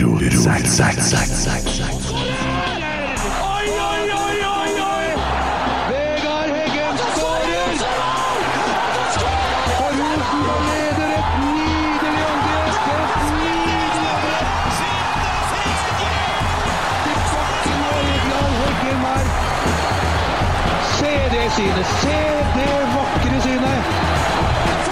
Ro, ro, zack, zack, zack, zack, zack. Oi, oi, oi, oi, oi! Vegard Heggen skårer! Og Rosenborg leder et nydelig angrep! Et nydelig angrep! Til Morten Øyendal Heggen her. Se det synet! Se det vakre synet!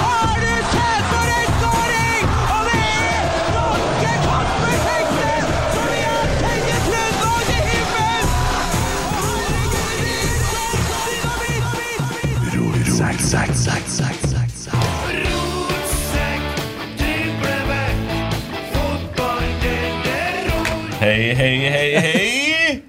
Har du sett for en skåring! Og det er norske kamper Tengsnes som vi har tegnet Lønnborg til himmelen! Og han legger det ned som dynamitt! Ro, ro, zack, zack, zack, zack, zack, zack. Hei, hei, hei, hei!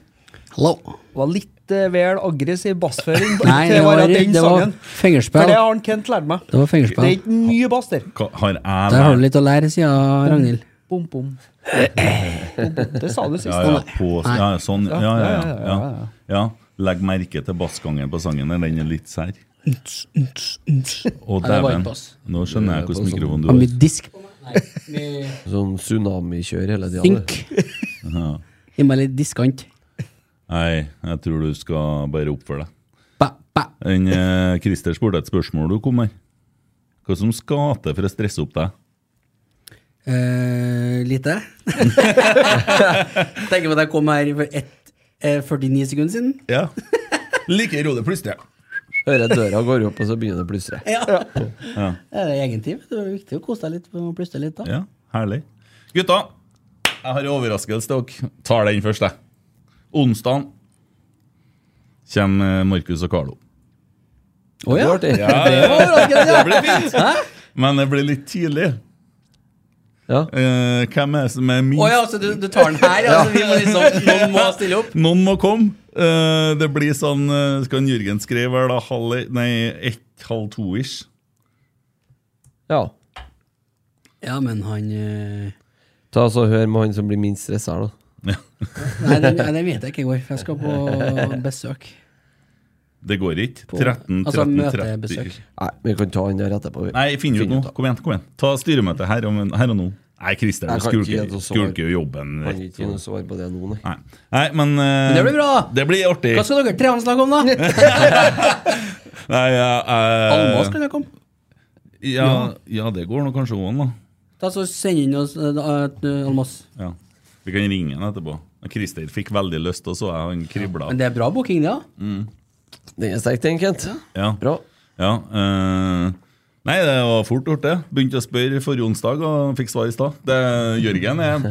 Hallo. var litt eh, vel aggressiv bassføring. Nei, det var, at den det var sangen. For fingerspill. det har han Kent lært meg. Det var Det er fingerspill. ikke mye bass der. Hva- Har jeg Der har du litt å lære, sier Ragnhild. Bom, bom. Bom, bom. Det sa du sist. Ja, ja, på, ja, sånn. Ja, ja, ja. ja, ja, ja. Legg merke til bassgangen på sangen. der, Den er litt sær. Å, Ja, det var dæven. ikke bass. Nå skjønner jeg hvilken mikrofon du Har har. mye disk. Sånn tsunamikjør hele tida. Dink. Gi meg litt diskant. Nei, jeg tror du skal bare oppføre deg. Ba, ba. En, eh, Christer spurte et spørsmål du kom med. Hva som skal til for å stresse opp deg? Eh, lite. Tenker på at jeg kom her for ett, eh, 49 sekunder siden. Ja. Like rolig plutselig. Hører jeg døra går opp, og så begynner det å plystre. Det er egen tid. vet du. Det er viktig å kose deg litt. og plystre litt da. Ja, herlig. Gutta, jeg har en overraskelse til dere. Tar den først, jeg. Onsdag kommer eh, Markus og Carlo. Å ja. Det var artig. Det blir fint. Men det blir litt tidlig. Ja. Eh, hvem er det som er minst? Å ja, så du, du tar den her? Ja. så vi må liksom, noen må stille opp? Noen må komme. Eh, det blir sånn eh, Skal han Jørgen skrive her da halv e- Nei, ett, halv to-ish? ja. Ja, men han eh, Ta så Hør med han som blir minst stressa her, da. Nei, den, nei, den vet jeg ikke i går, for jeg skal på besøk. Det går ikke. På- 13, 13, altså, 30. møtebesøk. Nei, vi kan ta han der etterpå. vi. Nei, finn ut Finn nå. ut da. Kom igjen. kom igjen Ta styremøte her, om- her og nå. Nei, Christer, du Jeg kan ikke gi skulker et sånt svar. skulker jo jobben. Kan ikke gi noe Rett. svar på det nå, nei. Nei. Nei, men eh, Men det blir bra. Det blir artig. Hva skal dere tre snakke om, da? Nei, ja, eh, Almas kan jeg komme. ja, ja, det går nå kanskje òg, da. Da så send inn oss eh, da, eh, Almas. Ja. Vi kan ringe han etterpå. Christer fikk veldig lyst, og så er han kribla. Men det er bra booking, det, da. Den er sterk, den, Kent. Ja. Bra. ja eh, nei, det var fort gjort, det. Begynte å spørre forrige onsdag og fikk svar i stad. Det- Jørgen er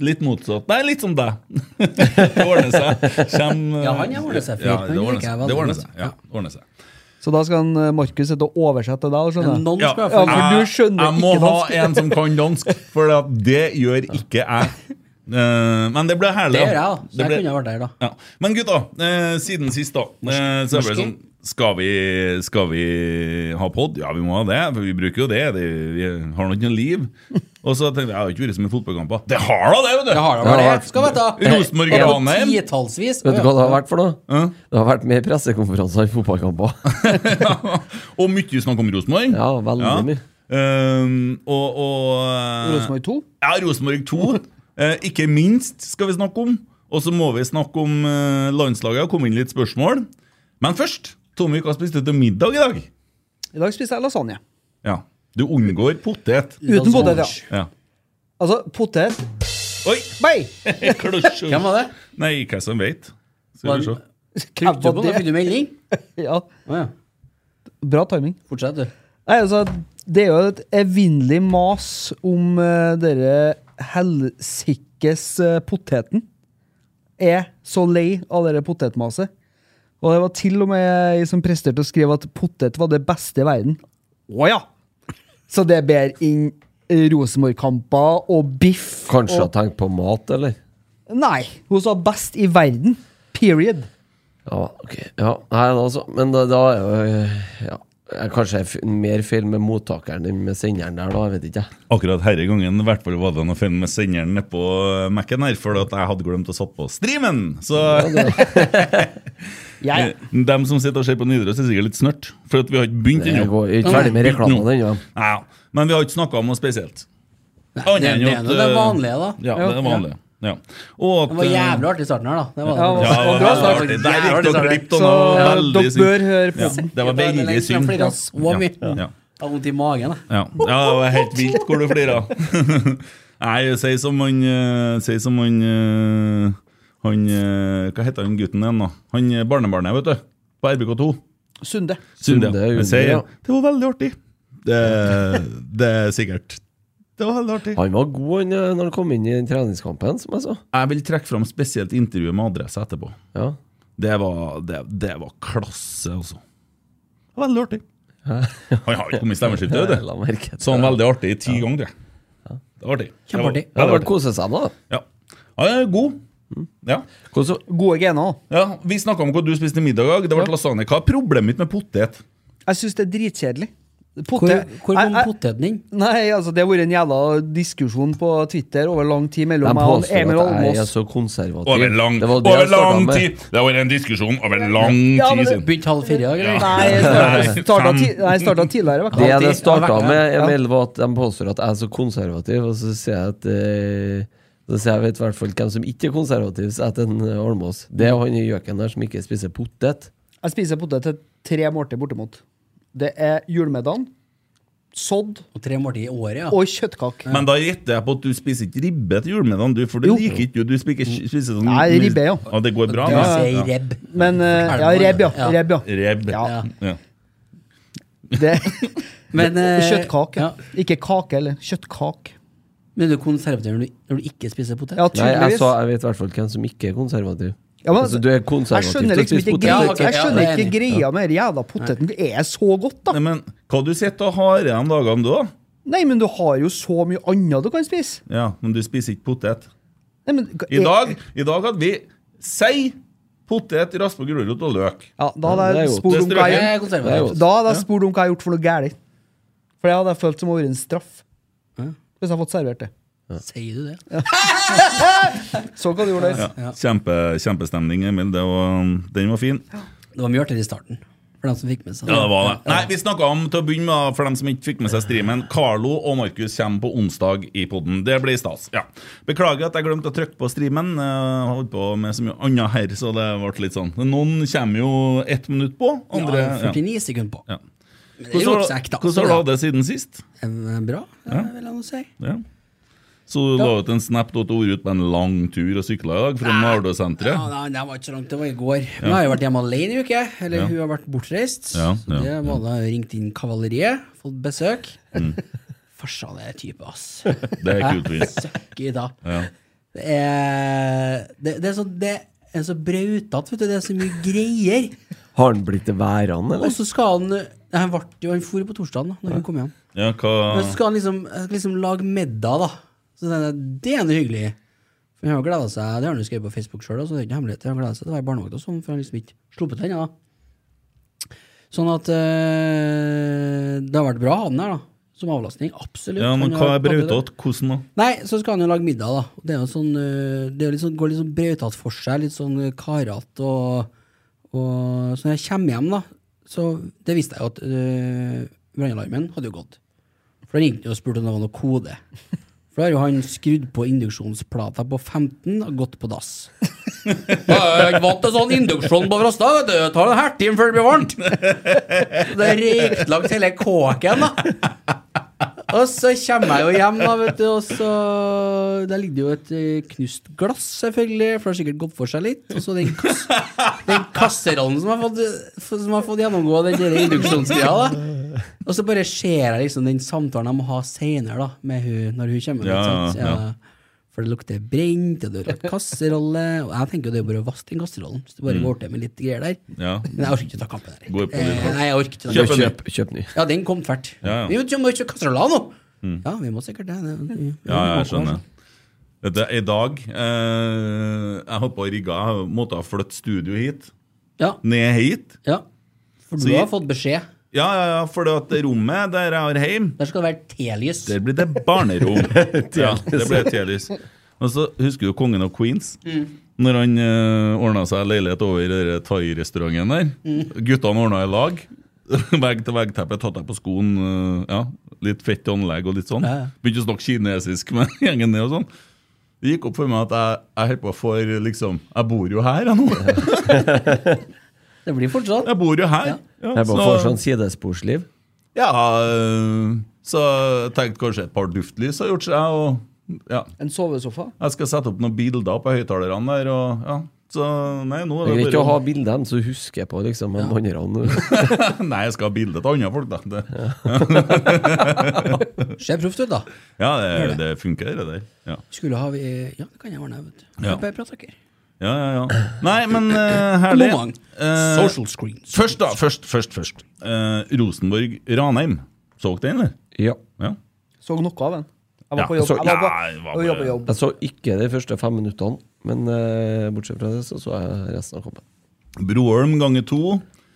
litt motsatt. Nei, litt som deg. det ordner seg. Kjem, eh, Ja, han er ordner seg fint. Ja, Han det ordner liker jeg seg. veldig Det ordner godt. seg. Ja, det ordner seg. Så da skal han, eh, Markus sitte og oversette deg, da, skjønner Men jeg. Noen Ja, skal Ja, iallfall for du skjønner jeg må ikke ha dansk. en som kan dansk, for at det gjør ikke jeg. Eh, men det ble herlig. Det gjør jeg, da. Så jeg ble- kunne vært der, da. Ja. Men gutta, eh, siden sist, da. eh, så er det sånn Norske? skal vi, skal vi ha pod? Ja, vi må ha det, for vi bruker jo det. det vi har nå ikke noe liv. Og så tenkte jeg jeg har jo ikke vært så mye fotballkamper. Det har da det, vet du! Eh, Jeg har da Ja, bare ja. det. Skal vite. Rosenborg Det er på Ranheim. Titallsvis. Vet du hva det har vært for noe? Ja. Det har vært mer pressekonferanser enn fotballkamper. Og mye snakk om Rosenborg. Ja, veldig Ja. mye. Eh, og og eh, Rosenborg 2. Ja, Rosenborg 2. Eh, ikke minst skal vi snakke om. Og så må vi snakke om eh, landslaget og komme inn litt spørsmål. Men først, Tommy, hva spiste du til middag i dag? I dag spiser jeg lasagne. Ja, Du unngår potet. Uten potet, ja. Ja. Altså, potet Oi! Nei! Klosj! Hvem var det? Nei, hva som veit. Skal vi se. Var Kryptobon, da det- fikk du melding? Ja, Å ja. bra timing. Fortsett, du. Nei, altså, det er jo et evinnelig mas om uh, dere helsikes eh, poteten. Er så lei av dere potetmaset. Og det var til og med jeg som presterte å skrive at potet var det beste i verden. Å ja! Så det ber inn Rosenborg-kamper og biff Kanskje og har tenkt på mat, eller? Nei! Hun sa best i verden. Period. Ja, ok. Ja, nei, altså, men da, da er jo eh, ja. Eh, Kanskje f- mer feil med mottakeren enn med senderen der, da. Jeg vet ikke. jeg. Akkurat herre gangen i hvert fall var det noe feil med senderen nede på eh, Mac-en her, for at jeg hadde glemt å satt på streamen! Så Jeg. dem som sitter og ser på Nidaros, er sikkert litt snørt, for at vi har ikke begynt Jeg ennå. går jeg er ikke ferdig med Begynt nå. reklamen ennå. Ja, men vi har ikke snakka om noe spesielt. Annet det- enn det er at, nå det eh, vanlige, da. Ja, det er vanlig. Ja. Og at, Det var eh, jævlig artig i starten her, da. Det var det. Ja, det Ja, det var Det var veldig artig. Der gikk dere glipp av Så noe ja, veldig dere synd. bør høre på Ja, den. det var veldig Jeg synd. flirer så mye. Ja, ja. Jeg har vondt i magen. jeg. Ja, ja det var helt vilt hvor du flira. Nei, si som han eh, Si som han eh, Han eh, Hva heter han gutten igjen, da? Han eh, barnebarnet, vet du. På RBK2. Sunde. Sunde. Sunde, Jeg Junde, sier ja. det var veldig artig. Det, det er sikkert. Det var veldig artig. Han var god han, eh, når han kom inn i den treningskampen, som jeg sa. Jeg vil trekke fram spesielt intervjuet med adresse etterpå. Ja. Det var, det, det var klasse, altså. Det var Veldig artig. Han har ikke kommet i stemmeskiftet, vet Jeg du. la merke til Så han det. veldig artig i ti ganger, tror jeg. Det var artig. Det var- Kjempeartig. Ja, veldig han koser seg med det. Ja. ja jeg er god. Mm. Ja. Hvordan- Gode gener. da. ja, Vi snakka om hva du spiste i middag i dag. Det ble lasagne. Hva er problemet mitt med potet? Jeg syns det er dritkjedelig. Hvor, Potet- hvor Jeg- kom jeg- poteten inn? Nei, altså Det har vært en jævla diskusjon på Twitter over lang tid mellom De meg og påstår Emil at jeg er Almås. så konservativ. Over lang, Det var det over jeg startet lang med. tid! Det var en diskusjon over lang Ja, tid men siden. Begynte halv fire i dag, eller? Nei, jeg starta- Nei, starta fem. ti- nei, jeg starta tidligere. i hvert fall. Det jeg Alltid- det starta ja, med, Emil, var at de påstår at jeg er så konservativ, og så sier jeg at eh, så sier jeg vet i hvert fall hvem som ikke er konservativ, så etter en Almås. Det er jo han i gjøken der som ikke spiser potet. Jeg spiser potet til tre måltider bortimot. Det er julemiddagen, sodd Og tre måltider i året, ja. og kjøttkake. Men da gjetter jeg på at du spiser ikke ribbe til julemiddagen, du, for det Jo. liker ikke du. Du spiker, spiser sånn Nei, ribbe, ja. Det går bra? Du men- sier Ja. rebb. Men eh, ja, rebb, ja. Rebb, ja. Rebb. Ja. Ja. Det, Men, eh, kjøttkake. ja. Ikke kake, eller kjøttkake. Men du er konservativ når du, når du ikke spiser potet? Ja, Nei, jeg tydeligvis. sa jeg vet i hvert fall hvem som ikke er konservativ. Ja, men- altså, du er Jeg konservativ skjønner til å liksom spise ikke potet. Ja, greia, ok, jeg ja, skjønner det er ikke enig. greia med den jævla poteten. Det er så godt, da. Nei, men hva du sitter og har igjen dagene, du, da? Nei, men du har jo så mye annet du kan spise. Ja, men du spiser ikke potet. Nei, men, I dag, i dag hadde vi sei, potet, raspa gulrot og løk. Ja, da hadde Ja, det er jeg jo- spurt om hva Det strøker jeg Jeg er Det er konservativ. altså. jo- Da hadde jeg spurt om hva jeg har gjort for noe galt. For det hadde jeg følt som å være en straff. Hvis jeg hadde fått servert det. Sier du det? Så hva du gjorde der. Ja. Kjempe, kjempestemning, Emil. Det var, den var fin. Det var mye artigere i starten. For dem som fikk med seg Ja, det var det. Nei, Vi snakka om til å begynne med, for dem som ikke fikk med seg streamen, Carlo og Markus kommer på onsdag i poden. Det blir stas. ja. Beklager at jeg glemte å trykke på streamen. Eh, Jeg holdt på med så mye annet her, så det ble litt sånn. Noen kommer jo ett minutt på, andre Ja, ja. 49 sekunder på. Ja. Men det er Hvordan jo har ikke så ekte, du- hvordan har du altså, hatt det siden sist? det. Eh, Bra, eh, vil jeg nå si. Ja. Så du la ut en snap da til Ore ut på en lang tur og sykla i dag fra Ja, Nardøsenteret? nei, det var ikke så langt, det var i går. Men jeg har jo vært hjemme alene i uke. Eller Ja. hun har vært bortreist. Ja, så ja, det var da ringt inn kavaleriet, fått besøk. Farsan er type, ass. Mm. Det er kult. Fint. Søkki da. Ja. Det er, det, det er så, det er så brautete, vet du. Det er så mye greier. Har han blitt det værende, Og eller? så skal han Nei, Han ble jo Han for på torsdagen da når hun kom hjem. Ja, hva Men så skal han liksom, han skal liksom lage middag, da. Så tenkte jeg, det er noe hyggelig. For han har gleda seg, Det har han jo skrevet på Facebook sjøl, så det er ikke noe hemmelighet. Han gleda seg til å være barnevakt og sånn, for han liksom ikke sluppet henne, da. Sånn at eh, det har vært bra, han her, da. Som avlastning. Absolutt. Ja, men Han hva er har tatt det, da. brautete? Hvordan da? Nei, så skal han jo lage middag, da. Det er jo sånn, øh, det er jo litt sånn, går litt sånn brautete for seg. Litt sånn øh, karete og, og Så når jeg kommer hjem, da, så Det visste jeg jo at øh, brannalarmen hadde jo gått. For da ringte han og spurte om det var noe kode. For da har jo han skrudd på induksjonsplata på 15 og gått på dass. Jeg er ikke vant til sånn induksjon på Frosta. vet du. Det tar en hertime før det blir varmt. Det er røyklagt hele kåken, da. Og så kommer jeg jo hjem, da, vet du, og så Der ligger det jo et eh, knust glass, selvfølgelig, for det har sikkert gått for seg litt. Og så den, kass den kasserollen som har fått, eh, som har fått gjennomgå den der induksjonstida, da. Og så bare ser jeg liksom den samtalen jeg må ha seinere, da, med hun når hun kommer. Ja, ikke sant? ja, ja. For det lukter brent, og det lukter kasserolle. Og jeg tenker jo det er bare å vaske den kasserollen, hvis du bare går til med litt greier der. Ja. Men jeg orker ikke å ta kampen der. Går Mm. på litt hardt. nei, jeg orker ikke å ta Kjøp kampen. en ny. Kjøp, kjøp ny. Ja, den kom tvert. Ja, ja. Vi må vi må kjøpe kasseroller nå! Ja, vi må sikkert det. det- Ja, jeg skjønner. Vet du, I dag eh, Jeg holdt på å rigge. Jeg måtte ha flyttet studio hit. Ja, Ned hit. ja. For Så du jeg- har fått beskjed. Ja, ja, ja, for det at det rommet der jeg har heim, Der skal det være telys. der blir det barnerom. ja, det blir telys. Og så husker du kongen av Queens? Når han uh, ordna seg leilighet over i den thai-restauranten der. Guttene ordna i lag. Vegg til vegg-teppe, tatt deg på skoen. eh, ja, Litt fett anlegg og litt sånn. Ja, ja. Begynte å snakke kinesisk med gjengen ned og sånn. Det gikk opp for meg at jeg, jeg holdt på for liksom Jeg bor jo her, jeg nå. Det blir fort sånn. Jeg bor jo her. Ja, Jeg bare så- får sånn sidesporsliv. Ja, øh, så jeg tenkte kanskje et par duftlys har gjort seg. Og, ja. En sovesofa? Jeg skal sette opp noen bilder på høyttalerne der. Og, ja. Så nei, nå Det er er det greit å ha bildene, så du husker på liksom ja. andre. Nei, jeg skal ha bilde til andre folk, da. Det, Ser proft ut, da. ja, det, det funker, det der. Ja. Skulle ha vi Ja, det kan jeg ordne. vet du. Ja. Bare prat dere. Ja, ja, ja. Nei, men øh, herlig. Moment. Eh, Social screens. først, da. Først, først. først. Eh, Rosenborg-Ranheim. Så dere den, eller? Ja. Ja. Så noe av den. Jeg var Ja, på jobb. så- Jeg var på, Nei, det var jeg var bare- på jobb. Jeg så ikke de første fem minuttene, men eh, bortsett fra det så så jeg resten av kampen. Broholm ganger to.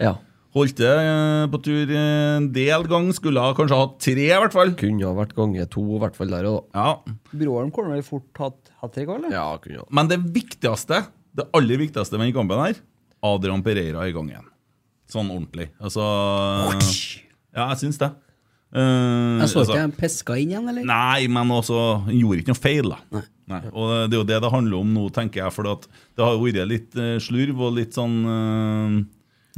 Ja. Holdt det eh, på tur en del gang. Skulle ha kanskje hatt tre, i hvert fall. Kunne ha vært gange to, i hvert fall der og da. Ja, Bråholm kommer vel fort hatt hat trick, eller? Ja, kunne ha. Men det viktigste, det aller viktigste med den kampen her, Adrian Pereira i gang igjen. Sånn ordentlig. Altså Ja, jeg syns det. Eh, Jeg så altså- ikke de piska inn igjen, eller? Nei, men altså, han gjorde ikke noe feil, da. Nei. Og det er jo det det handler om nå, tenker jeg. For det har jo vært litt eh, slurv og litt sånn eh,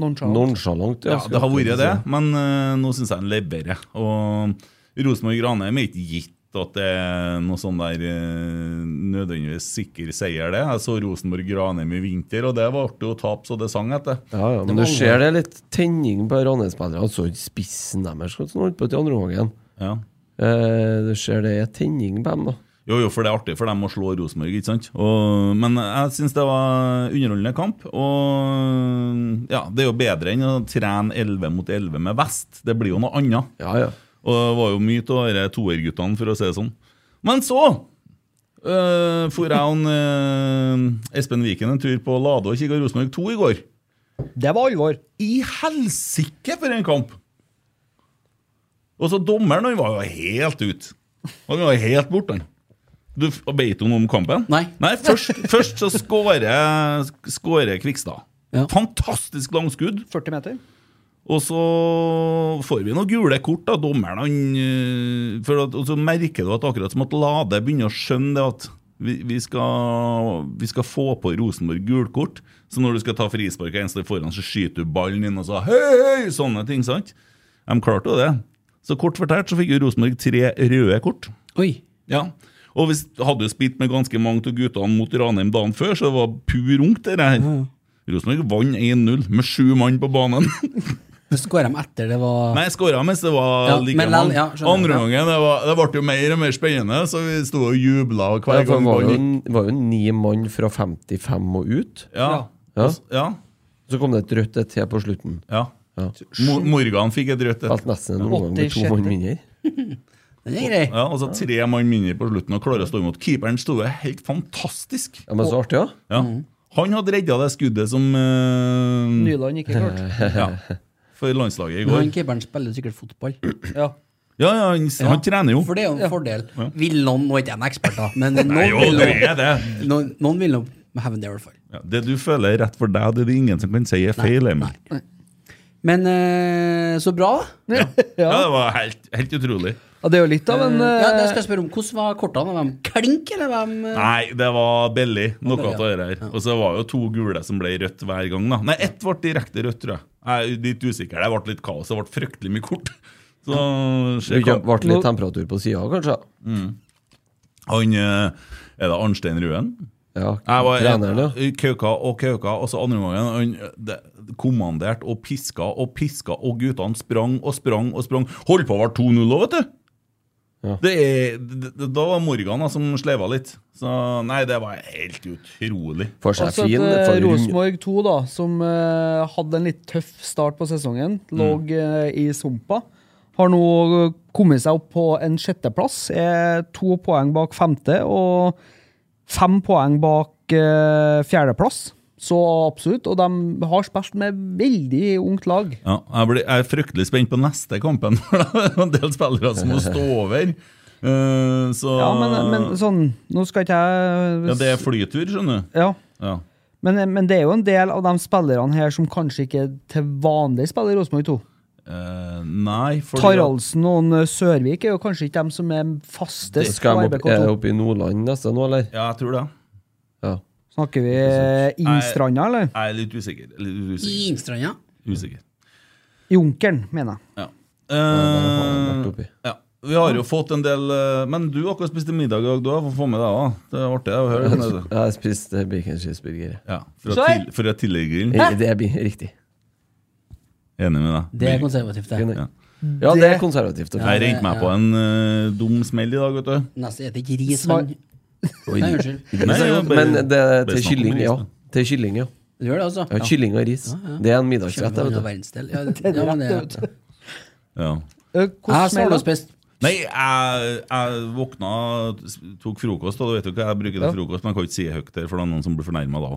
Nonchalant. Nonchalant, ja, det har skulle jeg vært det, til å si. men eh, nå syns jeg han leverer. Og Rosenborg-Ranheim er ikke gitt at det er noe sånn der eh, nødvendigvis sikker seier, det. Jeg så Rosenborg-Ranheim i vinter, og det var artig å tape så det sang etter. Ja, ja, men du ser det er litt tenning på Ranheim-spillerne. Han så ikke spissen deres hvordan han holdt på til andre omgangen. Ja. Eh, du ser det er tenning på dem, da. Jo, jo, for det er artig for dem å slå Rosenborg, ikke sant? Og, men jeg syns det var underholdende kamp. Og ja, det er jo bedre enn å trene 11 mot 11 med vest. Det blir jo noe annet. Ja, ja. Og det var jo mye av disse toerguttene, for å si det sånn. Men så øh, for jeg og han, øh, Espen Viken en tur på Lade og kikka Rosenborg 2 i går. Det var alvor. I helsike for en kamp! Og så dommeren, han var jo helt ut. Han var jo helt borte, han. Du Vet du noe om kampen? Nei. først, først så skårer skårer Kvikstad. Ja. Fantastisk langskudd. 40 meter. Og så får vi noen gule kort, da, dommeren. Han, øh, for at, og så merker du at akkurat som at Lade begynner å skjønne det at vi, vi, skal, vi skal få på Rosenborg gult kort. Så når du skal ta frispark og en står foran, så skyter du ballen inn og så hei, hei, sånne ting. sant? De klarte jo det. Så kort fortalt så fikk jo Rosenborg tre røde kort. Oi. Ja. Og hvis hadde jo spilt med ganske mange av guttene mot Ranheim dagen før, så det var pur ungt, det her. Rosenborg vant 1-0 med sju mann på banen. Så skåra de etter det var Nei, jeg skåra mens det var Ja, like men lall, mange. ja, skjønner. Andre Ja. gangen det, var, det ble jo mer og mer spennende, så vi sto og jubla hver Ja, for gang det var ballen jo, gikk. det var jo ni mann fra 55 og ut. Ja. Ja. ja. Så kom det et rødt et til på slutten. ja. Ja. Mo- Morgan fikk et rødt et. Alt nesten en omgang med to 86. mann mindre. Det er grei. Ja, altså Tre mann mindre på slutten og klarer å stå imot. Keeperen sto jo helt fantastisk. Ja, men så artig, ja. Ja. Mhm. Han hadde redda det skuddet som eh, Nyland ikke klart. ja, For landslaget i Men går. Han keeperen spiller sikkert fotball. Ja. Ja, ja, han, han trener jo. For det er jo en fordel. Vil noen, nå er ikke jeg en ekspert, da, men noen, Nei, jo, vil det nå, er det. noen, noen vil nå hevne det, i hvert fall. Ja, det du føler er rett for deg, det er det ingen som kan si er feil. Emil. Men eh, så bra, da. Ja, det var helt, helt utrolig. Ja, det er jo litt av en ja, det eh, skal jeg spørre om. Hvordan var kortene? Var de klink, eller var de eh, Nei, det var billig. Noe billig, av det her. Og så var jo to gule som ble rødt hver gang. da Nei, ett ble direkte rødt, tror jeg. Jeg er litt usikker. Det ble litt kaos. Det ble fryktelig mye kort. Så Det skjer kamp. ble litt temperatur på sida, kanskje. Han eh, Er det Arnstein Røen? Ja, Jeg var treneren, ja. jeg- Kauka og kauka, og så andre gangen han det- kommanderte og piska og piska, og guttene sprang og sprang og sprang. Holdt på å være 2-0 òg, vet du! Ja. Det er, det, det, da var Morgan da, som sleva litt. Så nei, det var helt utrolig. Får seg Altså fin. at eh, får rund- Rosenborg 2, da, som eh, hadde en litt tøff start på sesongen, Mm. lå eh, i sumpa, har nå eh, kommet seg opp på en sjetteplass. Er to poeng bak femte og fem poeng bak eh, fjerdeplass. Så absolutt. Og de har spilt med veldig ungt lag. Ja, jeg, blir, jeg er fryktelig spent på neste kampen. for da er det En del spillere som må stå over. Eh, så Ja, men, men sånn Nå skal ikke jeg Ja, det er flytur, skjønner du. Ja. Ja. Men, men det er jo en del av de spillerne her som kanskje ikke til vanlig spiller i Rosenborg 2. Eh, nei, fordi Taraldsen og en, eh, Sørvik er jo kanskje ikke dem som er Så fastest på skal de opp, er det RBK2. oppe i Nordland neste nå, eller? Ja, jeg tror det. Ja. Snakker vi eh, Innstranda, eller? Jeg er litt usikker. Litt I usikker. Ingstrand, ja. usikker. Junkeren, mener jeg. Ja. har jeg vært Eh, oppi. ja. Vi har jo fått en del eh, Men du akkurat spiste middag i dag, du har fått få med deg òg. Det er artig å høre. det, vet du. Jeg spiste bacon cheeseburger. Ja, fra, Sorry. til, fra tilleggergrillen. Eh, Det blir riktig. Enig med deg. Det er konservativt, det. Ja. ja, det er konservativt. å Jeg si. rente meg på en eh, dum smell i dag, vet du. Nesten spiser ikke ris. Svar- han. Nei, unnskyld. Men, Nei, jeg bare- men det er bare snakk til om kylling, ris, ja. da. Til kylling, ja. Du gjør det, altså? ja. Kylling og ris. Det er en middagsrett. jeg Kjøper vet fra du. verdensdel. Ja, det- ja, men det- Ja. Eh, Jeg har Hvordan er det? smålåspist. Nei, jeg, jeg våkna, s- tok frokost, og du vet jo hva jeg bruker til frokost, men jeg kan ikke si det høyt der, for det er noen som blir fornærma da.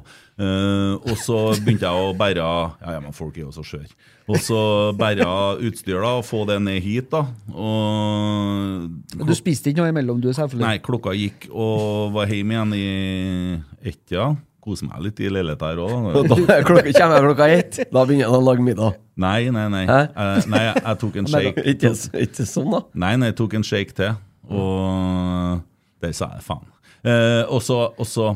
Eh, og så begynte jeg å bære Ja, ja, men folk er jo så skjøre. Og så bære utstyr, da, og få det ned hit, da. Og Du spiste ikke noe imellom, du, selvfølgelig. Nei, klokka gikk og var hjemme igjen i ett-tida. Koser meg litt i leiligheta her òg. Og Da klokka, kommer jeg klokka ett, da begynner han å lage middag. Nei, nei, nei. Hæ? Eh, nei jeg, jeg tok en shake. Ikke, s- ikke sånn, da. Nei, nei, jeg tok en shake til, og der sa jeg faen. Eh, og, så, og så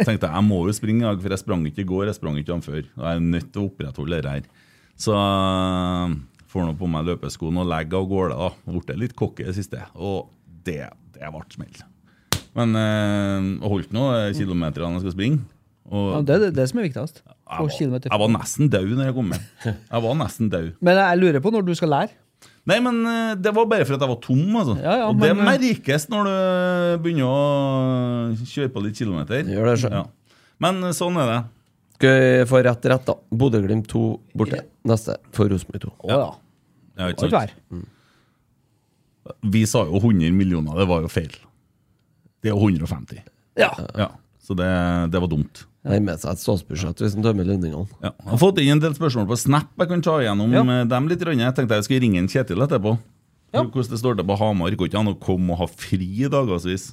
tenkte jeg jeg må jo springe i dag, for jeg sprang ikke i går, jeg sprang ikke dagen før. Og jeg er nødt til å opprettholde det her. Så eh, får nå på meg løpeskoene og legger av gårde. da. Ble litt cocky i det siste, og det, det ble smell. Men eh, jeg holdt nå eh, kilometerne jeg skal springe. Og Ja, det er det, det som er viktigst. Få jeg, var, kilometer. jeg var nesten død når jeg kom hjem. Jeg var nesten død. Men jeg lurer på når du skal lære. Nei, men eh, det var bare for at jeg var tom, altså. Ja, ja, og det men, eh, merkes når du begynner å kjøre på litt kilometer. Gjør det, sjø. Ja. Men eh, sånn er det. Skal vi få rett rett, da. Bodø-Glimt 2 borte. Neste for Rosenborg 2. Å ja. Ja, Må ikke ikke sant? være. Vi sa jo 100 millioner, det var jo feil. Det er jo 150. Ja. Ja, Så det, det var dumt. Nærmer seg et statsbudsjett hvis han tømmer lønningene. Ja. Jeg har fått inn en del spørsmål på Snap jeg kan ta igjennom Ja. eh, dem litt. Rønne. Jeg tenkte jeg skulle ringe en Kjetil etterpå. Ja. Hvordan det står til på Hamar. Går ikke an å komme og ha fri i dagevis.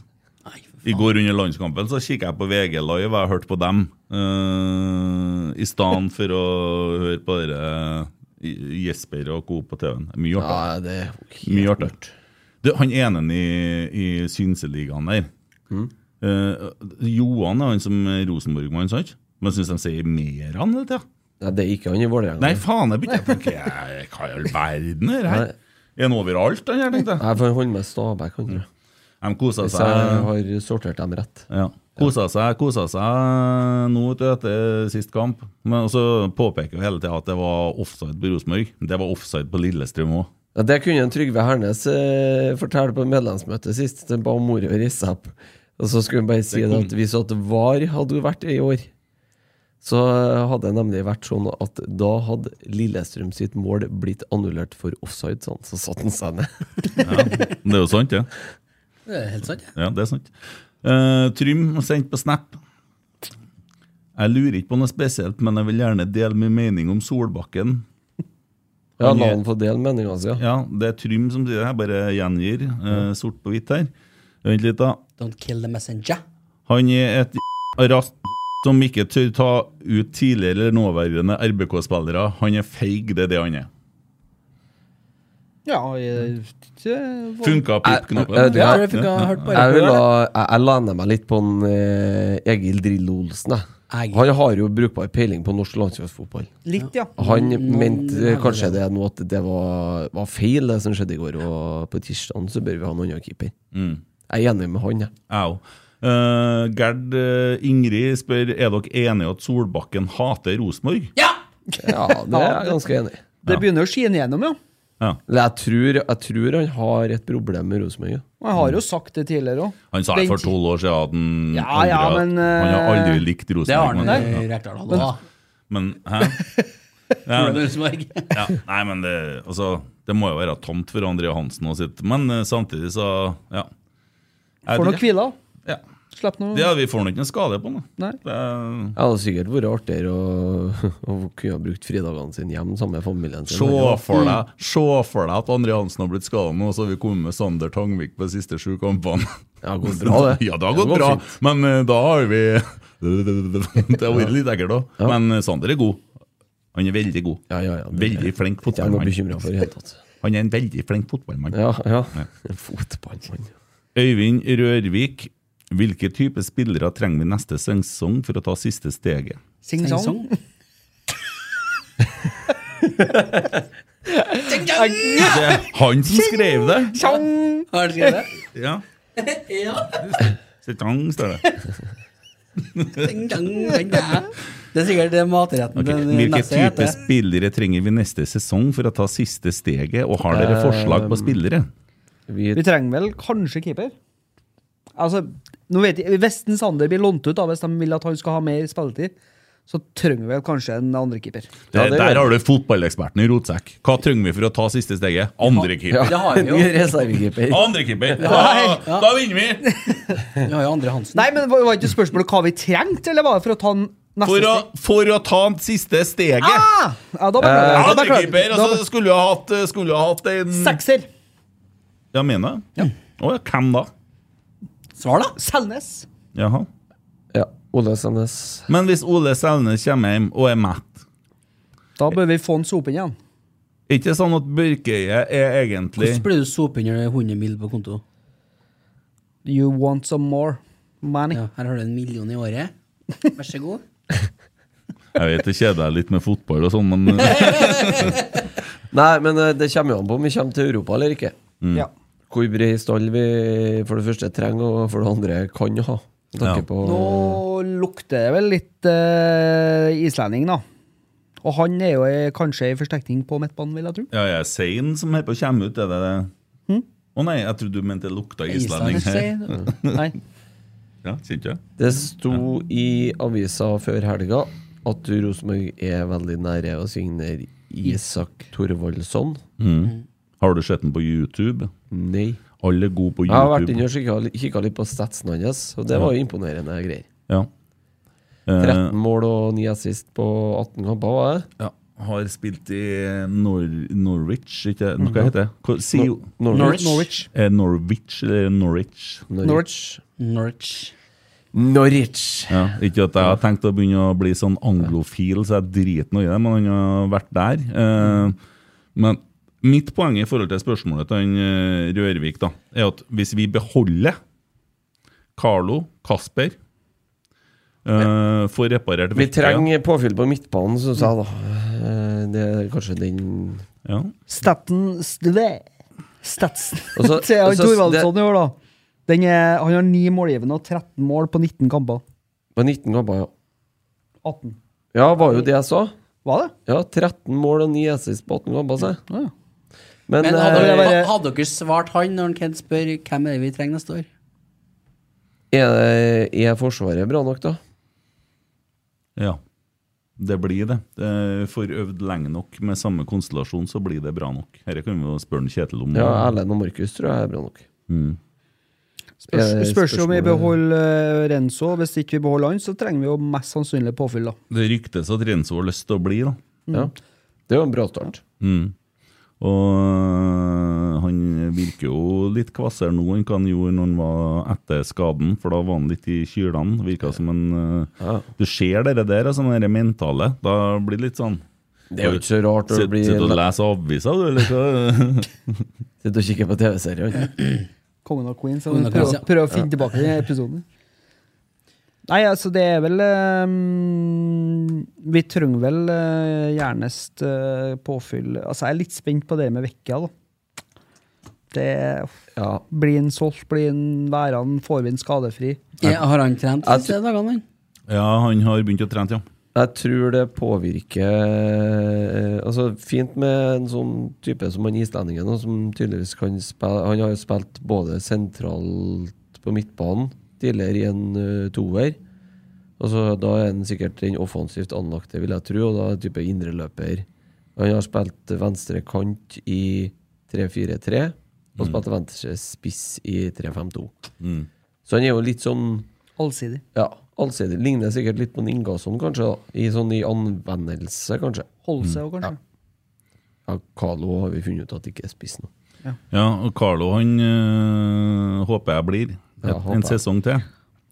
Nei, for faen. I går under landskampen så kikket jeg på VG Live og jeg hørte på dem. eh, I stedet for å høre på dere eh, Jesper og co. på TV-en. Mye artig. Ja, det er helt Mye artig. Du, han ene i, i Synseligaen der eh, Johan er han som er Rosenborg-mann, sant? Men syns de sier mer han hele tida? Nei, det er ikke han i Vålerenga. Nei, faen, jeg begynte å tenke jeg- Hva i all verden er det her? Er han overalt, han her, tenkte jeg. Jeg får holde med Stabæk, han tror jeg. De kosa Hvis jeg seg. har sortert dem rett. Ja. Kosa seg, kosa seg nå vet du, etter sist kamp. Men så påpeker jo hele tida at det var offside på Rosenborg. Det var offside på Lillestrøm òg. Ja, det kunne en Trygve Hernes eh, fortelle på medlemsmøtet sist. Den ba om ordet og reiste seg opp. Og så skulle han bare si Det det kom. at hvis at VAR hadde jo vært i år, så hadde det nemlig vært sånn at da hadde Lillestrøm sitt mål blitt annullert for offside, sånn. Så satte han seg ned. Det er jo sant, det. Det er helt sant. ja. Ja. ja, det er sant. Eh, Trym sendte på Snap. Jeg lurer ikke på noe spesielt, men jeg vil gjerne dele min mening om Solbakken. Ja, Han la gjør- han få dele meninga si, altså, ja. Ja, Det er Trym som sier det, jeg bare gjengir eh, sort på hvitt her. Vent litt, da. Don't kill the messenger. Han er et rast som ikke tør ta ut tidligere eller nåværende RBK-spillere. Han er feig, det er det han er. ja eh, Mm. jeg, jeg, Funka Eh, eh, pip-knappen? du- Ja, Jeg tror jeg fikk ha hørt på Jeg, det. vil ha- jeg, jeg lener meg litt på en, eh, Egil Drillo Olsen. Jeg. Egil. Han har jo brukbar peiling på norsk landslagsfotball. litt, ja. Han Noen mente eh, hevder kanskje Mm, det. det nå at det var, var feil, det som skjedde i går. Og på tirsdag så bør vi ha en annen keeper. Jeg er enig med han, jeg. Au. Eh, Gerd eh, Ingrid spør er dere enige at Solbakken hater Rosenborg. Ja! Ja, det er jeg ganske enig i. Det begynner å skine gjennom, ja. Eller jeg tror, jeg tror han har et problem med Rosenborg. ja. Og jeg har jo sagt det tidligere òg. Han sa det for tolv år siden at han, Ja, ja, aldri, men, han har eh, aldri likt Det har Rosenborg. han Men, i Rekdal hatt da. men hæ? Ja, Tror du det, Rosenborg? ja, nei, men det, altså, det må jo være tomt for André Hansen og sitt. Men eh, samtidig så, ja. Jeg Får tror- nok hvile. Ja. Slipp noe. Det, vi får nå ikke noe skade på den. Nei. Det er- Det hadde sikkert vært artigere å, å kunne ha brukt fridagene sine hjem sammen med familien sin. Se for deg se for deg at Andre Hansen har blitt skada nå, og så har vi kommet med Sander Tangvik på de siste sju kampene. Det har gått bra, det. Ja, det har gått bra, fint. men eh, da har vi Det har vært litt ekkelt òg. Ja. Men eh, Sander er god. Han er veldig god. Ja, ja, ja. Det Veldig flink Ikke jeg noe fotballmann. bekymra for i det hele tatt. Han er en veldig flink fotballmann. Ja, ja. Fotballmann. Øyvind Rørvik, hvilke type spillere trenger vi neste sesong for å ta siste steget? Sing Sing song. song. Det er han som skrev det! Tjong! Har du skrevet det? Ja. Ja. Setang, står det. Ding, dang, ding, dang. Det er sikkert det matretten. Ok, den Hvilke neste type heter. spillere trenger vi neste sesong for å ta siste steget, og har dere forslag på spillere? Vi Vi trenger vel kanskje keeper? Altså, nå vet jeg, Hvis en Sander blir lånt ut, da, hvis de vil at han skal ha mer spilletid, så trenger vi vel kanskje en andre keeper. Ja, Der det er der det. har du fotballeksperten i rotsekk. Hva trenger vi for å ta siste steget? Andrekeeper. Det har vi jo. Reservekeeper. Andrekeeper! Da, da vinner vi! Vi har jo Andre Hansen. Nei, men var var ikke spørsmålet hva vi trengte, eller var det for å ta den neste For å, steg? for å ta siste steget. Ah! Ja, da beklager Eh, jeg. Da beklager Andrekeeper! jeg. Og Da- så skulle du ha hatt, skulle du ha hatt en Sekser. Ja, mener jeg? Å ja, hvem da? Svar, da! Selnes. Jaha. Ja. Ole Sandnes. Men hvis Ole Selnes kommer hjem og er mett, Da bør vi få han sopen igjen. er ikke sånn at Børkeøye er egentlig Hvordan blir du sope under 100 mil på konto? You want some more money. Ja, her har du en million i året. Vær så god. Jeg vet det kjeder deg litt med fotball og sånn, men Nei, men eh, det kommer jo an på om vi kommer til Europa eller ikke. Ja. Hvor bred stall vi for det første trenger, og for det andre kan ha. Med Ja. tanke på Nå lukter det vel litt eh, islending, da. Og han er jo eh, kanskje i forsterkning på midtbanen, vil jeg tro. Ja, jeg er sein som holder på å komme ut, er det det? Å nei, jeg trodde du mente det lukta Hm? islending Islanders, her. sier jeg. Nei. Ja, kjente jeg. Det sto i avisa før helga at Rosenborg er veldig nære å signere Isak Thorvaldsson. Har du sett den på YouTube? Nei. Alle er gode på Jeg har vært inne YouTube. og kikka litt på statsen hans, og det var jo imponerende greier. Ja. Eh, 13 mål og 9 assist på 18 kamper, var det? ja. Har spilt i Nor Norwich, ikke Mhm. Hva heter det? Hva- Si jo Nor- Norwich. Norwich. Eh, Norwich eller Norwich? Norwich. Norwich. Norwich. Ja, ikke at jeg har tenkt å begynne å bli sånn anglofil, så jeg driter nå i det, men han har vært der. Eh, men mitt poeng i forhold til spørsmålet til han eh, Rørvik, da, er at hvis vi beholder Carlo, Kasper eh, Får reparert Vi verktøyet. trenger påfyll på midtbanen, syns jeg, da. Eh, Det er kanskje den ja. Staten Stve- Statsen Og så- til han og så- Thorvaldsson i år, da. Den er, han har ni målgivende og 13 mål på 19 kamper. På 19 kamper, ja. 18. Ja, var jo det jeg sa. Var det? Ja, 13 mål og 9 assist på 18 kamper, sa jeg. Ja, ja. Men, Men eh, hadde, det dere- bare- hadde dere svart han når han Kent spør hvem er det vi trenger neste år? eh, er, er Forsvaret bra nok, da? ja. Det blir det. Eh, Får øvd lenge nok med samme konstellasjon, så blir det bra nok. Dette kan vi jo spørre en Kjetil om. Ja, Erlend og Markus tror jeg er bra nok. Spørs, Er det spørs om vi spørsmålet- beholder eh, Renzo. Hvis ikke vi beholder han, så trenger vi jo mest sannsynlig påfyll, da. Det ryktes at Renzo har lyst til å bli, da. Ja. Det er jo en bra start. Og Mm. eh, han virker jo litt kvassere nå enn hva han gjorde når han var etter skaden, for da var han litt i kylene. Virka som en eh, Ja. Du ser det der, altså, det der mentale. Da blir det litt sånn Det er jo ikke så rart når Sitt- du blir Sitter og leser aviser, du, eller hva? Sitter og kikker på TV-serien. Kongen av Queens. Kongen Prøv, av Queens, ja. prøv å finne tilbake den episoden. Nei, altså, det er vel ehm, Vi trenger vel eh, gjernest eh, påfyll Altså, jeg er litt spent på det med Vekka, da. Det Ja. Blir han solgt? Blir han værende? Får vi han skadefri? Ja, har han trent de Jeg siste dagene, han? Ja, han har begynt å trene, ja. Jeg tror det påvirker eh, Altså, fint med en sånn type som han islendingen, og som tydeligvis kan spille Han har jo spilt både sentralt på midtbanen, tidligere i en eh, toer. Altså, da er han sikkert den offensivt anlagte, vil jeg tro, og da er han type indreløper. Han har spilt venstre kant i 3-4-3, og spilt venstre spiss i 3-5-2. Så han er jo litt sånn Allsidig. Ja, allsidig. Ligner sikkert litt på en Ingasson, kanskje. da. I sånn i anvendelse, kanskje. Holde seg òg, kanskje. Ja, Carlo har vi funnet ut at ikke er spiss nå. Ja, og Carlo han øh, håper jeg blir Ja, Et- håper en jeg. sesong til.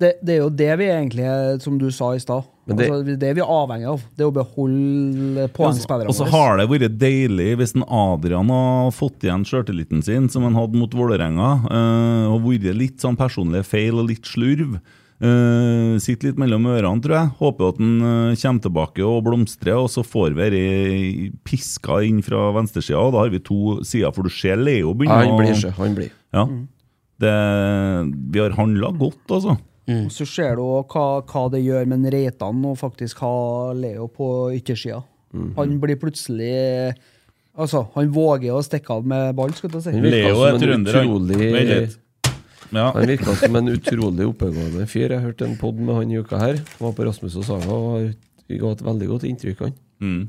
Det, det er jo det vi egentlig er, som du sa i stad. Men det- altså, det er vi avhengig av. Det er å beholde poengspillerne Og så har det vært deilig hvis en Adrian har fått igjen sjøltilliten sin, som han hadde mot Vålerenga, eh, og vært litt sånn personlige feil og litt slurv. Eh, sitter litt mellom ørene, tror jeg. Håper at han eh, kommer tilbake og blomstrer, og så får vi ei piska inn fra venstresida, og da har vi to sider, for du ser Leo Ja, begynner han blir ikke. Han blir. Ja. Det, vi har handla godt, altså. Og Så ser du også hva, hva det gjør med en Reitan å faktisk ha Leo på yttersida. Mhm. Han blir plutselig Altså, han våger å stikke av med ballen, skulle jeg til å si. Han virker Leo som er en trønder, han. utrolig- Vent litt. Ja. Han virka som en utrolig oppegående fyr. Jeg hørte en pod med han i uka her. Han var på Rasmus og Saga og har ga et veldig godt inntrykk, han. Mm.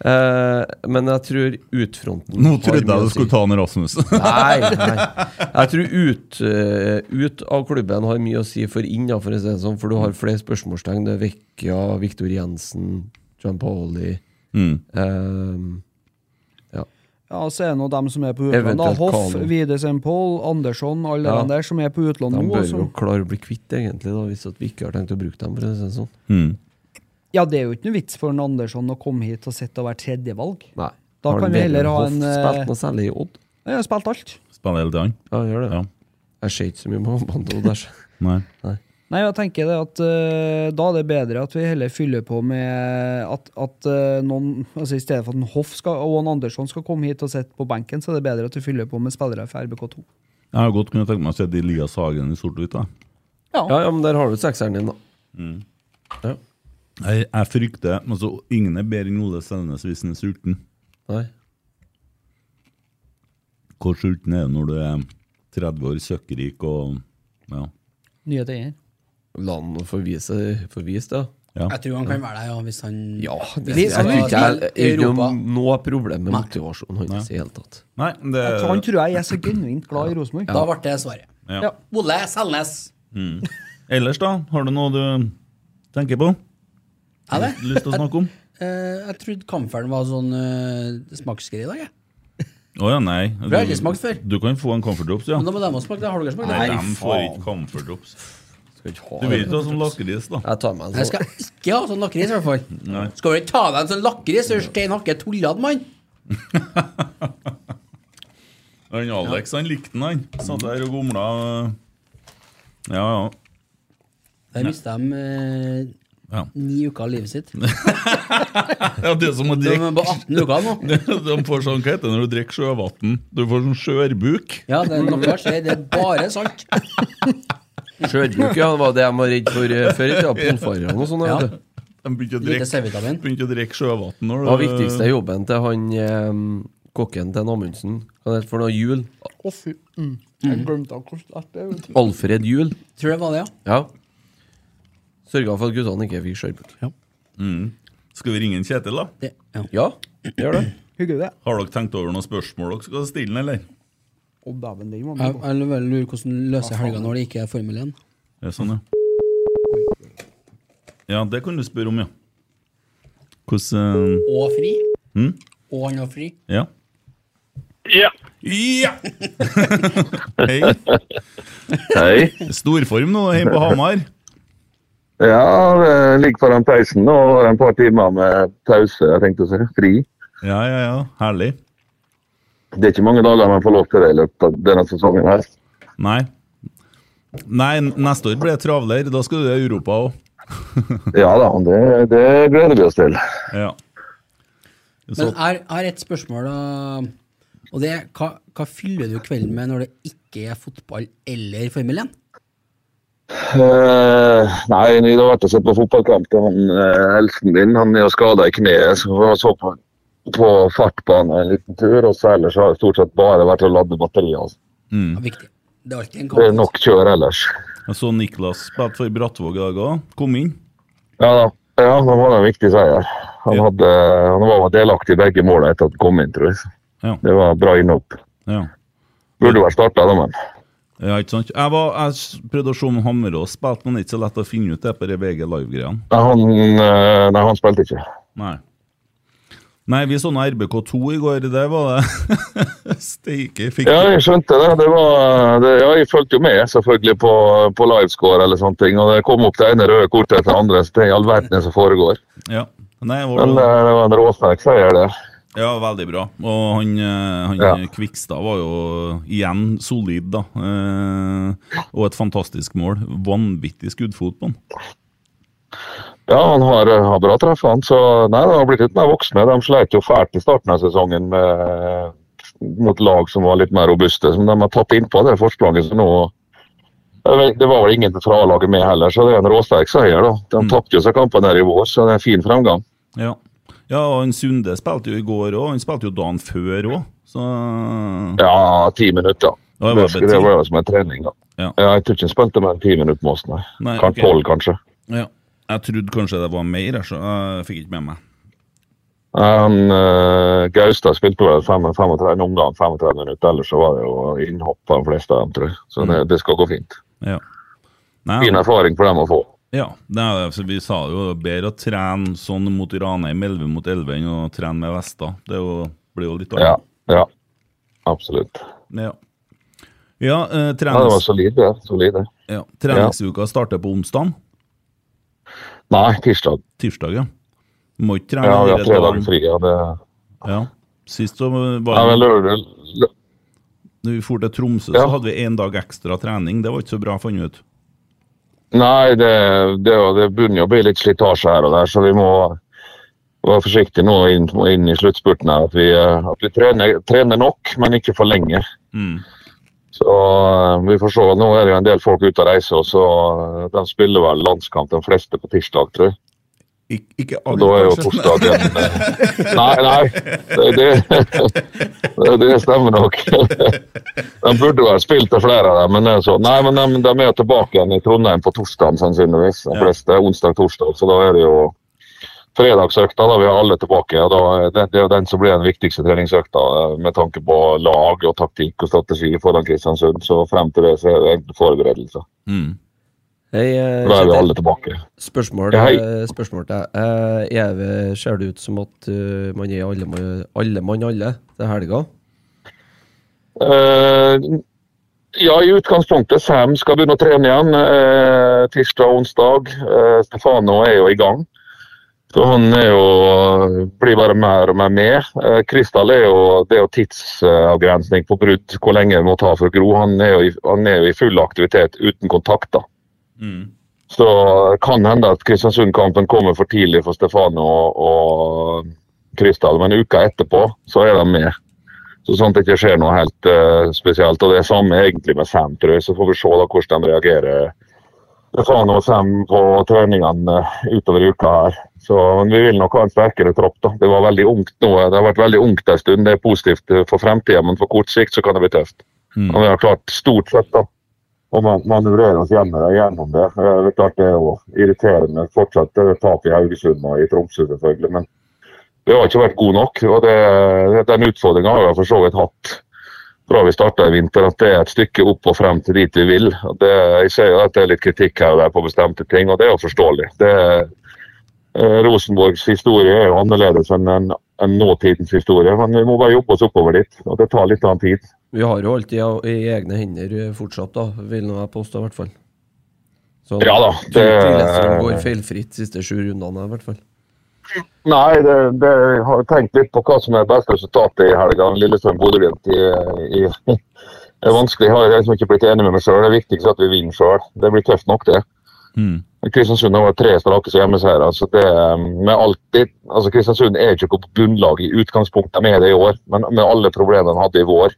Eh, men jeg tror utfronten Nå har trodde mye å jeg du si. skulle ta han Rasmus. Nei, nei. Jeg tror ut, eh, ut av klubben har mye å si for inn, da, for å si det sånn. For du har flere spørsmålstegn. Det er Vecchia, Viktor Jensen, Gianpaoli Mm. eh, ja. Ja, så er det nå dem som er på utlån. da. Eventuelt Hoff, Kano. Vidar Sempol, Andersson, alle Ja. de der som er på utlån De nå. og bør jo som- klare å bli kvitt, egentlig, da, hvis at vi ikke har tenkt å bruke dem. For å si det sånn. Mm. Ja, det er jo ikke noe vits for en Andersson å komme hit og sitte og være tredjevalg. Nei. Da Har kan vi heller ha Hoff en, eh, spilt noe særlig i Odd? Jeg har spilt alt. Spiller hele tida. Ja, han gjør det. Ja. Jeg ser ikke så mye på Odd. der. Nei. Nei, jeg tenker det at eh, da er det bedre at vi heller fyller på med at, at eh, noen altså I stedet for at en Hoff skal, og en Andersson skal komme hit og sitte på benken, så er det bedre at du fyller på med spillere fra RBK2. Jeg har godt kunnet tenke meg å se Elias Hagen i sort-hvitt. da. Ja, ja, men der har du sekseren din, da. Mm. Ja. Jeg, jeg frykter altså, Ingen er bedre enn Ole Selnes hvis han er sulten. Nei. Hvor sulten er du når du er 30 år, søkkrik og ja. Nye tider. La han få vise få vise det. da. Jeg tror han kan være der, ja, hvis han Ja, det Vi jeg skal tror ikke jeg jeg til har Europa. noe problem med motivasjonen hans i det hele tatt. Nei, det Så Han tror jeg er så genuint glad i Rosenborg. Da ble det svaret. ja. Ja. Ole Selnes. Ellers, da? Har du noe du tenker på? Er det? Lyst til å snakke om? Eh, jeg trodde kamferen var sånn uh, smaksgreie i dag, jeg. Å ja, nei. Du, Vi har aldri smakt før. du kan få en comfort drops, ja. Men da må de også smake. det. Har dere smakt Nei, det? de får ikke comfort drops. Skal ikke ha Du vil det. ikke ha sånn lakris, da. Jeg tar meg Jeg en skal sånn. ikke ha sånn lakris, i hvert fall. Nei. Skal du ikke ta deg en sånn lakris, så er du stein hakke tullete, mann? Han Alex han likte den, han. Satt der og gomla. øh. Ja, ja. Der mista de eh, Ja. ni uker av livet sitt. ja det er som å De drikke er på 18 uker nå. De får sånn, hva heter det når du drikker sjøvann? Du får sånn skjørbuk. Ja, det er noe jeg ser. Det er bare sant. Skjørbuk, ja, det var det jeg var redd for eh, før i tida. Polfarerne og sånn. Ja. vet du. De begynte å Lite drikke, C-vitamin. begynte å drikke sjøvann når Hva var viktigste jobben til han eh, kokken til Amundsen? Hva het for noe? Jul? Å, fy. Mm. Jeg glemte akkurat det. vet du. Alfred Jul? Tror det var det, ja. Ja. Sørga for at guttene ikke fikk skjørbuk. Skal vi ringe en Kjetil, da? Det, ja. Ja, gjør det. Hyggelig, det. Har dere tenkt over noen spørsmål dere skal stille, eller? Å, dæven, den var Jeg, med på. jeg lurer hvordan løser helga når det ikke er Formel 1. Ja, sånn, ja. Ja, det kan du spørre om, ja. Hvordan øh, Og fri. Mm. Og han var fri. Ja. Ja. Ja! Hei. Hei. Storform nå hjemme på Hamar. Ja, det ligger foran peisen nå. Har jeg et par timer med pause, jeg tenkte å si. Fri. Ja, ja, ja. Herlig. Det er ikke mange dager man får lov til det i løpet av denne sesongen her. Nei. Nei, neste år blir det travlere. Da skal du i Europa òg. Ja da, det, det gleder vi oss til. Ja. Men Så, jeg har- jeg har et spørsmål, da. Og det er hva, hva fyller du kvelden med når det ikke er fotball eller Formel 1? Eh, nei, det har vært å se på fotballkamp til han eh, eldsten min. Han er jo skada i kneet, så vi så på, på fartbanen en liten tur. Og så ellers har det stort sett bare vært å lade batterier. altså. Mm. Det er viktig. Det er alltid en Det er kamp. nok kjør ellers. jeg så Niklas spilte for Brattvåg i dag òg. Kom inn. Ja da. Ja, det var en viktig seier. Han, Ja. hadde, han var delaktig i begge målene etter at han kom inn, tror jeg. Ja. Det var bra innhopp. Ja. Burde vært starta, da, men Ja, ikke sant? Jeg, var, jeg s- prøvde å se om Hammerås spilte, men det er ikke så lett å finne ut det på de VG Live-greiene. Nei, han, eh, nei, han spilte ikke. Nei. Nei, vi så noe RBK2 i går. Det var det. Steike fikk Ja, jeg skjønte det. det, var, det ja, jeg fulgte jo med selvfølgelig på, på livescore eller sånne ting. Og det kom opp det ene røde kortet etter det andre. Så det er i all verden som foregår. Ja. Nei, var Men det, eh, det var en råsterk-seier der. ja, veldig bra. Og han, eh, han Ja. Kvikstad var jo igjen solid, da. Eh, og et fantastisk mål. Vanvittig skuddfot på han. Ja, han har, eh, har bra treff, han. Så nei, de har blitt litt mer voksne. De slet jo fælt i starten av sesongen med, mot lag som var litt mer robuste. Som de har tatt innpå det forspranget. Så nå Jeg vet, Det var vel ingen fra A-laget med heller, så det er en råsterk seier. da. De Mm. tapte jo seg kampene her i vår, så det er en fin fremgang. Ja. ja, og han Sunde spilte jo i går òg. Han spilte jo dagen før òg, så Ja, ti minutter. Ja, det Det, var skulle- det betyr- var jo som en trening, da. Ja. Ja, jeg tror ikke han spilte mer enn ti minutter med oss, nei. Nei, Kanskje ok. tolv, kanskje. ja. Jeg trodde kanskje det var mer, jeg, så jeg fikk ikke med meg. Han, eh, Gaustad spilte vel fem- 35 omgang, 35 minutter, ellers så var det jo innhopp på de fleste av dem, tror jeg. Så det, det skal gå fint. Ja. Nei, Fin erfaring for dem å få. Ja, det er, altså, vi sa jo det er bedre å trene sånn mot Ranheim 11 mot 11 enn å trene med vester. Det er jo, blir jo litt Ja, annet. ja. Absolutt. Ja, ja, eh, Ja, det var trenings, solid, det. Solid, det. ja treningsuka starter på onsdag. Nei, tirsdag. Tirsdag, ja. Må ikke trene Ja, vi har hele tre dagen. dager fri. Ja, det... Ja. Sist så ja, var men lørdag, lø- når vi for til Tromsø, Ja. så hadde vi én dag ekstra trening. Det var ikke så bra, fant vi ut. Nei, det, det, det begynner jo å bli litt slitasje her og der, så vi må være forsiktige nå inn, inn i sluttspurten her. At vi, eh, at vi trener, trener nok, men ikke for lenge. Mm. Så eh, vi får se. Nå er det jo en del folk ute og reiser, og så eh, de spiller vel landskamp de fleste på tirsdag, tror jeg. Ik ikke Og alle, da er jo kanskje. torsdag igjen. eh, Nei, nei. Det, det, det, det stemmer nok. De burde vel spilt det flere av dem, men det er så. Nei, men de, de er jo tilbake igjen i Trondheim på torsdag sannsynligvis. De Ja. fleste onsdag-torsdag, så da er det jo fredagsøkta. Da vi har alle tilbake. og da, er det, det er jo den som blir den viktigste treningsøkta eh, med tanke på lag og taktikk og strategi foran Kristiansund. Så frem til det så er det egentlig forberedelser. Mm. Hei, eh, Da er vi Kjetil. alle tilbake. Spørsmål, Ja, hei. eh, spørsmål til deg. Eh, Er det, ser det ut som at eh, man er alle, mann- alle mann alle til helga? Eh, ja, i utgangspunktet. Sam skal begynne å trene igjen eh, tirsdag og onsdag. Eh, Stefano er jo i gang. Så han er jo, blir bare mer og mer med. Eh, Kristall er jo, det er jo tidsavgrensning på brudd, hvor lenge det må ta for å gro. Han er jo, i- han er jo i full aktivitet uten kontakter. Mm. Så kan hende at Kristiansund-kampen kommer for tidlig for Stefano og, og Kristall, men uka etterpå så er de med. Så sånn at det ikke skjer noe helt eh, spesielt. Og det er samme egentlig med Sam, tror jeg. Så får vi se da hvordan de reagerer Stefano og Sam på treningene eh, utover i uka her. Så men vi vil nok ha en sterkere tropp, da. Det var veldig ungt nå. Det har vært veldig ungt en stund. Det er positivt eh, for fremtiden, men på kort sikt så kan det bli tøft. Mm. Og vi har klart stort sett, da og man manøvrere oss gjennom det. Gjennom det. Eh, det er klart det er jo irriterende. Fortsatt er det tap i Haugesund og i Tromsø, selvfølgelig. Men vi har ikke vært gode nok. og det, Den utfordringa har vi for så vidt hatt fra vi starta i vinter, at det er et stykke opp og frem til dit vi vil. Og Det, jeg ser jo at det er litt kritikk her og der på bestemte ting, og det er jo forståelig. Det, eh, Rosenborgs historie er jo annerledes enn en, enn nåtidens historie, men vi må bare jobbe oss oppover dit. og Det tar litt annen tid. Vi har jo alltid av- i egne hender eh, fortsatt, da, vil nå jeg påstå, i hvert fall. Så Ja da, Det... det- går feilfritt siste sju rundene, i hvert fall. Nei, det, det, jeg har tenkt litt på hva som er best resultatet i helga. Lillesand-Bodø-Glimt i- i- det er vanskelig. Jeg har liksom ikke blitt enig med meg sjøl. Det er viktigst at vi vinner sjøl. Det blir tøft nok, det. Mm. Kristiansund har vært tre strake hjemmeseiere. Altså det, med alltid, altså Kristiansund er ikke på bunnlag i utgangspunktet med det i år, men med alle problemene de hadde i vår.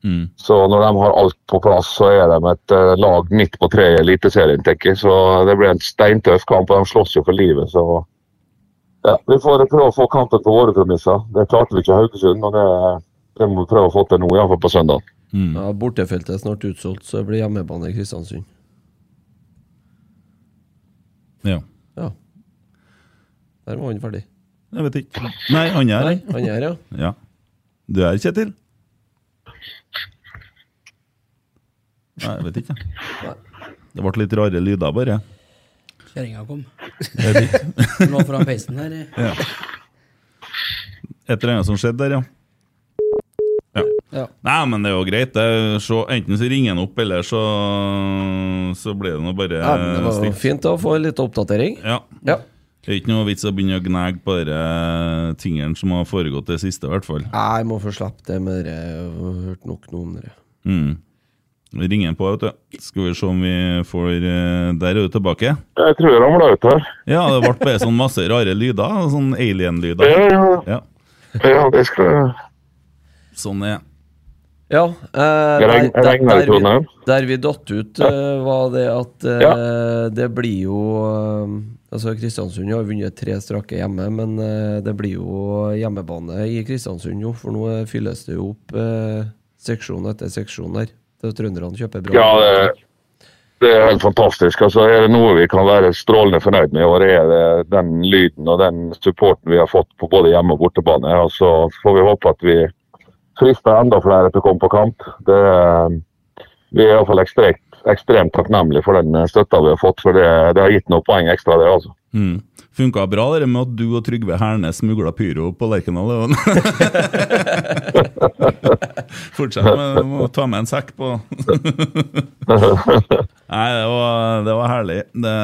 Mm. Så når de har alt på plass, så er de et eh, lag midt på treet i Eliteserien, tenker jeg. Så det blir en steintøff kamp, og de slåss jo for livet, så ja, Vi får prøve å få kampen på våre premisser. Det klarte vi ikke i Haugesund, og det, det må vi prøve å få til nå, iallfall på søndag. Ja, Bortefeltet er snart utsolgt, så det blir hjemmebane i Kristiansund. Ja. Ja. Der var han ferdig. Jeg vet ikke. Nei, han er Nei, her. han er her, ja. Ja. Du er her, Kjetil? Nei, jeg vet ikke. Det ble litt rare lyder, bare. Kjerringa kom. Jeg vet ikke. Hun lå foran peisen eh. her. i- Et eller annet som skjedde der, ja. ja. Ja. Nei, men det er jo greit. Det. er- Så enten så ringer han opp, eller så Så blir det nå bare Ja, men det var jo stilt. fint å få en liten oppdatering. Ja. Ja. Det er ikke noe vits å begynne å gnage på de tingene som har foregått det siste, i hvert fall. Nei, Jeg må få slippe det med dere. Jeg har hørt nok nå om dere. Mm. Vi ringer han på, vet du. Skal vi se om vi får eh, Der er du tilbake. Jeg tror han ble ute her. Ja, det ble bare sånn masse rare lyder. Sånn alien-lyder. Ja, ja, Ja. ja, det skal jeg Sånn er Ja, eh, Jeg der, regner- jeg der, regner i der, vi, Trondheim. der vi datt ut, eh, var det at eh, det blir jo eh, Altså, Kristiansund har vunnet tre strake hjemme, men eh, det blir jo hjemmebane i Kristiansund, jo, for nå eh, fylles det jo opp eh, seksjon etter seksjon der. Det er jo Trønderne kjøper bra. Ja, det, det er helt fantastisk. Altså, er det noe vi kan være strålende fornøyd med i år, er det den lyden og den supporten vi har fått på både hjemme- og bortebane. Og så får vi håpe at vi frister enda flere til å komme på kamp. Det, vi er iallfall ekstremt, ekstremt takknemlige for den støtta vi har fått, for det, det har gitt noen poeng ekstra, det. altså. Mm. Funka bra det med at du og Trygve Hernes smugla pyro på Lerkendal. det var- Fortsett med å ta med en sekk på Nei, det var, det var herlig. Det,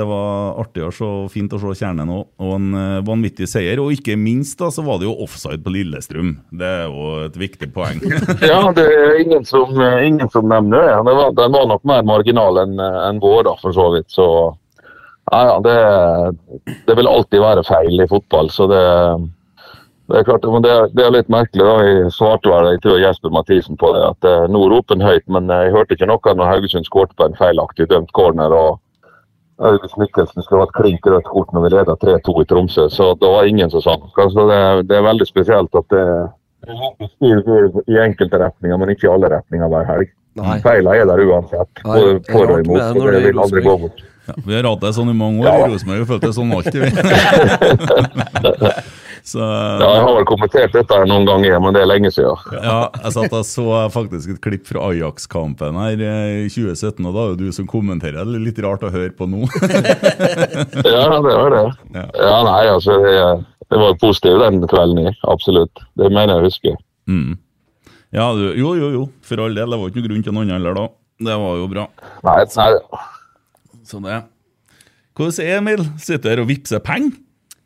det var artig å se, fint å se kjernen òg, og en eh, vanvittig seier. Og ikke minst da, så var det jo offside på Lillestrøm. Det er jo et viktig poeng. Ja, det er ingen som, ingen som nevner det. Den var, den var nok mer marginal enn enn vår, da, for så vidt. Så ja, ja, det, det vil alltid være feil i fotball. Så det, det er klart, men det, er- det er litt merkelig. da, Jeg svarte vel jeg tror Jesper Mathisen på det, at eh, nå roper han høyt, men eh, jeg hørte ikke noe når Haugesund skåret på en feilaktig dømt corner. og August Mikkelsen skulle hatt klink rødt kort når vi leda 3-2 i Tromsø, så det var ingen som sa noe. Så det, det er veldig spesielt at det Stil går i enkelte retninger, men ikke i alle retninger hver helg. Nei. Feila er der uansett, Nei, det både er for rart og imot. med det og når Det det er vil aldri gå Rosenborg. bort. Ja, vi har hatt det sånn i mange år Ja. i Rosenborg. Vi følte det sånn alltid, vi. Så Ja, jeg har vel kommentert dette noen ganger, men det er lenge siden. Ja, jeg satt og så faktisk et klipp fra Ajax-kampen her eh, i 2017, og da er det du som kommenterer. Det er litt rart å høre på nå. Ja, det var det. Ja. Ja, nei, altså, det, det var positiv den kvelden, jeg. absolutt. Det mener jeg å huske. Ja, du, jo, jo, jo, for all del. Det var ikke noe grunn til noe annet heller da. Det var jo bra. Nei, nei, Så det. Hvordan er det, Emil? Sitter du her og vippser penger?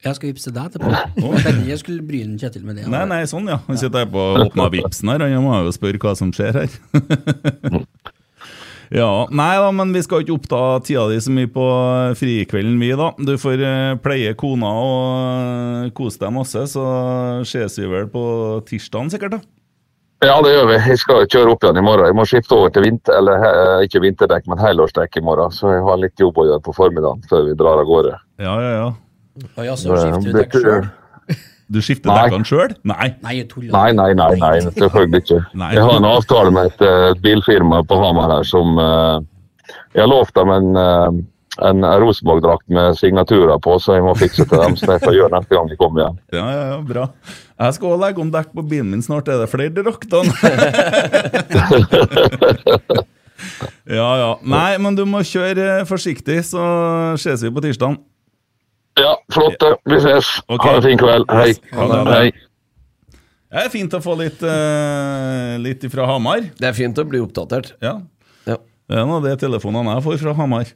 Jeg skal vippse deg etterpå. Jeg tenkte ikke jeg skulle bryne Kjetil med det. Nei, nei, sånn, ja. Han sitter her på åpna vipsen her, han må jo spørre hva som skjer her. ja, Nei da, men vi skal ikke oppta tida di så mye på frikvelden, vi, da. Du får eh, pleie kona og eh, kose deg masse, så ses vi vel på tirsdagen sikkert, da. Ja, det gjør vi. Jeg skal kjøre opp igjen i morgen. Jeg må skifte over til vinter, eller eh, ikke vinterdekk, men helårsdekk i morgen. Så jeg har litt jobb å gjøre på formiddagen før vi drar av gårde. Ja, ja, ja. Og jeg så altså, skifter du Det- dekk selv. Du skifter Nei. dekkene sjøl? Nei. Nei, jeg tuller. Nei, nei, nei, nei, selvfølgelig ikke. Nei. Jeg har en avtale med et eh, bilfirma på Hamar her som eh, Jeg har lovt dem en, eh, en Rosenborg-drakt med signaturer på, så jeg må fikse til dem. Så det får jeg gjøre neste gang de kommer igjen. Ja, ja, ja, bra. Jeg skal òg legge om dekk på bilen min snart. Er det flere drakter? ja, ja. Nei, men du må kjøre eh, forsiktig, så ses vi på tirsdag. Ja, flott. det. Vi ses. Ok. Ha en fin kveld. Hei. Ha det, ha det. Hei. Det er fint å få litt, eh, litt fra Hamar. Det er fint å bli oppdatert. Ja. Ja. Det er nå de telefonene jeg får fra Hamar.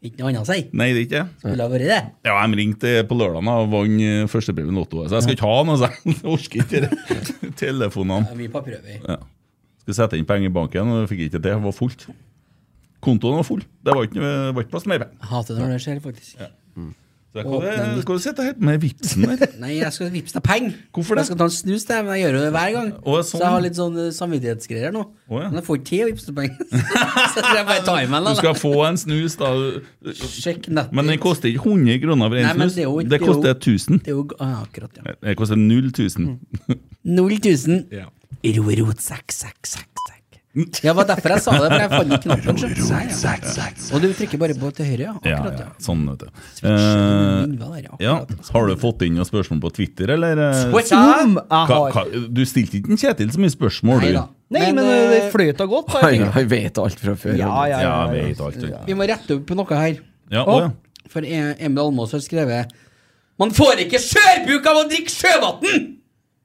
Ikke noe annet å si. Nei, det er ikke det. Skulle ha vært det. Ja, de ringte på lørdag og vant eh, førstepremien Lotto. Så jeg skal ikke ha noe, så jeg orker ikke det. telefonene. Ja, Vi på prøve. Skulle sette inn penger i banken, og jeg fikk ikke det. Det var fullt. Kontoen var full. Det var ikke, det var ikke plass til mer penger. Jeg hater når det skjer, faktisk. Så jeg Åpne kan- litt. skal du sitte her med vipsen der. Nei, jeg skal vippse deg penger. Hvorfor det? Jeg skal ta en snus, det, men jeg gjør jo det hver gang. Å, sånn. Så jeg har litt sånn eh, samvittighetsgreier her nå. Å, ja. Men jeg får ikke tid å vippse deg penger. så jeg bare tar meg Du en, da. skal få en snus, da. Sjekk nettet. Men den koster ikke 100 kroner for Nei, en men snus. det er jo- Det det er jo- koster 1000. Det er jo g- ah, akkurat, ja. Det Mm. koster 0 000. 0 000. Ja. Ro, ro, sekk, sekk, sekk, sekk. Det var derfor jeg sa det, for jeg fant ikke knappen. sjø. Zack, Zack, Zack, Zack. Og du trykker bare på til høyre, ja. Ja, Akkurat, ja, ja. sånn, vet du. Skjønner du, Eh, Ingvar, ja, ja. akkurat. Har du fått inn noen spørsmål på Twitter, eller? eh? Om jeg Hva, har hva, du stilte ikke en Kjetil så mye spørsmål, Nei du? da. Nei, men eh, det fløyta godt. har jeg Han, tenkt. han vet alt fra før. Ja, ja, Ja, ja. jeg ja. vet alt. du. Vi må rette opp på noe her. Ja, å, ja. For E- Emil Almås har skrevet Man får ikke skjørbuk av å drikke sjøvann!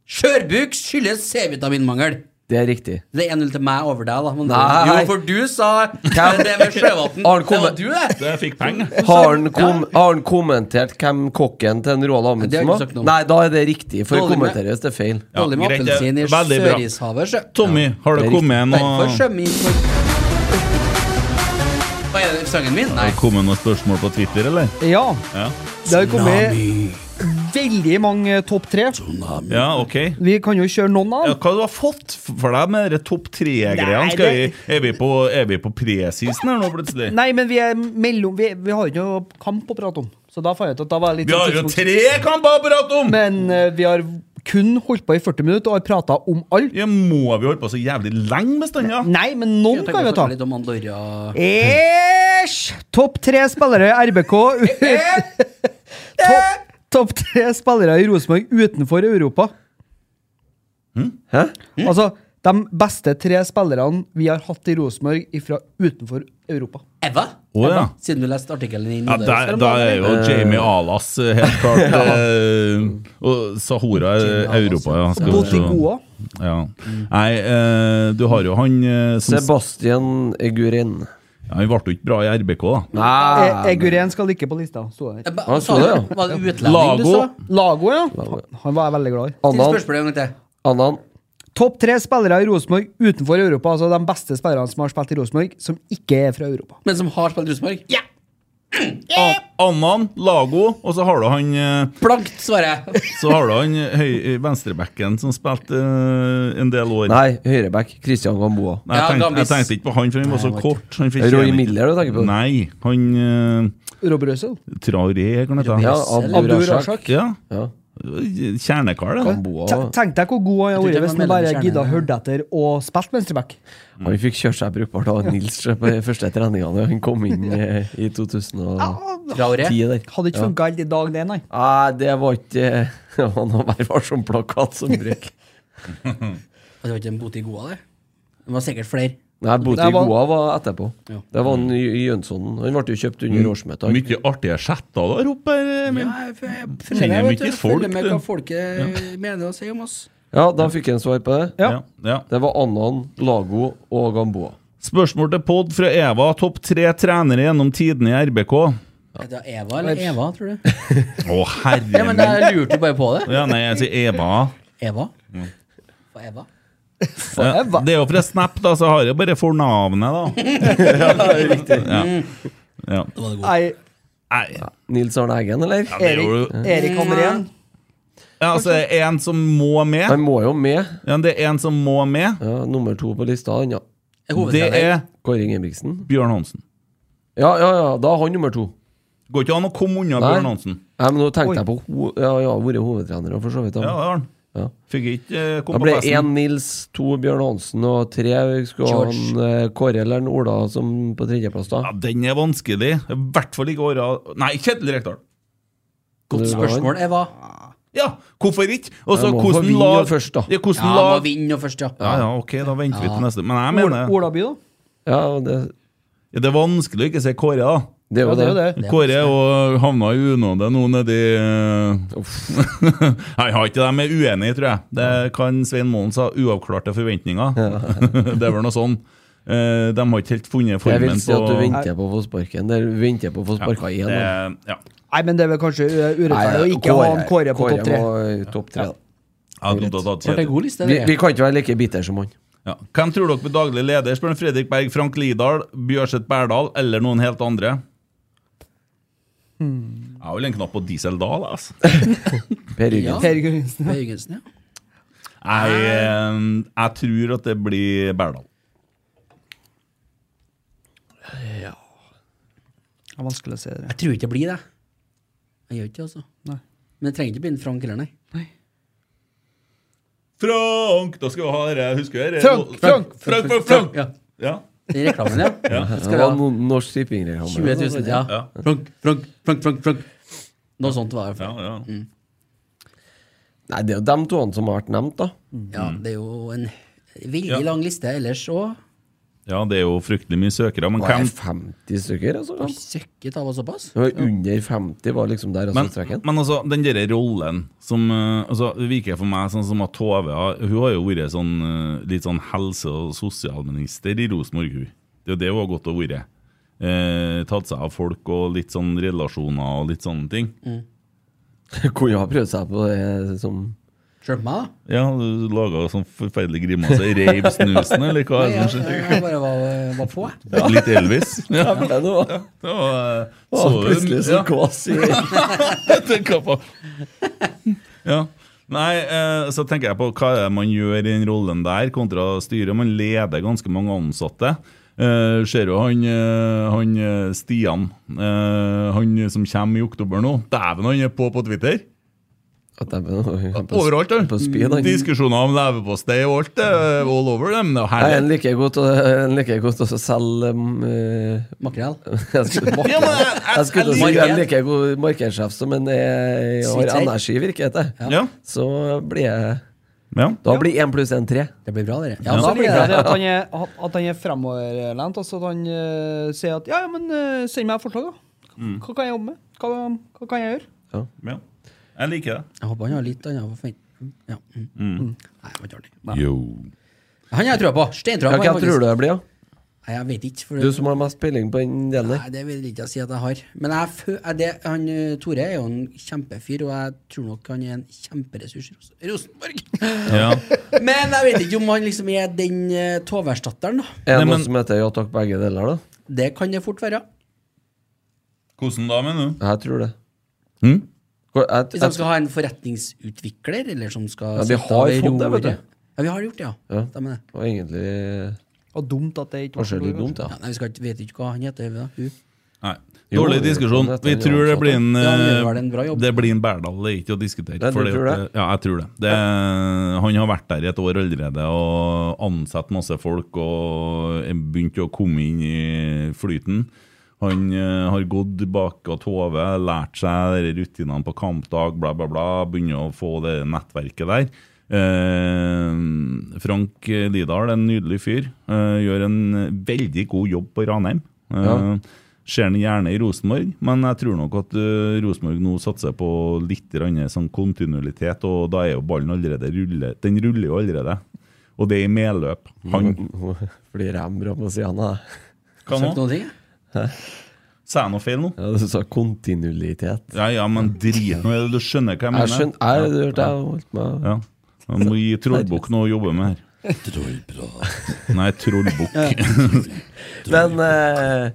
Skjørbuk skyldes C-vitaminmangel. Det er riktig. Det er 1-0 til meg over deg, da. Men Nei. Jo, for du sa det med sjøvann. Det var Har han kommet- du, det. Så jeg fikk penger. Har han, kom, har han kommentert hvem kokken til en Roald Det har Amundsen jeg ikke var? sagt noe om. Nei, da er det riktig, for det Dårlig med- kommenteres det feil. Dårlig med greit, det er appelsin i veldig bra. Sørishavet, sjø. Tommy, har det det er kommet Derfor noe, svømmer inn for Hva er det sangen min? Nei. kommet noen spørsmål på Twitter, eller? ja. Ja, Det har kommet veldig mange topp tre. ja ok. Vi kan jo kjøre noen av Ja, dem. hva du har fått for deg med de topp tre-greiene? Nei, Skal vi, det- er vi på, er vi på presisen her nå, plutselig? Nei, men vi er mellom Vi, vi har jo ikke noe kamp å prate om. Så da fant jeg ut at da var jeg litt sånn Vi har jo tidspunkt. tre kamper å prate om! Men eh, vi har kun holdt på i 40 minutter og har prata om alt. Ja, må vi holde på så jævlig lenge bestandig? Ja? Nei, men noen Jeg kan tenker vi å ta. fortelle litt om Andorra. Æsj! Topp tre spillere i RBK Topp topp tre spillere i Rosenborg utenfor Europa. Hæ? Altså de beste tre spillerne vi har hatt i Rosenborg fra utenfor Europa. Eva? Å, ja. Siden du leste artikkelen i Ja, Nidaros. der, der er jo Jamie Alas eh, helt klart eh, Og Sahora er Jamie Alas, Europa, ja. skal vi se. Botigoa. Ja. Nei, eh, du har jo han eh, som ja, Sebastian Eguren. Han ble jo ikke bra i RBK, da. Nei E- Eguren skal ikke på lista. sto det her. Ba- Han sa så det, du- ja. Var det utlending du Lago. så? Lago, ja. Han var jeg veldig glad i. Still Annan. spørsmålet en gang til. Annan. Topp tre spillere i Rosenborg utenfor Europa. Altså de beste spillerne som har spilt i Rosenborg, som ikke er fra Europa. Men som har spilt Rosenborg? Ja! An- Annan, Lago, og så har du han eh, Blankt, svarer jeg. Så har du han eh, høy, venstrebacken som spilte eh, en del år. Nei, høyreback. Christian Gamboa. Nei, jeg, Ja, tenkte, Gambis. jeg tenkte ikke på han, for han var så kort. Han fikk Roy tjene- Miller du tenker på? Nei, han eh, Rob Røssel. Traoré, kan det Ja, hete. Abdur Abdur Rashak. Ja. Ja. Kjernekar, det. da. Gamboa. Te- Tenk deg hvor god han tror hadde ikke vært hvis han han var bare medlem i gidda kjernen. hørte etter og spilte venstreback. Han fikk kjørt seg brukbart av Nils på de første treningene da han kom inn eh, i 2010 Traoré. der. Hadde ikke funka helt i dag, det, nei. Nei, det var ikke Det var noe Vær varsom-plakat som bruk. Det var ikke en bot i goa, det. Det var sikkert flere. Nei, Boti Det var- Goa var etterpå. Ja. Det var han J- Jønsson. Han ble jo kjøpt under årsmøtet. han. Mye artige chatter der oppe, Emil. Nei, for jeg eh, Kjenner følger, mye vet du, folk, følger med du. hva folket eh, mener å si om oss. Ja, da fikk jeg en svar på det. Ja. Ja, ja. Det var Annan, Lago og Gamboa. Spørsmål til pod fra Eva. Topp tre trenere gjennom tidene i RBK. Å, Er det Eva eller Eva, tror du? Ja, herre men min. Jeg lurte jo bare på det. Ja, nei, jeg sier Eva. Eva? Hva er Eva? Ja, Eva. det er jo fra Snap, da, så har jeg bare fornavnet, da. Ja, ja. Nei, Nei, Nils Arne Eggen, eller? ja, det er jo Erik, Erik Hamren. Ja, altså, det er en som må med. Han må jo med. Ja, det er en som må med. Ja, nummer to på lista, han, ja. Er Det hovedtrener? er Kåre Ingebrigtsen. Bjørn Hansen. Ja, ja, ja, da er han nummer to. Går ikke an å komme unna Nei. Bjørn Hansen. Nei, men nå tenkte jeg på ho Ja, jeg har vært hovedtrener, og for så vidt. Ja, det Da. har han. Ja. Fikk ikke eh, Da komme ble på festen. én Nils, to Bjørn Hansen og tre skulle ha en, eh, Kåre eller en Ola som på tredjeplass, da. Ja, den er vanskelig. I hvert fall ikke åra Nei, Kjetil Rekdal. Godt Det var han. spørsmål, Eva. Ja, hvorfor ikke? Og så Jeg må altså, få hvordan vinne lag først, da. Ja, Ja, hvordan må lag vinne nå først, ja. Ja, ja, ok, da venter vi til neste. Men jeg Ola mener Olaby, da. Ja, det, Ja, Det er vanskelig å ikke se Kåre, da. det er Ja, jo det er jo det. det. er Kåre er jo havna i unåde nå nedi eh, Nei, har ikke dem er uenige, tror jeg. Det kan Svein Målen sa. Uavklarte forventninger. det er vel noe sånn. Eh, de har ikke helt funnet Jeg formen vil si at du på venter på å få sparken. Der venter på å få sparka igjen. det, da. ja. Nei, men det er vel kanskje uh, Nei, urettferdig å ikke ha en Kåre på topp tre. var i topp tre. da. Ja, da, da, da, Ble det Kjetil. god liste? Vi, det? vi kan ikke være like bitter som han. Ja. Hvem tror dere blir daglig leder? Spør han Fredrik Berg, Frank Lidahl, Bjørseth Berdal eller noen helt andre? Jeg har vel en knapp på Diesel Dahl, altså. Per Jørgen. Ja. Per Jørgensen. Per Jørgensen, ja. Jeg, eh, jeg tror at det blir Berdal. Det er vanskelig å se det. Jeg tror ikke det blir det. Jeg gjør ikke det, altså. Nei. Men jeg trenger ikke begynne Frank heller, nei. Frank! Da skal vi ha dere, husker dere? Frank, Frank, Frank, Frank, Frank, Frank. Ja. Ja. Den reklamen, ja. Ja. Skal Det vi ha var no- Norsk Tipping. 20 000, ja. Ja. Frank, Frank, Frank, Frank, Frank. Noe sånt var det. Ja, ja. Mm. Nei, det er jo de to som har vært nevnt, da. Ja, det er jo en Ja. veldig lang liste ellers òg. ja, det er jo fryktelig mye søkere, men Var hvem det 50 stykker? Altså, ja. Søkket av oss såpass. Det var under 50 var liksom der altså, men, trekken. men altså, den derre rollen som eh, altså, Det virker for meg sånn som at Tove har- Hun har jo vært sånn, eh, litt sånn helse- og sosialminister i Rosenborg. hun. Det er jo det hun har gått og vært. Eh, tatt seg av folk og litt sånn relasjoner og litt sånne ting. Mm. Kunne ha prøvd seg på det som Skjønte meg, da. Ja, du laga sånn forferdelig grimase. Reiv snusen, eller hva? er Jeg, det som jeg, skjer? jeg bare var, var på, jeg. Litt Elvis. Ja, Ja, for det nå. det var, eh, Å, så- Plutselig så ja. kås i tenker på. Ja. Nei, eh, så tenker jeg på hva er det man gjør i den rollen der, kontra styret. Man leder ganske mange ansatte. Eh, ser jo han, eh, han eh, Stian, eh, han som kommer i oktober nå. Dæven, han er på på Twitter! At de- på- Overalt, han! På speed, han. Diskusjoner om leverpostei og alt. eh, All over dem. Det er jo Nei, herlig. en liker jeg godt, å- en liker jeg godt å selge um, eh, Makrell. Jeg skulle Ja, men jeg- jeg- jeg skulle til å si jeg en like god markedssjef som en eh, har Sviser. energi, virker det til. Ja. Så blir jeg Ja. Da blir én pluss én tre. Det blir bra, dere. Ja, Ja, så da blir liker jeg det det at han er, at- at han er fremoverlent. Altså at han eh, sier at ja, ja, men eh, send meg forslag, da. Hva kan jeg jobbe med? Hva, hva kan jeg gjøre? ja. Jeg liker det. Jeg håper han har litt annet forventning. Ja. Mm. Nei, det var ikke artig. Yo. Han har jeg trua på. Steintrua Ja, på. hva han, tror du faktisk. det blir? da? Nei, jeg vet ikke. For Du som har mest peiling på den delen der. Nei, det vil ikke jeg si at jeg har. Men jeg fø- er det, han, eh, Tore er jo en kjempefyr, og jeg tror nok han er en kjemperessurs i Ros- Rosenborg. Ja. Men jeg vet ikke om han liksom er den eh, Tove-erstatteren, da. Er det Nei, noe men- som heter ja takk, begge deler, da? Det kan det fort være. Hvordan da, mener du? Jeg tror det. Mm? Hvor- Jeg, Hvis jeg, de skal ha en forretningsutvikler, eller som skal Ja, vi sitte har ved fått det, roret. vet du. Ja, vi har gjort det, ja. Ja. Stemmer det. og egentlig Og dumt at det ikke var kanskje litt kanskje. dumt, ja. Ja, nei, vi skal ikke, vet ikke hva han heter. Vi, da. Hun. Nei. Jo, Dårlig det- diskusjon. dette er Vi jo tror det ansatte. blir en, Ja, han gjør eh, vel en bra jobb. det blir en Berdal, det er ikke å diskutere. Nei, du fordi at, tror eh, det? Ja, jeg tror det. det han har vært der i et år allerede og ansatt masse folk og begynt å komme inn i flyten. Han eh, har gått bak og Tove, lært seg de rutinene på kampdag, bla, bla, bla. Begynner å få det nettverket der. Eh, Frank Lidahl, en nydelig fyr, eh, gjør en veldig god jobb på Ranheim. Eh, Ja. Ser den gjerne i Rosenborg, men jeg tror nok at eh, Rosenborg nå satser på litt grann sånn kontinuitet, og da er jo ballen allerede rulle. Den ruller jo allerede. Og det er i medløp. Han Fordi jeg bra på sida av deg. Hva nå? Sagt noen ting? jeg? Sa jeg noe feil nå? Ja, du sa kontinuitet. Ja ja, men drit nå i det. Du skjønner hva jeg Jeg mener? skjønner Jeg du hørte jeg holdt meg Ja. Jeg må gi Trollbukk noe å jobbe med her. Nei, Trollbukk. Men eh,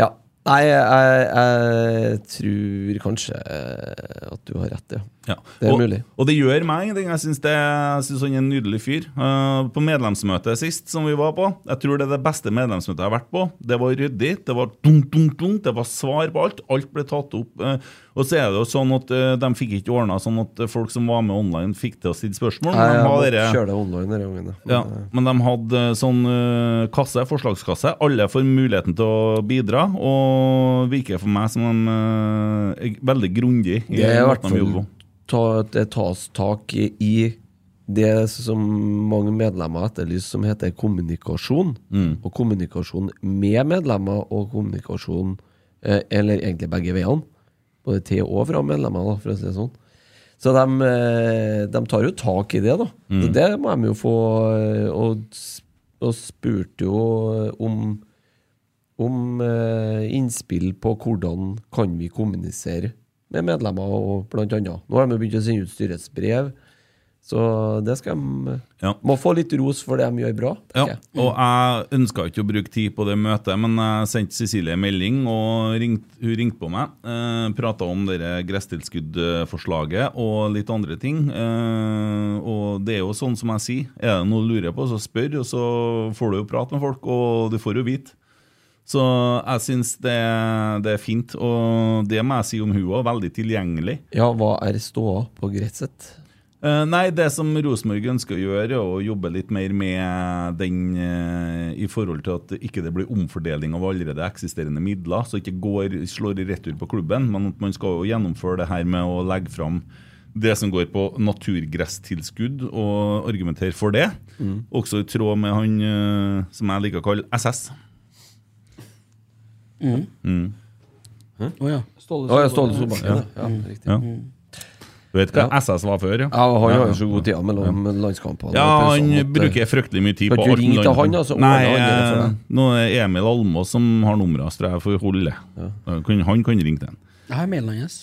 ja. Nei, jeg, jeg tror kanskje eh, at du har rett, ja. Ja. Det er og, mulig. Og det gjør meg ingenting. Jeg syns han er en nydelig fyr. Eh, på medlemsmøtet sist, som vi var på, jeg tror det er det beste medlemsmøtet jeg har vært på. Det var ryddig, det var dunk, dunk, dunk, det var svar på alt. Alt ble tatt opp. eh, og så er det jo sånn at eh, de fikk ikke ordna sånn at eh, folk som var med online, fikk til å stille spørsmål. men Jeg, de jeg har må dere- kjøre det online denne gangen. ja. ja, men de hadde sånn eh, kasse, forslagskasse. Alle får muligheten til å bidra, og virker for meg som de eh, er veldig grundig. i Det er i måten hvert de fall jobber på. ta, Det tas tak i, i det som mange medlemmer etterlyser, som heter kommunikasjon. Og kommunikasjon med medlemmer, og kommunikasjon eh, Eller egentlig begge veiene. Både til og fra medlemmer, da, for å si det sånn. Så de, eh, de tar jo tak i det, da. Så det må de jo få eh, Og, s- og spurte jo om om eh, innspill på hvordan kan vi kommunisere med medlemmer og blant annet. Nå har de jo begynt å sende ut styrets brev, så det skal de Ja. Må få litt ros for det de gjør bra. Ja, tenker jeg. og jeg ønska ikke å bruke tid på det møtet, men jeg sendte Cecilie en melding, og ringt, hun ringte på meg. Eh, Prata om det gresstilskuddforslaget og litt andre ting. Eh, og det er jo sånn som jeg sier. Er det noe du lurer på, så spør, og så får du jo prate med folk, og du får jo vite. Så jeg syns det, det er fint, og det må jeg si om hun òg. Veldig tilgjengelig. Ja, hva er ståa på Gresset? Eh, Nei, det som Rosenborg ønsker å gjøre, er å jobbe litt mer med den eh, i forhold til at ikke det blir omfordeling av allerede eksisterende midler, så ikke går, slår i retur på klubben. Men at man skal jo gjennomføre det her med å legge fram det som går på naturgresstilskudd, og argumentere for det. Også i tråd med han eh, som jeg liker å kalle SS. Å ja. Ståle Å ja, Ståle Solbakken. Ja. Ja, riktig. Ja. Du vet hva Ja. SS var før, ja? Ja, og han har jo så god tid mellom landskampene. Ja, og han pausene at, eh, bruker fryktelig mye tid Kan på ikke du alt ringe til mulig han, annet. altså, og Nei, ordne han det for eh, deg? nå er Emil Almås som har nummeret hans, tror jeg, for Holle. Han kan- Han kan ringe til han. Jeg har mailen hans.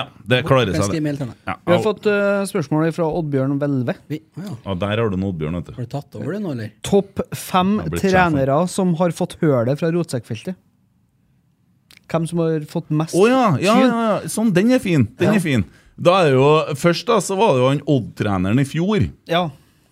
Ja, det klarer Jeg seg. det. skriver mail til henne. Ja, Vi har au. fått eh, spørsmål fra Oddbjørn Hvelve. Vi, å ja. Ja, der har du noe, Oddbjørn. Vet du. Har du tatt over det nå, eller? Topp fem Jeg har blitt trenere som har fått hølet fra rotsekkfeltet. Hvem som har fått mest Å ja, ja, ja, ja, sånn, den er fin. Den er fin. Da er det jo, først da, så var det jo han Odd-treneren i fjor. Ja,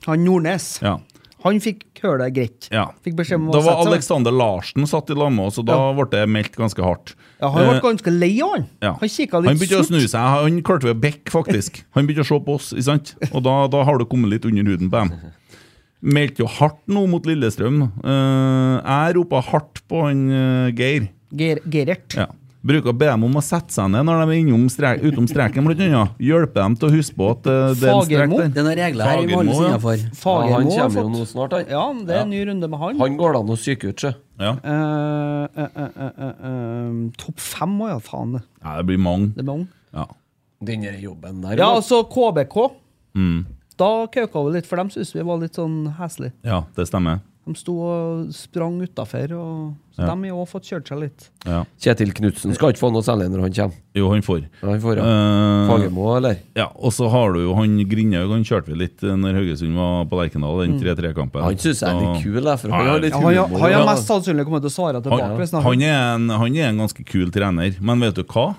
Han Nordnes. Ja, Han fikk hølet greit. ja. Fikk beskjed om å Da var sette seg. Alexander Larsen satt i lag med oss, og da ble det meldt ganske hardt. Ja, han ble Eh, ganske lei av han. Ja. Han kikka litt Han begynte å surt. snu seg. Han klarte ved bekk, faktisk. Han begynte å se på oss, ikke sant? Og da, da har du kommet litt under huden på dem. Meldte jo hardt nå mot Lillestrøm. Eh, jeg ropa hardt på han eh, Geir. Ger Gerert. Ja. Bruker å be dem om å sette seg ned når de er innom strek, utom streken, blant annet. Hjelpe dem til å huske på at eh, det er en strek Fagermo? der. Det er noen regler her vi må Fagermo, holde oss ja. innafor. Ja, han Fagermo har kommer jo fått nå snart, han. Ja, det er en ny runde med han. Han går det an å psyke ut, sjø. Ja. Eh, eh, eh, eh, eh, eh, Topp fem òg, ja. Faen, det. ja, det blir mange. Det er mange. Ja. Den der jobben der. Ja, da. altså KBK. Da kauka vi litt, for dem syntes vi var litt sånn heslige. ja, det stemmer. De sto og sprang utafor, og så de har òg fått kjørt seg litt. Ja. Kjetil Knutsen skal ikke få noe særlig når han kommer. Jo, han får. Han får ja. Eh, Fagermo, eller? ja, og så har du jo han Grindhaug. Han kjørte vi litt eh, når Haugesund var på Lerkendal, den 3-3-kampen. Mm. Han syns jeg er litt kul, jeg, for han Ja, har litt Ja, han, har- humor. han har da. mest sannsynlig kommet til å svare tilbake. hvis Han, han, er en, han er en ganske kul trener, men vet du hva?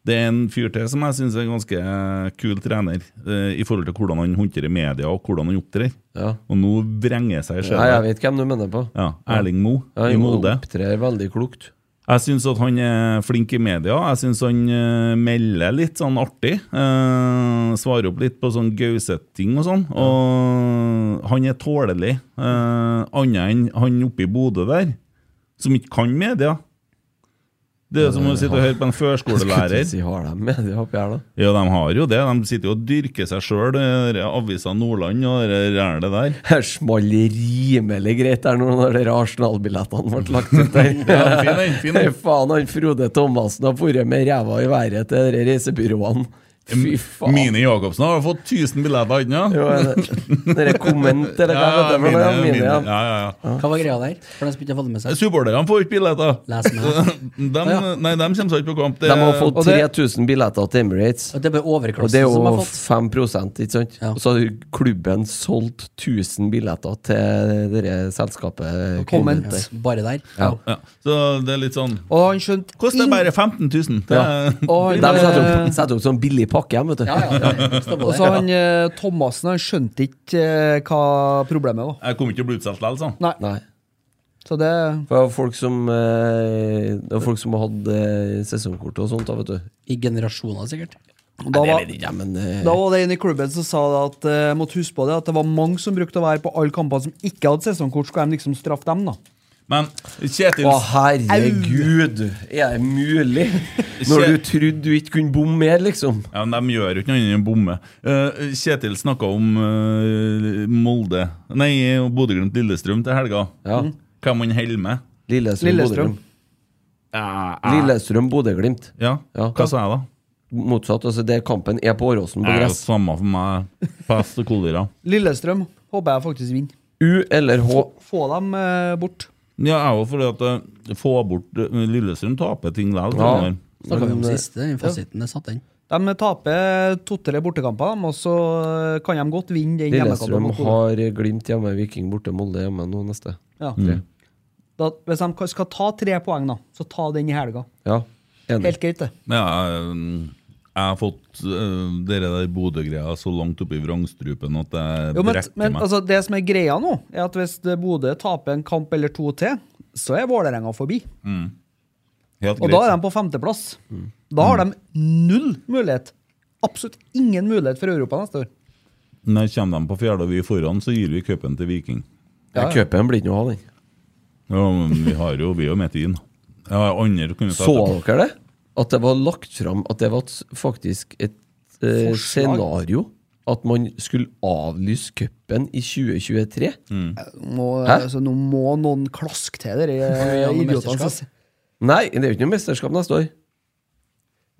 Det er en fyr til som jeg syns er en ganske eh, kul trener, eh, i forhold til hvordan han håndterer media og hvordan han opptrer. Ja. Og nå vrenger seg i Nei, jeg sjela. vet hvem du mener på. Ja, Erling Moe Ja, i han Molde. opptrer veldig klokt. Jeg syns at han er flink i media. Jeg syns han eh, melder litt sånn artig. Eh, svarer opp litt på sånn Gauseth-ting og sånn. Og han er tålelig. Eh, Annet enn han oppe i Bodø der, som ikke kan media. Det er som å sitte og høre på en Skulle førskolelærer. ikke si har de med det oppi her, da? Ja, de har jo det. De sitter jo og dyrker seg sjøl, eh, avisa Nordland og det der. det der. Her small rimelig greit der når de der Arsenal-billettene ble lagt ut der. Ja, fin den, fin den. faen, han Frode Thomassen har vært med ræva i været til de reisebyråene. Fy faen. Mine Jacobsen har fått 1000 billetter ennå. Jo, er det- Dere komment, eller hva Ja, heter det? for mine, noe? Ja, Mine, mine. ja. Ja, ja, ja. Hva var greia der? For de som ikke har fått det med seg. Supporterne får ikke billetter. Les meg. De, Ja. Nei, de kommer seg ikke på kamp. Det, De har fått Og det- 3000 billetter til Emirates. At det er bare Og det overklassen er som har jo fått. 5 ikke sant? Ja. Og så har klubben solgt 1000 billetter til dere selskapet. Comment. Comment der. Bare der. Ja. ja. Så det er litt sånn Og han skjønte Koster inn- bare 15 000. Det, Ja. er- og De han, setter opp, eh, setter opp sånn billig pakke hjem, vet du. Ja, ja, ja. Stå på Og så det. han eh, Thomassen han skjønte ikke eh, hva problemet var. Jeg kommer ikke til å bli utsolgt likevel, sånn. Nei, Nei. så det For det var folk som eh, Det var folk som hadde eh, sesongkort og sånt, da, vet du. I generasjoner, sikkert. da Nei, var, det vet jeg ikke, men eh, da var det en i klubben som sa det at eh, jeg måtte huske på det, at det var mange som brukte å være på alle kampene som ikke hadde sesongkort. Skulle de liksom straffe dem, da? Men Kjetil Å, herregud! Er det mulig? Når du trodde du ikke kunne bomme mer, liksom. ja, men De gjør jo ikke noe annet enn å bomme. Eh, Kjetil snakka om eh, Molde Nei, Bodø-Glimt-Lillestrøm til helga. Ja. Mm. Hvem han holder med. Lillestrøm, Lillestrøm. Bodø-Glimt. Lillestrøm, Bodø-Glimt. Ja, Ja. Hva sa jeg da? Motsatt. altså det Kampen er på Åråsen, på Det er jo gress. samme for meg. Pest og kolera. Lillestrøm håper jeg faktisk vinner. U eller H? Få dem eh, bort. Ja, jeg er jo fordi at eh, få bort eh, Lillestrøm taper ting likevel. Ja. sånn der. Snakka vi om Men, eh, sist. Den fasiten er satt inn. De taper to-tre bortekamper, dem, og så eh, kan de godt vinne den hjemmekampen. Lillestrøm mot Bodø. har Glimt hjemme, Viking borte, Molde hjemme nå neste. Ja. Da, hvis de ka- skal ta tre poeng, da, så ta den i helga. Ja, enig. Helt greit, det. Ja, jeg, jeg har fått uh, dere der Bodø-greia så langt oppi vrangstrupen at jeg Jo, men, brekker men meg. altså, det som er greia nå, er at hvis det Bodø taper en kamp eller to til, så er Vålerenga forbi. Helt Og da er de på femteplass. Mm. Da har de null mulighet. Absolutt ingen mulighet for Europa neste år. Når kommer de på fjerde og vi er foran, så gir vi cupen til Viking. Ja, Cupen blir ikke noe av, den. Ja, men vi har jo, vi er jo midt i den. Ja, andre kunne Så tatt det. dere det? At det var lagt fram at det var et s- faktisk et eh, scenario at man skulle avlyse cupen i 2023? Må, Hæ? altså, nå må noen klaske til eh, dere Ja, noe idiotene. mesterskap. som- Nei, det er jo ikke noe mesterskap neste år.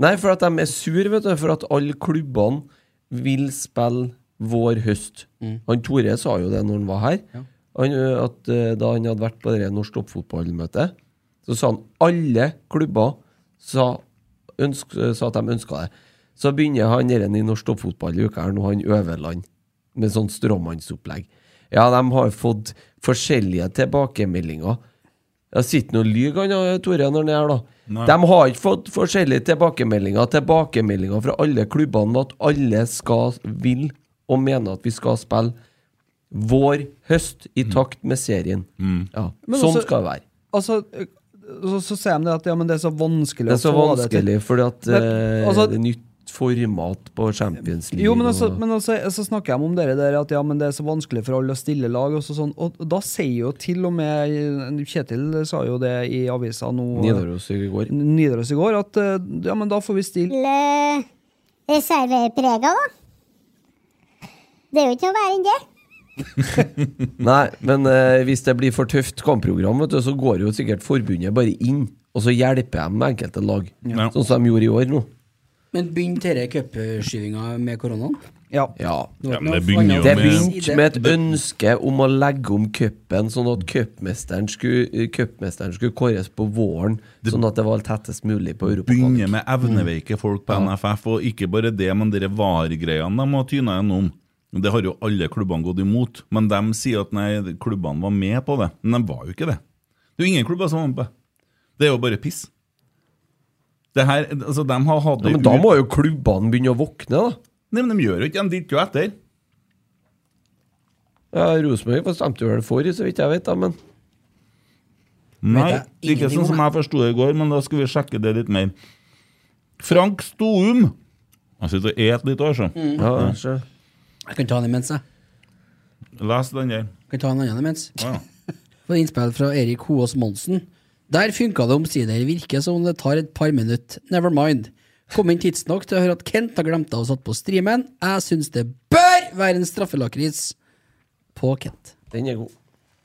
Nei, for at de er sur, vet du, for at alle klubbene vil spille vår høst. Han Tore sa jo det når han var her. Han, ø, at ø, Da han hadde vært på det norsk toppfotballmøtet, så sa han alle klubber sa, ønsk, sa at de ønska det. Så begynner han der i norsk toppfotball i uka her, nå han Øverland, med sånn stråmannsopplegg. Ja, de har fått forskjellige tilbakemeldinger. Jeg sitter nå og lyver, han ja, Tore, når han er her, da. De har ikke fått forskjellige tilbakemeldinger. Tilbakemeldinger fra alle klubbene med at alle skal, vil og mener at vi skal spille vår høst i takt med serien. Ja, Men sånn også- skal det være. Altså, eh, så, så sier de det at ja, men det er så vanskelig Det er å så få det til. vanskelig fordi at Men, eh, altså- det er nytt format på Champions League. Jo, men, altså, og- men altså, så snakker jeg om dere der at ja, men det er så vanskelig for alle å stille lag. Og, så sånn, og da sier jo til og med Kjetil sa jo det i avisa nå Nidaros i går. Nidaros i går, at eh, ja, men da får vi stille til reserveprega, da. Det er jo ikke noe verre enn det. Nei, men eh, hvis det blir for tøft kampprogram, vet du, så går jo sikkert forbundet bare inn, og så hjelper de med enkelte lag. Ja. Sånn som de gjorde i år nå. Men begynte dette cupskyvinga med koronaen? Ja. Ja. Nå- Ja, men nå det begynner jo fanga- Det med- begynte med et ønske om å legge om cupen, sånn at cupmesteren skulle, eh, cupmesteren skulle kåres på våren, sånn at det var tettest mulig på Europacup. Begynner med Mm. evneveike folk på NFF, og ikke bare det, men de VAR-greiene de har tyna gjennom. Det har jo alle klubbene gått imot, men de sier at nei, klubbene var med på det. Men de var jo ikke det. Det er jo ingen klubber som var med på det. Det er jo bare piss. Det her, altså, de har hatt Ja, det men da ut- må jo klubbene begynne å våkne, da. Nei, men de gjør jo ikke det, de dytter jo etter. Ja, Rosenborg stemte jo vel for, så vidt jeg vet, da, men Nei, Vet jeg ikke ingenting sånn om som jeg forsto det i går, men da skal vi sjekke det litt mer. Frank Stoum Jeg sitter og et litt, altså. Mm. ja, så. Jeg kan ta den imens, jeg. Les den der. Jeg Kan ta en annen imens. Å, ja. For innspill fra Erik Hoås Monsen. Der funka det omsider. Virker som om det tar et par minutter. Never mind. Kom inn tidsnok til å høre at Kent har glemt av å satt på streamen. Jeg syns det bør være en straffelakris på Kent. Den er god.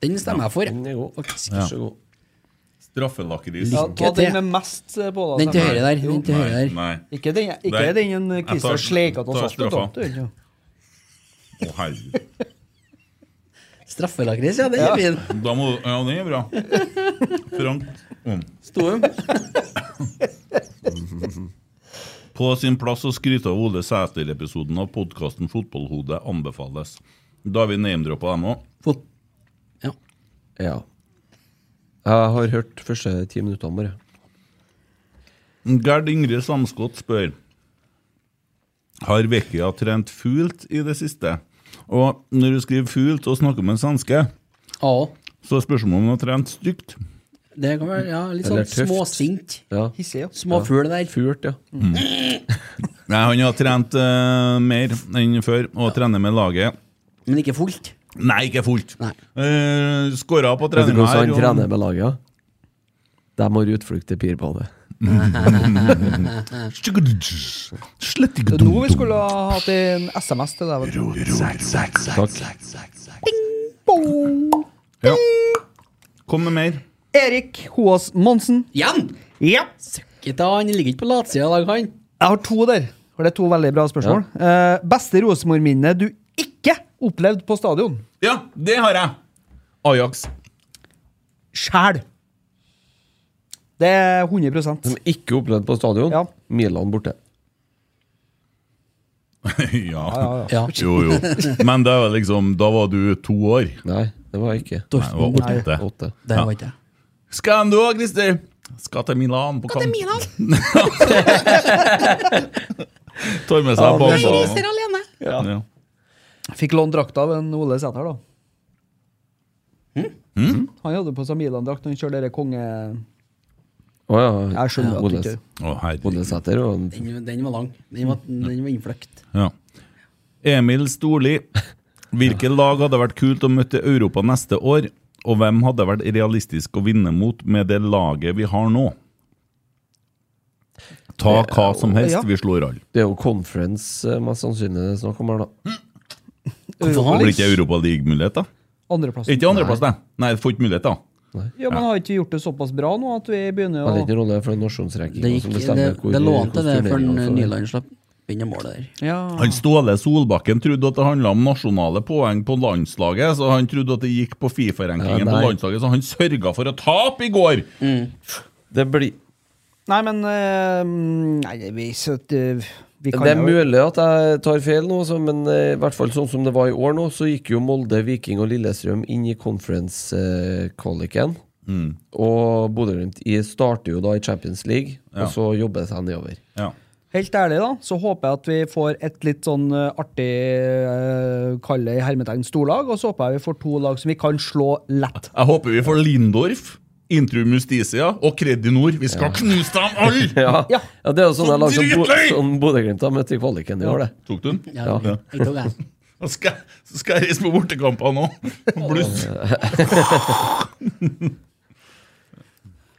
Den stemmer jeg Den for. er god. Faktisk. Vær så god. Straffelakris. ja Ikke ta det. den med mest eh, på deg. Den til høyre der. Jo. Den til høyre der. Nei. Ikke den, ikke Nei. den en Jeg Christian tar- Sleikat og tar Sarpsborg straffa. tapte, ikke? Å, herregud. Straffelakris, ja. Den er fin. Da må du Ja, den er bra. Frank om. Stoum. På sin plass å skryte av Ole Sæter-episoden av podkasten Fotballhodet anbefales. Da har vi name-droppa dem òg. Fot. Ja. Ja. Jeg har hørt første ti minuttene bare. Gerd Ingrid Samskott spør Har Vekia trent fult i det siste? Og når du skriver fult og snakker med en svenske, Ja, så er spørsmålet om hun har trent stygt. det kan være ja, litt sånn Eller tøft. småsint. Ja. Hissig, ja. Småfugl der. Furt, ja. Nei, han har trent eh, mer enn før, og trener med laget. Men ikke fullt. Nei, ikke fullt. Nei. Uh, Skåra på Vet du treninga hvordan han og- trener med laget? ja? De har utflukt til Pirbadet. Det er nå vi skulle ha hatt en SMS til deg. vet du. Ja. Kom med mer. Erik Hoas Monsen. Igjen! Ja. Ikke ta, Han ligger ikke på latsida i dag, han. Jeg har to der. For det er to veldig bra spørsmål. Eh, beste Rosenborg-minne du ikke opplevde på stadion? Ja, det har jeg! Ajax. Sjæl. Det er 100 Som ikke opplevd på stadion. Ja. Milan borte. ja. Ja. Jo, jo. Men det var liksom, da var du to år. Nei, det var jeg ikke. Nei, det var åtte. Åtte. Der var ikke jeg. Skal du òg, Christer? Skal til Milan på kamp. Tar med seg bamba. alene. Ja. Fikk lånt drakta av en Ole Sæther, da. Hm? Hm? Han hadde på seg Milan-drakt når han kjørte dere konge... Å ja. Jeg skjønner at Ole- du ikke Å, herregud. Ole Sæter og Den, den var lang. Den var, den var innfløkt. Ja. Emil Storli. Hvilke lag hadde vært kult å møte i Europa neste år? Og hvem hadde vært realistisk å vinne mot med det laget vi har nå? Ta hva som helst, Ja. vi slår alle. Det er jo conference eh, mest sannsynlig det er snakk om her, da. Det blir ikke Europaliga-mulighet, da? Andreplass. Ikke andreplass, nei. Nei, får ikke mulighet, da. Ja, men har ikke vi gjort det såpass bra nå at vi begynner Men å det er ikke noen rolle for Det, nasjonsrankinga gikk, som det, bestemmer hvor det lå an til det hvordan før turneringen skal være. Nyland slapp inn det målet der. Ja. Han Ståle Solbakken trodde at det handla om nasjonale poeng på landslaget, så han trodde at det gikk på Fifa-rankingen Ja, nei. på landslaget, så han sørga for å tape i går! Det blir Nei, men eh, Nei, vi, så, det, vi kan Det er jo- mulig at jeg tar feil nå, så, men eh, i hvert fall sånn som det var i år nå, så gikk jo Molde, Viking og Lillestrøm inn i conference-kvaliken. Mm. Og Bodø-Glimt i- starter jo da i Champions League, og så jobber det seg nedover. Ja. Helt ærlig, da, så håper jeg at vi får et litt sånn eh, artig uh, Kall det i hermetegn storlag, og så håper jeg vi får to lag som vi kan slå lett. Jeg håper vi får Lindorf, Intrum Justicia og Kredinor. Vi skal knuse dem alle! Ja, Ja. ja. Det er jo sånne Så lag som, Bo- dritløy! som Bodø-Glimt har møtt i kvaliken i år, det. Tok du den? Ja, Ja. Jeg tok den. Så skal, jeg- så skal jeg reise på bortekamper nå. og Bluss.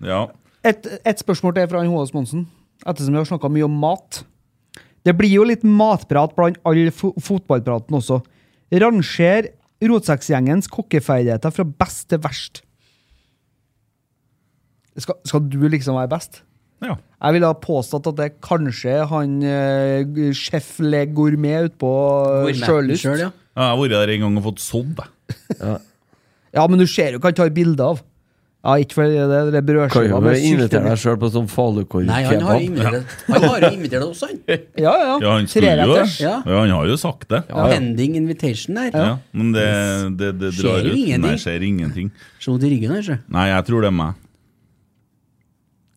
Ja. Et, et spørsmål til fra han H.S. Monsen, ettersom vi har snakka mye om mat. Det blir jo litt matprat blant all fo fotballpraten også. Ranger Rotsekkgjengens kokkeferdigheter fra best til verst. Skal, skal du liksom være best? ja. Jeg ville ha påstått at det er kanskje han eh, sjef Le Gourmet ute på eh, Gourmeten Sjølyst. selv, ja. Jeg har vært der en gang og fått sådd, jeg. Ja, men du ser jo hva han tar bilde av. Ja, ikke for det, det er Kan brødskiva jo med invitere sylte- deg sjøl på sånn Nei, han har jo falukorv-kebab. invitert Han har jo invitert oss, han. Ja, ja. Ja, han skulle jo Treretters. det. Ja, han har jo sagt det. Pending invitation der. Ja, men det, det, det Skjer drar ut. ingenting. Nei, skjer ingenting. Så vondt i ryggen her, sjø. Nei, jeg tror det er meg.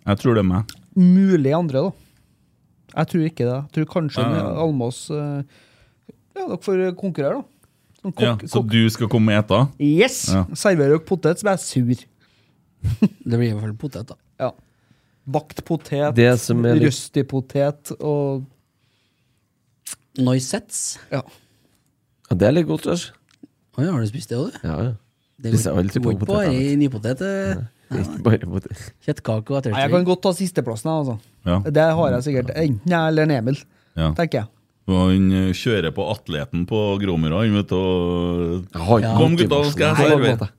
Jeg tror det er meg. Mulig andre, da. Jeg tror ikke det. Jeg tror kanskje en Almås eh, Ja, dere får konkurrere, da. Som kokk- Ja, så kokk. du skal komme og ete? Yes! Ja. Serverer dere potet, så blir jeg sur. Det blir i hvert fall potet, da. Ja. Bakt potet, Det som er litt- røstig potet og Noisets. Ja. Ja, det er litt godt, Lars. Å ja, har du spist det òg, du? Ja, ja. Det Spiser går alltid det går på ikke bare poteter, i nypotet. eh, Ikke bare mot det. Kjøttkake og Nei, jeg kan ettertid. godt ta sisteplassen, jeg, altså. Ja. Det har jeg sikkert. Enten jeg eller en Emil, Ja. tenker jeg. Og han eh, kjører på atleten på Gromøra, han vet du. og- Jeg har ikke Ja. noe Kom, gutta, motivasjon skal jeg på den servere. måten.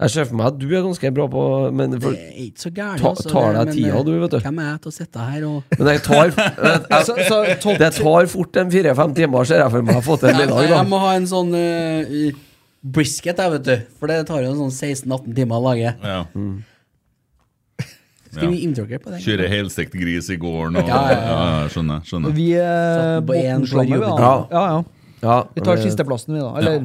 Jeg ser for meg at du er ganske bra på Men, for, Det er ikke så gærent. Ta- tar det- deg men, tida, eh, du, vet du. Hvem er jeg til å sitte her og men jeg tar jeg, Så, så topp Det tar fort en fire-fem timer, ser jeg for meg. Jeg har fått en Nei, lille dag, Jeg da. må ha en sånn eh, brisket, jeg, vet du. For det tar jo sånn 16-18 timer å lage. Ja. Skal vi inntråkke på den? Kjører helstekt gris i gården og ja, Ja, ja, ja. Skjønner. skjønner. Vi er Satt på en Bottenslamme, vi, da. for Ja. Jupiter. Ja, ja. Ja, eh, Vi tar men- sisteplassen, vi, da. Eller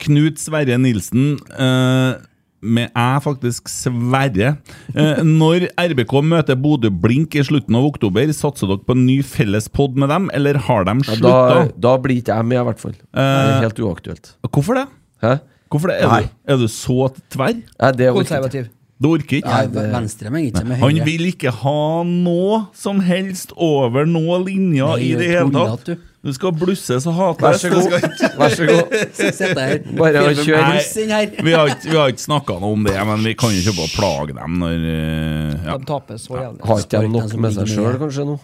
Knut Sverre Nilsen. eh, med æ, faktisk. Sverre. Eh, når RBK møter Bodø Blink i slutten av oktober, satser dere på en ny fellespod med dem, eller har de Ja, da, slutta? da blir ikke jeg med, i hvert fall. Det Eh, er helt uaktuelt. Hvorfor det? Hæ? Hvorfor det? Er, Nei. du, er du så tverr? Nei, det orker jeg ikke. konservativ. Du orker ikke? Ja, venstre, men ikke med Han høyre. vil ikke ha noe som helst over noe linja Nei, i det jeg hele tror tatt. at du- Du skal blusse så Vær hates. så det god. skal ikke- Vær så god. Så sitter jeg her. Bare å Filmen kjøre. pluss inn her. Vi har ikke, vi har ikke snakka noe om det, men vi kan jo ikke bare plage dem når eh, ja. De taper så jævlig. Har ikke de nok med seg sjøl, kanskje, nå?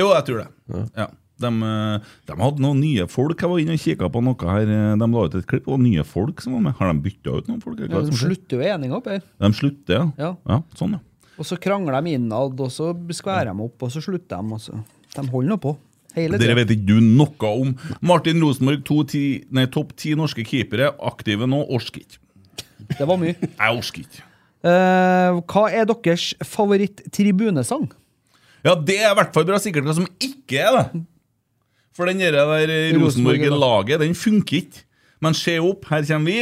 Jo, jeg tror det. Ja. De, eh, de hadde noen nye folk. Jeg var inne og kikka på noe her. eh, De la ut et klipp, og nye folk som var med. Har de bytta ut noen folk? eller hva De som skjer? slutter jo eninga opp her. De slutter, ja. Ja. Sånn, ja. Og så krangler de innad, og så skværer de opp, og så slutter de. Og så. De holder nå på. Hele Dere tida. vet ikke du noe om. Martin Rosenborg, to ti, nei, topp ti norske keepere, aktive nå, orker ikke. Det var mye. Jeg orker ikke. Eh, hva er deres favoritt-tribunesang? Ja, det er i hvert fall bra sikkert hva som ikke er det. For den der, der Rosenborg, da. Rosenborg-laget, den funker ikke. Men se opp, her kommer vi.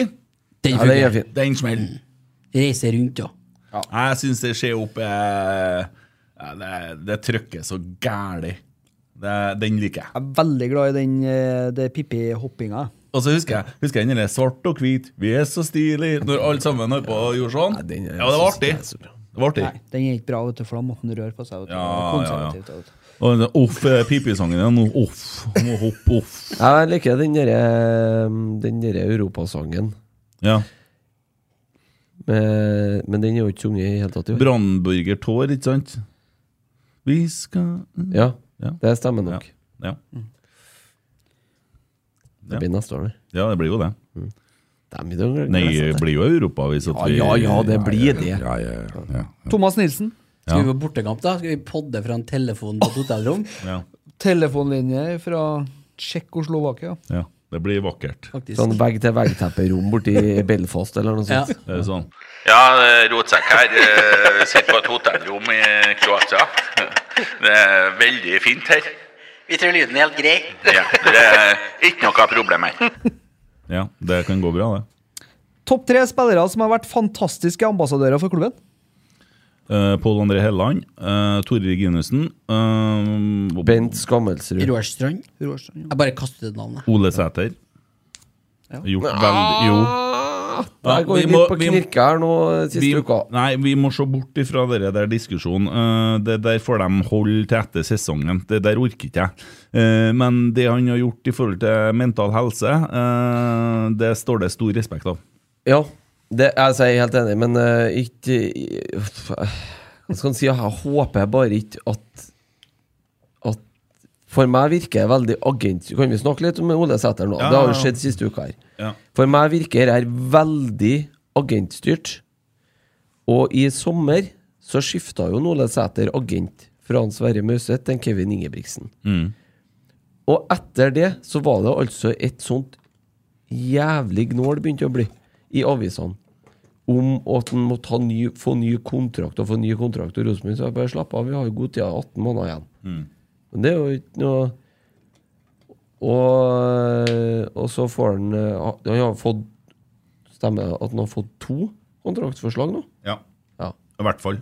Den Ja, det er funker. fint. Den smeller. Reiser rundt, ja. Jeg syns det Se opp er ja, Det, det trykker så gæli. Det, den liker jeg. Jeg er veldig glad i den eh, det Pippi-hoppinga. Og så husker jeg husker jeg den der svart og hvit, vi er så stilig, når alle sammen holdt på og gjorde sånn. Nei, den er- Ja, det var artig. så altså. bra. Det var artig. Nei, den er ikke bra, vet du, for da måtte den røre på seg. Vet du. Ja, Konservativt, ja, ja. vet du. Og den der off eh, pipesangen igjen. nå, Off, må hoppe off. Jeg liker den derre Den derre europasangen. Ja. Men, men den er jo ikke sunget i det hele tatt. i år. Brannburger Tår, ikke sant? Vi skal Ja, Ja. det stemmer nok. Ja. Ja. Det blir neste år, det. ja, det blir jo det. Dem i dag gleder jeg Nei, meg det sånn til. blir jo Europa hvis at vi Ja, ja, ja, det blir det. Ja, ja, ja, ja. Thomas Nilsen. Skal vi på bortekamp, da? Skal vi podde fra en telefon på et hotellrom? ja, Telefonlinje fra Tsjekkoslovakia. ja. Det blir vakkert. Faktisk. Sånn vegg-til-vegg-tepperom borti Belfast eller noe Ja. sånt. Det er sånn. Ja, rotsekk her. eh, Sitter på et hotellrom i Kroatia. Det er veldig fint her. Vi tror lyden er helt grei. Ja, det er ikke noe problem her. Ja, det kan gå bra, det. Topp tre spillere som har vært fantastiske ambassadører for klubben. Uh, Pål André Helland, uh, Tore Reginussen eh, Bent Skammelsrud. Roar Strand. Jeg bare kaster ut navnet. Ole Sæter. Gjort veldig Jo. Jeg går vi litt må- på vi må- knirke her nå siste vi, uka. Nei, vi må se bort ifra dere der diskusjonen. Eh, det der får de holde til etter sesongen. Det der orker ikke jeg. Eh, men det han har gjort i forhold til mental helse, eh, det står det stor respekt av. Ja, det, altså, jeg er helt enig, men eh, ikke i- uff, eh, Hva skal en si? Jeg håper bare ikke at At For meg virker det veldig agent Kan vi snakke litt om Ole Sæter nå? Ja, det har ja, jo ja. skjedd siste uka her. Ja. For meg virker det her veldig agentstyrt. Og i sommer så skifta jo Ole Sæter agent fra han Sverre Mauseth til en Kevin Ingebrigtsen. Mm. Og etter det så var det altså et sånt jævlig gnål begynte å bli i avisene om at han måtte ha ny, få ny kontrakt og få ny kontrakt. Og Rosenborg sa bare slapp av, vi har jo god tid, 18 måneder igjen. Men det er jo ikke noe Og, og så får han eh, Han har fått Stemmer det at han har fått to kontraktsforslag nå? Ja, Ja. i hvert fall.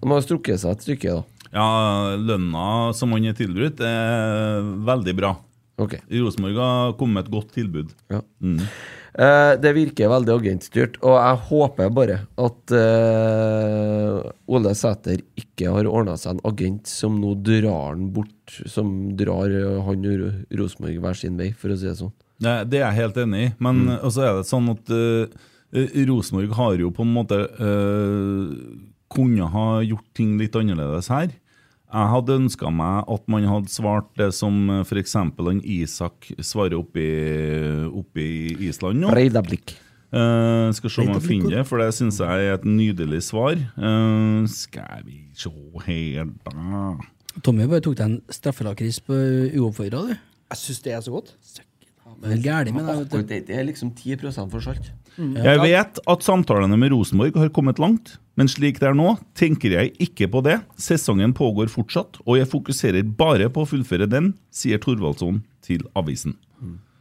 De har strukket seg et stykke, da. Ja, lønna som han er tilbudt, er veldig bra. Ok. Rosenborg har kommet med et godt tilbud. Ja. Eh, det virker veldig agentstyrt, og jeg håper bare at eh, Ole Sæter ikke har ordna seg en agent som nå drar han bort, som drar eh, han og Ro- Rosenborg hver sin vei, for å si det sånn. Det, det er jeg helt enig i, men eh, også er det sånn at eh, eh, Rosenborg har jo på en måte eh, kunne ha gjort ting litt annerledes her. Jeg hadde ønska meg at man hadde svart det som f.eks. han Isak svarer oppe i, oppe i Island nå. Breidablikk. Eh, skal se om jeg finner det, for det syns jeg er et nydelig svar. Eh, skal vi se her, da Tommy bare tok deg en straffelakris på uoppfordra, du. Jeg syns det er så godt. Det er gærlig med deg, vet du. Det er liksom 10 for salt. Jeg vet at samtalene med Rosenborg har kommet langt, men slik det er nå, tenker jeg ikke på det. Sesongen pågår fortsatt, og jeg fokuserer bare på å fullføre den, sier Thorvaldsson til avisen.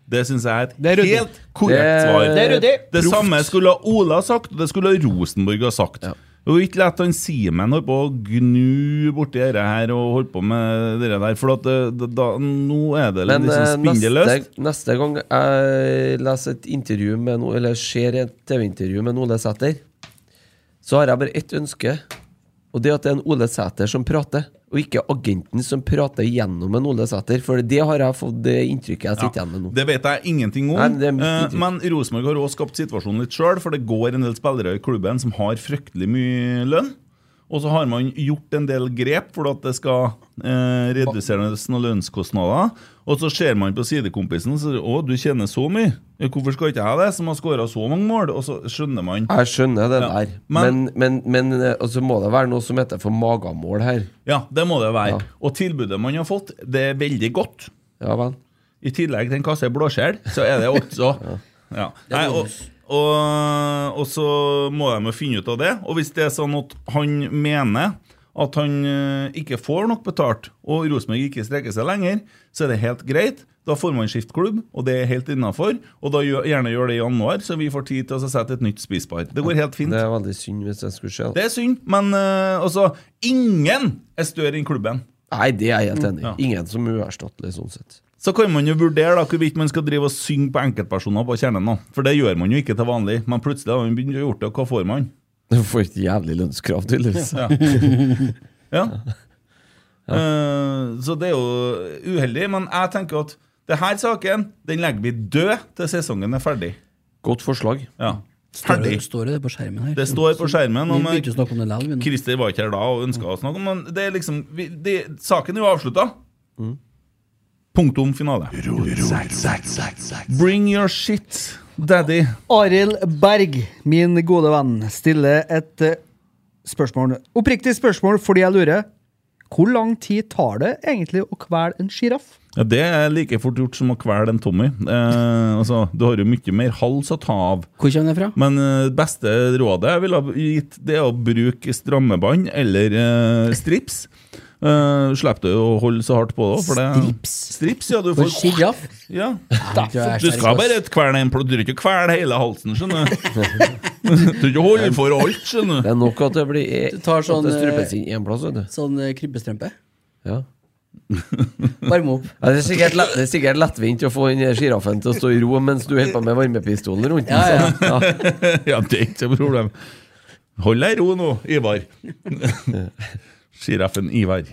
Det syns jeg er et Det er ryddig. helt korrekt Det- svar. det er ryddig. Det samme skulle Ola ha sagt, og det skulle Rosenborg ha sagt. Og ikke la han Simen holde på å gnu borti dette her og holde på med det der, for at eh, da, da, nå er det Men eh, liksom neste, spindelløst. neste gang jeg leser et intervju med no, Eller ser et TV-intervju med en Ole Sæter, så har jeg bare ett ønske. Og det er at det er en Ole Sæter som prater, og ikke agenten som prater gjennom en Ole Sæter. For det har jeg fått det inntrykket jeg sitter Ja, igjen med nå. Det vet jeg ingenting om. Nei, men det er mitt eh, inntrykk. men Rosenborg har også skapt situasjonen litt sjøl, for det går en del spillere i klubben som har fryktelig mye lønn. Og så har man gjort en del grep for at det skal eh, reduseres noen lønnskostnader. Og så ser man på sidekompisen og sier 'Å, du tjener så mye'. Ja, 'Hvorfor skal ikke jeg det, som har skåra så mange mål?' Og så skjønner man. Jeg skjønner det Ja, der, men, men- men, men, eh, altså må det være noe som heter for magamål her. Ja, det må det være. Ja. Og tilbudet man har fått, det er veldig godt. Ja vel. I tillegg til en kasse blåskjell, så er det også ja. Nei, og, og, og så må de jo finne ut av det. Og hvis det er sånn at han mener at han eh, ikke får nok betalt, og Rosenborg ikke strekker seg lenger, så er det helt greit. Da får man skifte klubb, og det er helt innafor. Og da gjør, gjerne gjør det i januar, så vi får tid til å sette et nytt spisepar. Det går helt fint. Det er veldig synd hvis det skulle skje. da. Det er synd, men eh, altså Ingen er større enn klubben. Nei, det er jeg helt enig i. Ja. Ingen som er uerstattelig sånn sett. Så kan man jo vurdere da hvorvidt man skal drive og synge på enkeltpersoner på kjernen. da For det gjør man jo ikke til vanlig. Men plutselig har man begynt å gjøre det, og hva får man? Du får et jævlig lønnskrav, tydeligvis. Ja. ja. Eh, så det er jo uheldig, men jeg tenker at det her saken den legger vi død til sesongen er ferdig. Godt forslag. Ja. Står det, Ferdig. står det på skjermen her? Det eh, står på skjermen. Vi Og begynte å snakke om det likevel, vi nå. Christer var ikke her da og ønska å snakke om men det. Er liksom, vi, det saken er jo avslutta. Mm. Punktum finale. Bring your shit, daddy. Arild Berg, min gode venn, stiller et eh, spørsmål. Oppriktig spørsmål fordi jeg lurer. Hvor lang tid tar det egentlig å kvele en sjiraff? Ja, det er like fort gjort som å kvele en Tommy. Eh, altså, du har jo mye mer hals å ta av. Hvor kommer det fra? Men eh, beste rådet jeg ville ha gitt, det er å bruke strammebånd eller eh, strips. Uh, Slipper du å holde så hardt på det. For det Strips? Strips, ja. Du For får, sjiraff? ja. Jeg Du er skal sterk, ass. bare kvele en plott, du trenger ikke kvele hele halsen, skjønner du. Du trenger ikke holde for alt, skjønner du. Det er nok at det blir e- Du tar sånn, at det strupes eh, inn én plass, vet du. Sånn eh, krybbestrømpe? Ja. Varme opp. Ja, det, er sikkert lett, det er sikkert lettvint å få den sjiraffen til å stå i ro mens du holder på med varmepistolen rundt den. Ja, så- Ja. Ja, det er ikke noe problem. Hold deg i ro nå, Ivar. Sjiraffen Ivar.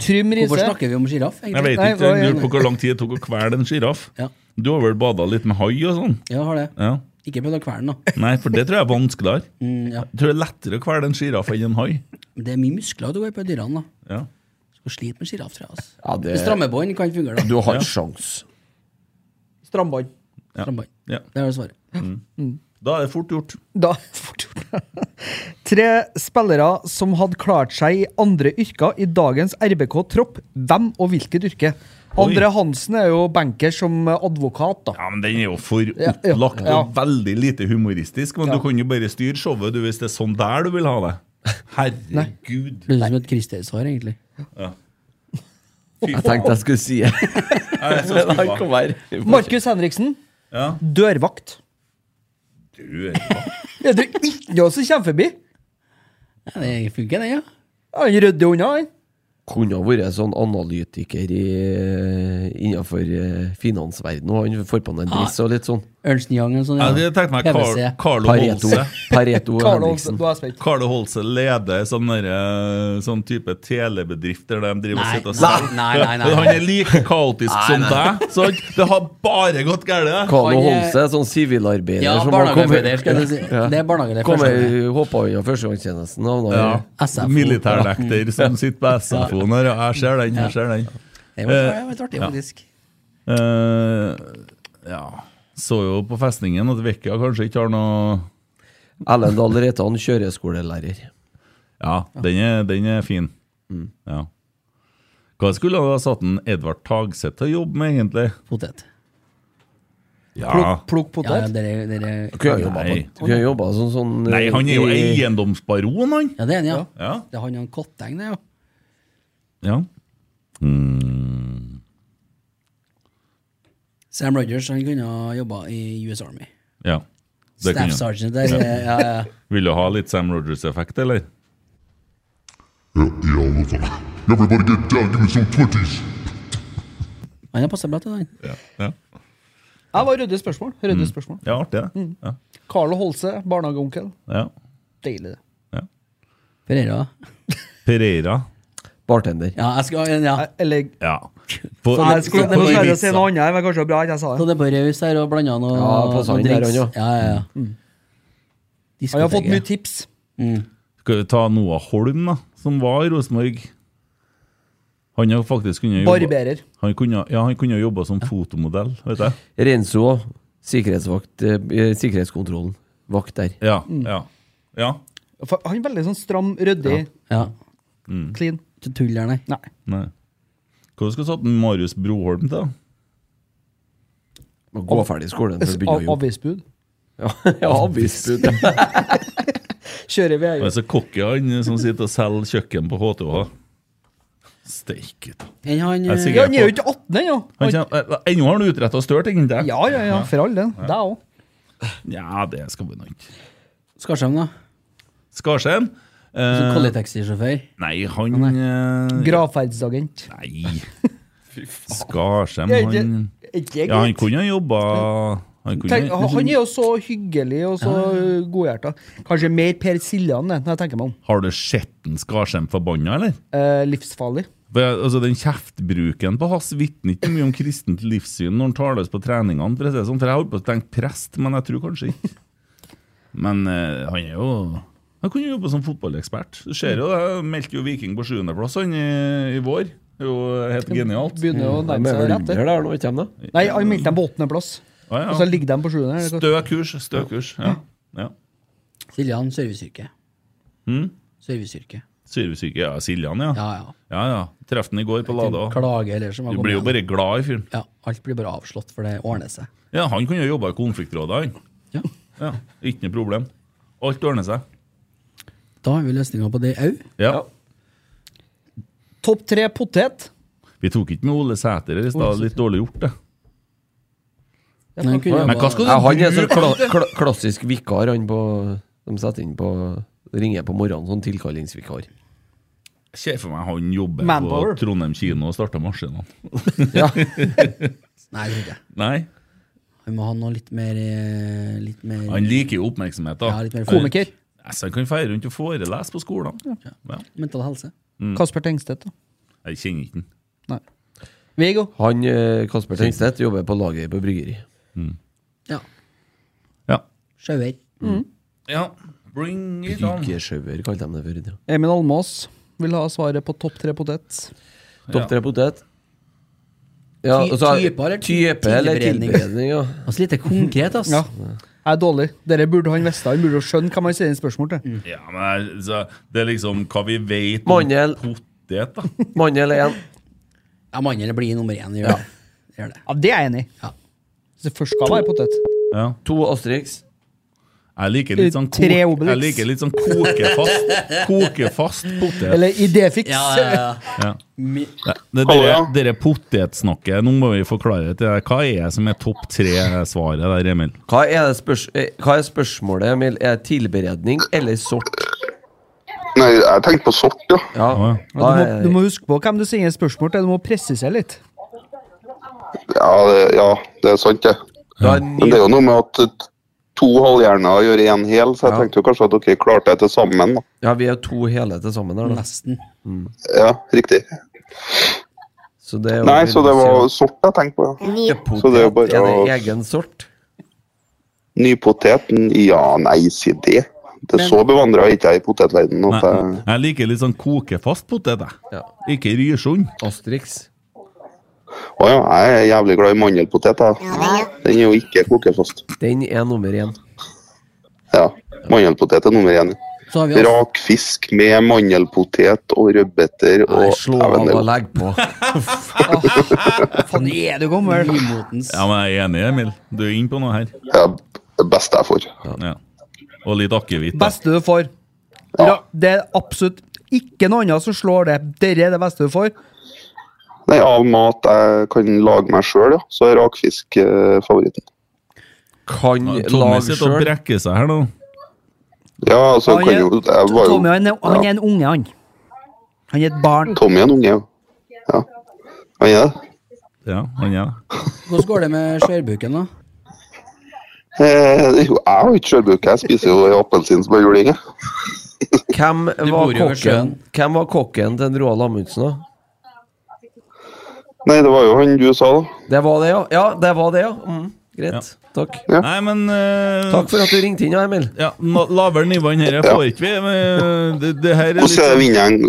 Trym Hvorfor Riise. snakker vi om sjiraff, Jeg egentlig? vet Nei, ikke, jeg hva- lurer på hvor lang tid det tok å kvele en sjiraff. Ja. Du har vel bada litt med hai og sånn? Ja, har det. Ja. Ikke prøvd å kvele den, da. Nei, for det tror jeg er vanskeligere. Mm, ja. Jeg tror det er lettere å kvele en sjiraff enn en hai. Men Det er mye muskler du går på dyrene, da. Ja. Skal slite med sjiraff, tror jeg. Altså. Ja, det- Stramme bånd kan ikke fungere, da. Du har ikke sjans. Strandbånd. Ja. Stramme bånd. Ja. Det er det svaret. Da er det fort gjort. Da fort gjort. Tre spillere som hadde klart seg i andre yrker i dagens RBK-tropp. Hvem og hvilket yrke? Andre Hansen er jo banker som advokat, da. Ja, men Den er jo for Ja, ja, opplagt ja. og veldig lite humoristisk. Men Ja. du kan jo bare styre showet du, hvis det er sånn der du vil ha det. Herregud. Det høres ut som et Christer-svar, egentlig. Fy Jeg faen. tenkte jeg skulle si det. Jeg er så Han skuffa. kom her. Markus Henriksen. Ja. Dørvakt. Du er bak. Er det ikke noe som kommer forbi? Ja, det funker, det, ja. Han rydder unna, han. Kunne ha vært sånn analytiker i, innenfor eh, finansverdenen, og han får på seg en dress og litt sånn. Ernst Young og sånn. Jeg hadde tenkt meg Car PVC. Carlo Pareto, Holse. Pareto og Karl Olsen, Henriksen. da er jeg spent. Carlo Holse leder sånn, derre- sånn type telebedrift der de driver Nei, og sitter og nei, selger. nei, nei, nei. Men Han er like kaotisk som deg. Så det har bare gått galt. Carlo Han er- Holse er sånn sivilarbeider Ja, som har kommet barnehagearbeider, skal jeg si. Det er barnehageleder, Kommer, førstehageleder. Hoppa unna førstegangstjenesten. havna i- Ja. SFO. Militærnekter som sitter på SFO-en her. Ja, Jeg ser den, jeg ser den. Det var det var litt artig, Ja. faktisk. Eh, ja Så jo på festningen at Vekka kanskje ikke har noe Erlend Dahl Reitan, kjøreskolelærer. Ja, den er, den er fin. Mm. Ja. Hva skulle han ha satt en Edvard Tagseth til å jobbe med, egentlig? Potet. Ja. Plukk Ja, ja, potet. dere, dere Kunne ha jobba Nei. på- kunne ha jobba sånn, sånn Nei, han er jo i- eiendomsbaron, han! Ja, det er han, ja. Ja. Det er han og Kotteng, det, ja. ja. Mm. Sam Rogers han kunne ha jobba i US Army. ja. Det Staff kunne han. sergeant der. eh, Ja, ja. Vil du ha litt Sam Rogers-effekt, eller? Everybody get down, give me some 20s. Han har passa bra til den. Ja. ja. Jeg var ryddig spørsmål. Ryddig spørsmål. ja artig, det. Ja. Carlo Holse, barnehageonkel. ja. Deilig, det. Ferreira. Pereira. bartender. Ja, jeg skal ja. Eller Ja. På, Faen, Jeg skulle på jeg skulle Ibiza. til å si noe annet, men kanskje det var bra at jeg sa Så det. det er på raus her og blanda noe Ja, passet noe han der, drinks. han, Ja, ja, ja. Han har fått mye Diskoteket. tips. Skal vi ta Noah Holm, da, som var i Rosenborg? Han har faktisk kunnet jobbe- Barberer. Han kunne, ja, han kunne jobba som fotomodell, vet jeg. Mm. Renzo, sikkerhetsvakt, eh, eh, sikkerhetskontrollen. Vakt der. Ja, Mm. ja. ja. For han er veldig sånn stram, ryddig, Ja. clean. Ikke tull der, nei. Nei. Nei. Hva skal du sette Marius Broholm til? da? Må Gå ferdig i skolen før du begynner å Av- jobbe. Avvisbud. Ja, ja, avvisbud. Kjører vi Han er så cocky, han som sitter og selger kjøkken på HTH. Steike ta. Enn han Jeg er eh, sikker Ja, han er jo på- ikke 18 ennå! Han kjem- eh, Ennå har han utretta og størt, ikke sant? Ja, ja, ja, for all del. Deg òg. ja, det skal vi nå ikke. Skarsheim, da. Skarsheim? Som Eh, Kollitaxi-sjåfør. nei, han eh, Gravferdsagent. Nei. Skarsheim, Det er ikke- han Ikke Ja, han greit. kunne ha jobba Han kunne Tenk, han er jo så hyggelig og så uh, godhjerta. Kanskje mer Per Siljan, det, når jeg tenker meg om. Har du sett den Skarsheim forbanna, eller? Eh, livsfarlig. For jeg, altså, Den kjeftbruken på Hass vitner ikke mye om kristent livssyn når han tar løs på treningene. For å si det sånn, for jeg holdt på å tenke prest, men jeg tror kanskje ikke. Men eh, han er jo Han kunne jo jobbe som fotballekspert. Du ser jo det, han meldte jo Viking på sjuendeplass han i, i vår. Det er jo helt genialt. Begynner å De nærme er seg vel rett. under det. der nå, ikke de da? Nei, han meldte dem på åttendeplass, Ja, ja. altså, og så ligger de på sjuende. eller hva? Stø kurs, stø kurs. Ja. ja. Siljan, serviceyrke. Hmm? Serviceyrke. Syresyke. Ja, Siljan, ja. Ja, ja. Ja, ja. Treff den i går på Lade òg. Klage eller som har Du kommet blir jo igjen. bare glad i fyren. Ja, alt blir bare avslått, for det ordner seg. Ja, han kunne jo jobba i konfliktrådet, han. Ja. Ja, Ikke noe problem. Alt ordner seg. Da har vi løsninga på det òg. Ja. Topp tre potet. Vi tok ikke med Ole Sæter her i Ole stad. Sæter. Litt dårlig gjort, det. Men Men hva skal Ja, han er du sånn kla kla klassisk vikar, han på De setter inn på Ringer på morgenen, sånn tilkallingsvikar. Se for meg han jobber Manpower. på Trondheim kino og starter maskinene. Nei, jeg tror ikke. Nei, Vi må ha noe litt mer eh, Litt mer han liker jo oppmerksomhet, da. Ja, litt mer Komiker. Ja, så han kan feire rundt og forelese på skolen. Ja. mental helse. Hmm. Kasper Tengstedt. da. Jeg kjenner ikke han. Viggo. Han eh, Kasper Tengstedt jobber på laget på bryggeri. Ja. Ja. Sjauer. ja. Bring it on. Bryggesjauer, kalte de det før i tida. Emil Almås vil ha svaret på topp tre potet. Topp tre potet. Ja, Ty- og så- typer eller ty- type eller tilberedning? tilberedning, ja. Altså lite konkret, ass. Ja. Jeg er dårlig. Dere burde han visst. Han burde jo skjønne hva man sier i spørsmål til. Mm. Ja, men jeg- så, Det er liksom hva vi vet om Mandel. potet, da. Mandel er en. Ja, Mandel blir nummer én. Gjør det. Gjør det. Ja, Det er jeg enig i. Ja. Hvis det først skal være potet. Ja. To Asterix. Jeg liker litt sånn, Tre kok jeg Obelix. liker litt sånn kokefast, kokefast potet. Eller idéfiks. Ja, ja, ja. Ja. Mi- Nei, Det Hallo, dere, ja. dere potetsnakket, nå må vi forklare til deg. Hva er det som er topp tre-svaret der, Emil? Hva er, det spørs eh, hva er spørsmålet, Emil? Er det tilberedning eller sort? Nei, jeg tenkte på sort, ja. Ja. Ja. Du må, Da er- du må huske på hvem du sender spørsmål til. Du må presisere litt. Ja, det, ja, det er sant, det. da er ny- Men det er jo noe med at eh, to halvhjerner gjør én hel, så jeg Ja. tenkte jo kanskje at dere klarte det til sammen. da. Ja, vi er to hele til sammen her, da. Nesten. Ja, riktig. Så det er jo Nei, så det var sort jeg tenkte på. ja. Ny Potet, så det er jo bare er det å- egen sort? Nypoteten? Ja, nei, si det. Det er så bevandra ikke jeg i potetverdenen Nei, at jeg jeg liker litt sånn kokefast potet, jeg. Ja. Ikke Ryrsund. Asterix. Å ja, jeg er jævlig glad i mandelpotet, jeg. Den er jo ikke kokefast. Den er nummer én. Ja. Mandelpotet er nummer én. Så har vi også Rak fisk med mandelpotet og rødbeter Nei, og slå Ja, men av det- og legg på. Faen, er du gammel? Nymotens Ja, men jeg er enig, Emil. Du er inne på noe her. Ja, det beste jeg får. Ja. Og litt akevitt. da. Beste du får. Ja, det er absolutt ikke noe annet som slår det. Dette er det beste du får. Nei, av mat jeg kan lage meg sjøl, ja. Så er rakfisk eh, favoritten. Kan Tommy lage sitter og sjøl. brekker seg her nå. Ja, altså, Han kan er, jo Jeg var Tommy jo han er, han er en unge, han. Han er et barn. Tommy er en unge, jo. Ja. Han er det. Ja, han er det. Hvordan går det med skjørbuken, da? Eh, jo, jeg har jo ikke sjølbuke. Jeg spiser jo en appelsin som en juling, jeg. Hvem var bor jo ved kokken, sjøen. hvem var kokken til Roald Amundsen, da? Nei, det var jo han du sa, da. Det var det, ja. Ja, det var det, ja. Mm, greit. Takk. Nei, men eh, Takk for at du ringte inn, ja, Emil. ja, nå- Lavere nivå enn dette får ikke vi. men Det, det her er litt Hvordan er det, sånn- vinner jeg en,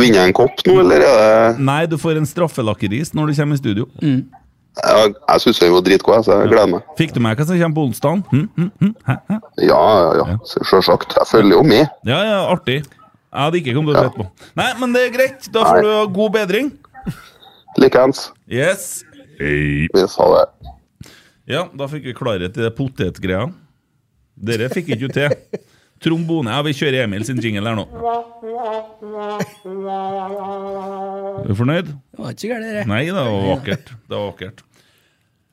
vinner jeg en kopp nå, eller er det Nei, du får en straffelakkeris når du kommer i studio. Jeg, jeg syns den var dritgod, jeg, så jeg gleder meg. Fikk du med hva som kommer på onsdag? Hm? Hm? Hm? Hæ? Hæ? Ja, ja, ja. Sjølsagt. Jeg følger jo med. Ja, ja, artig. Jeg hadde ikke kommet til å sette på. Nei, men det er greit. Da får Nei. du ha god bedring. Likeens. Yes. Vi sa det. Ja, da fikk vi klarhet i det potetgreia. Dere fikk ikke til. Trombone. Ja, vi kjører Emil sin jingle her nå. Er du fornøyd? Det var ikke så gærent, det. Nei, det var vakkert. Det var vakkert.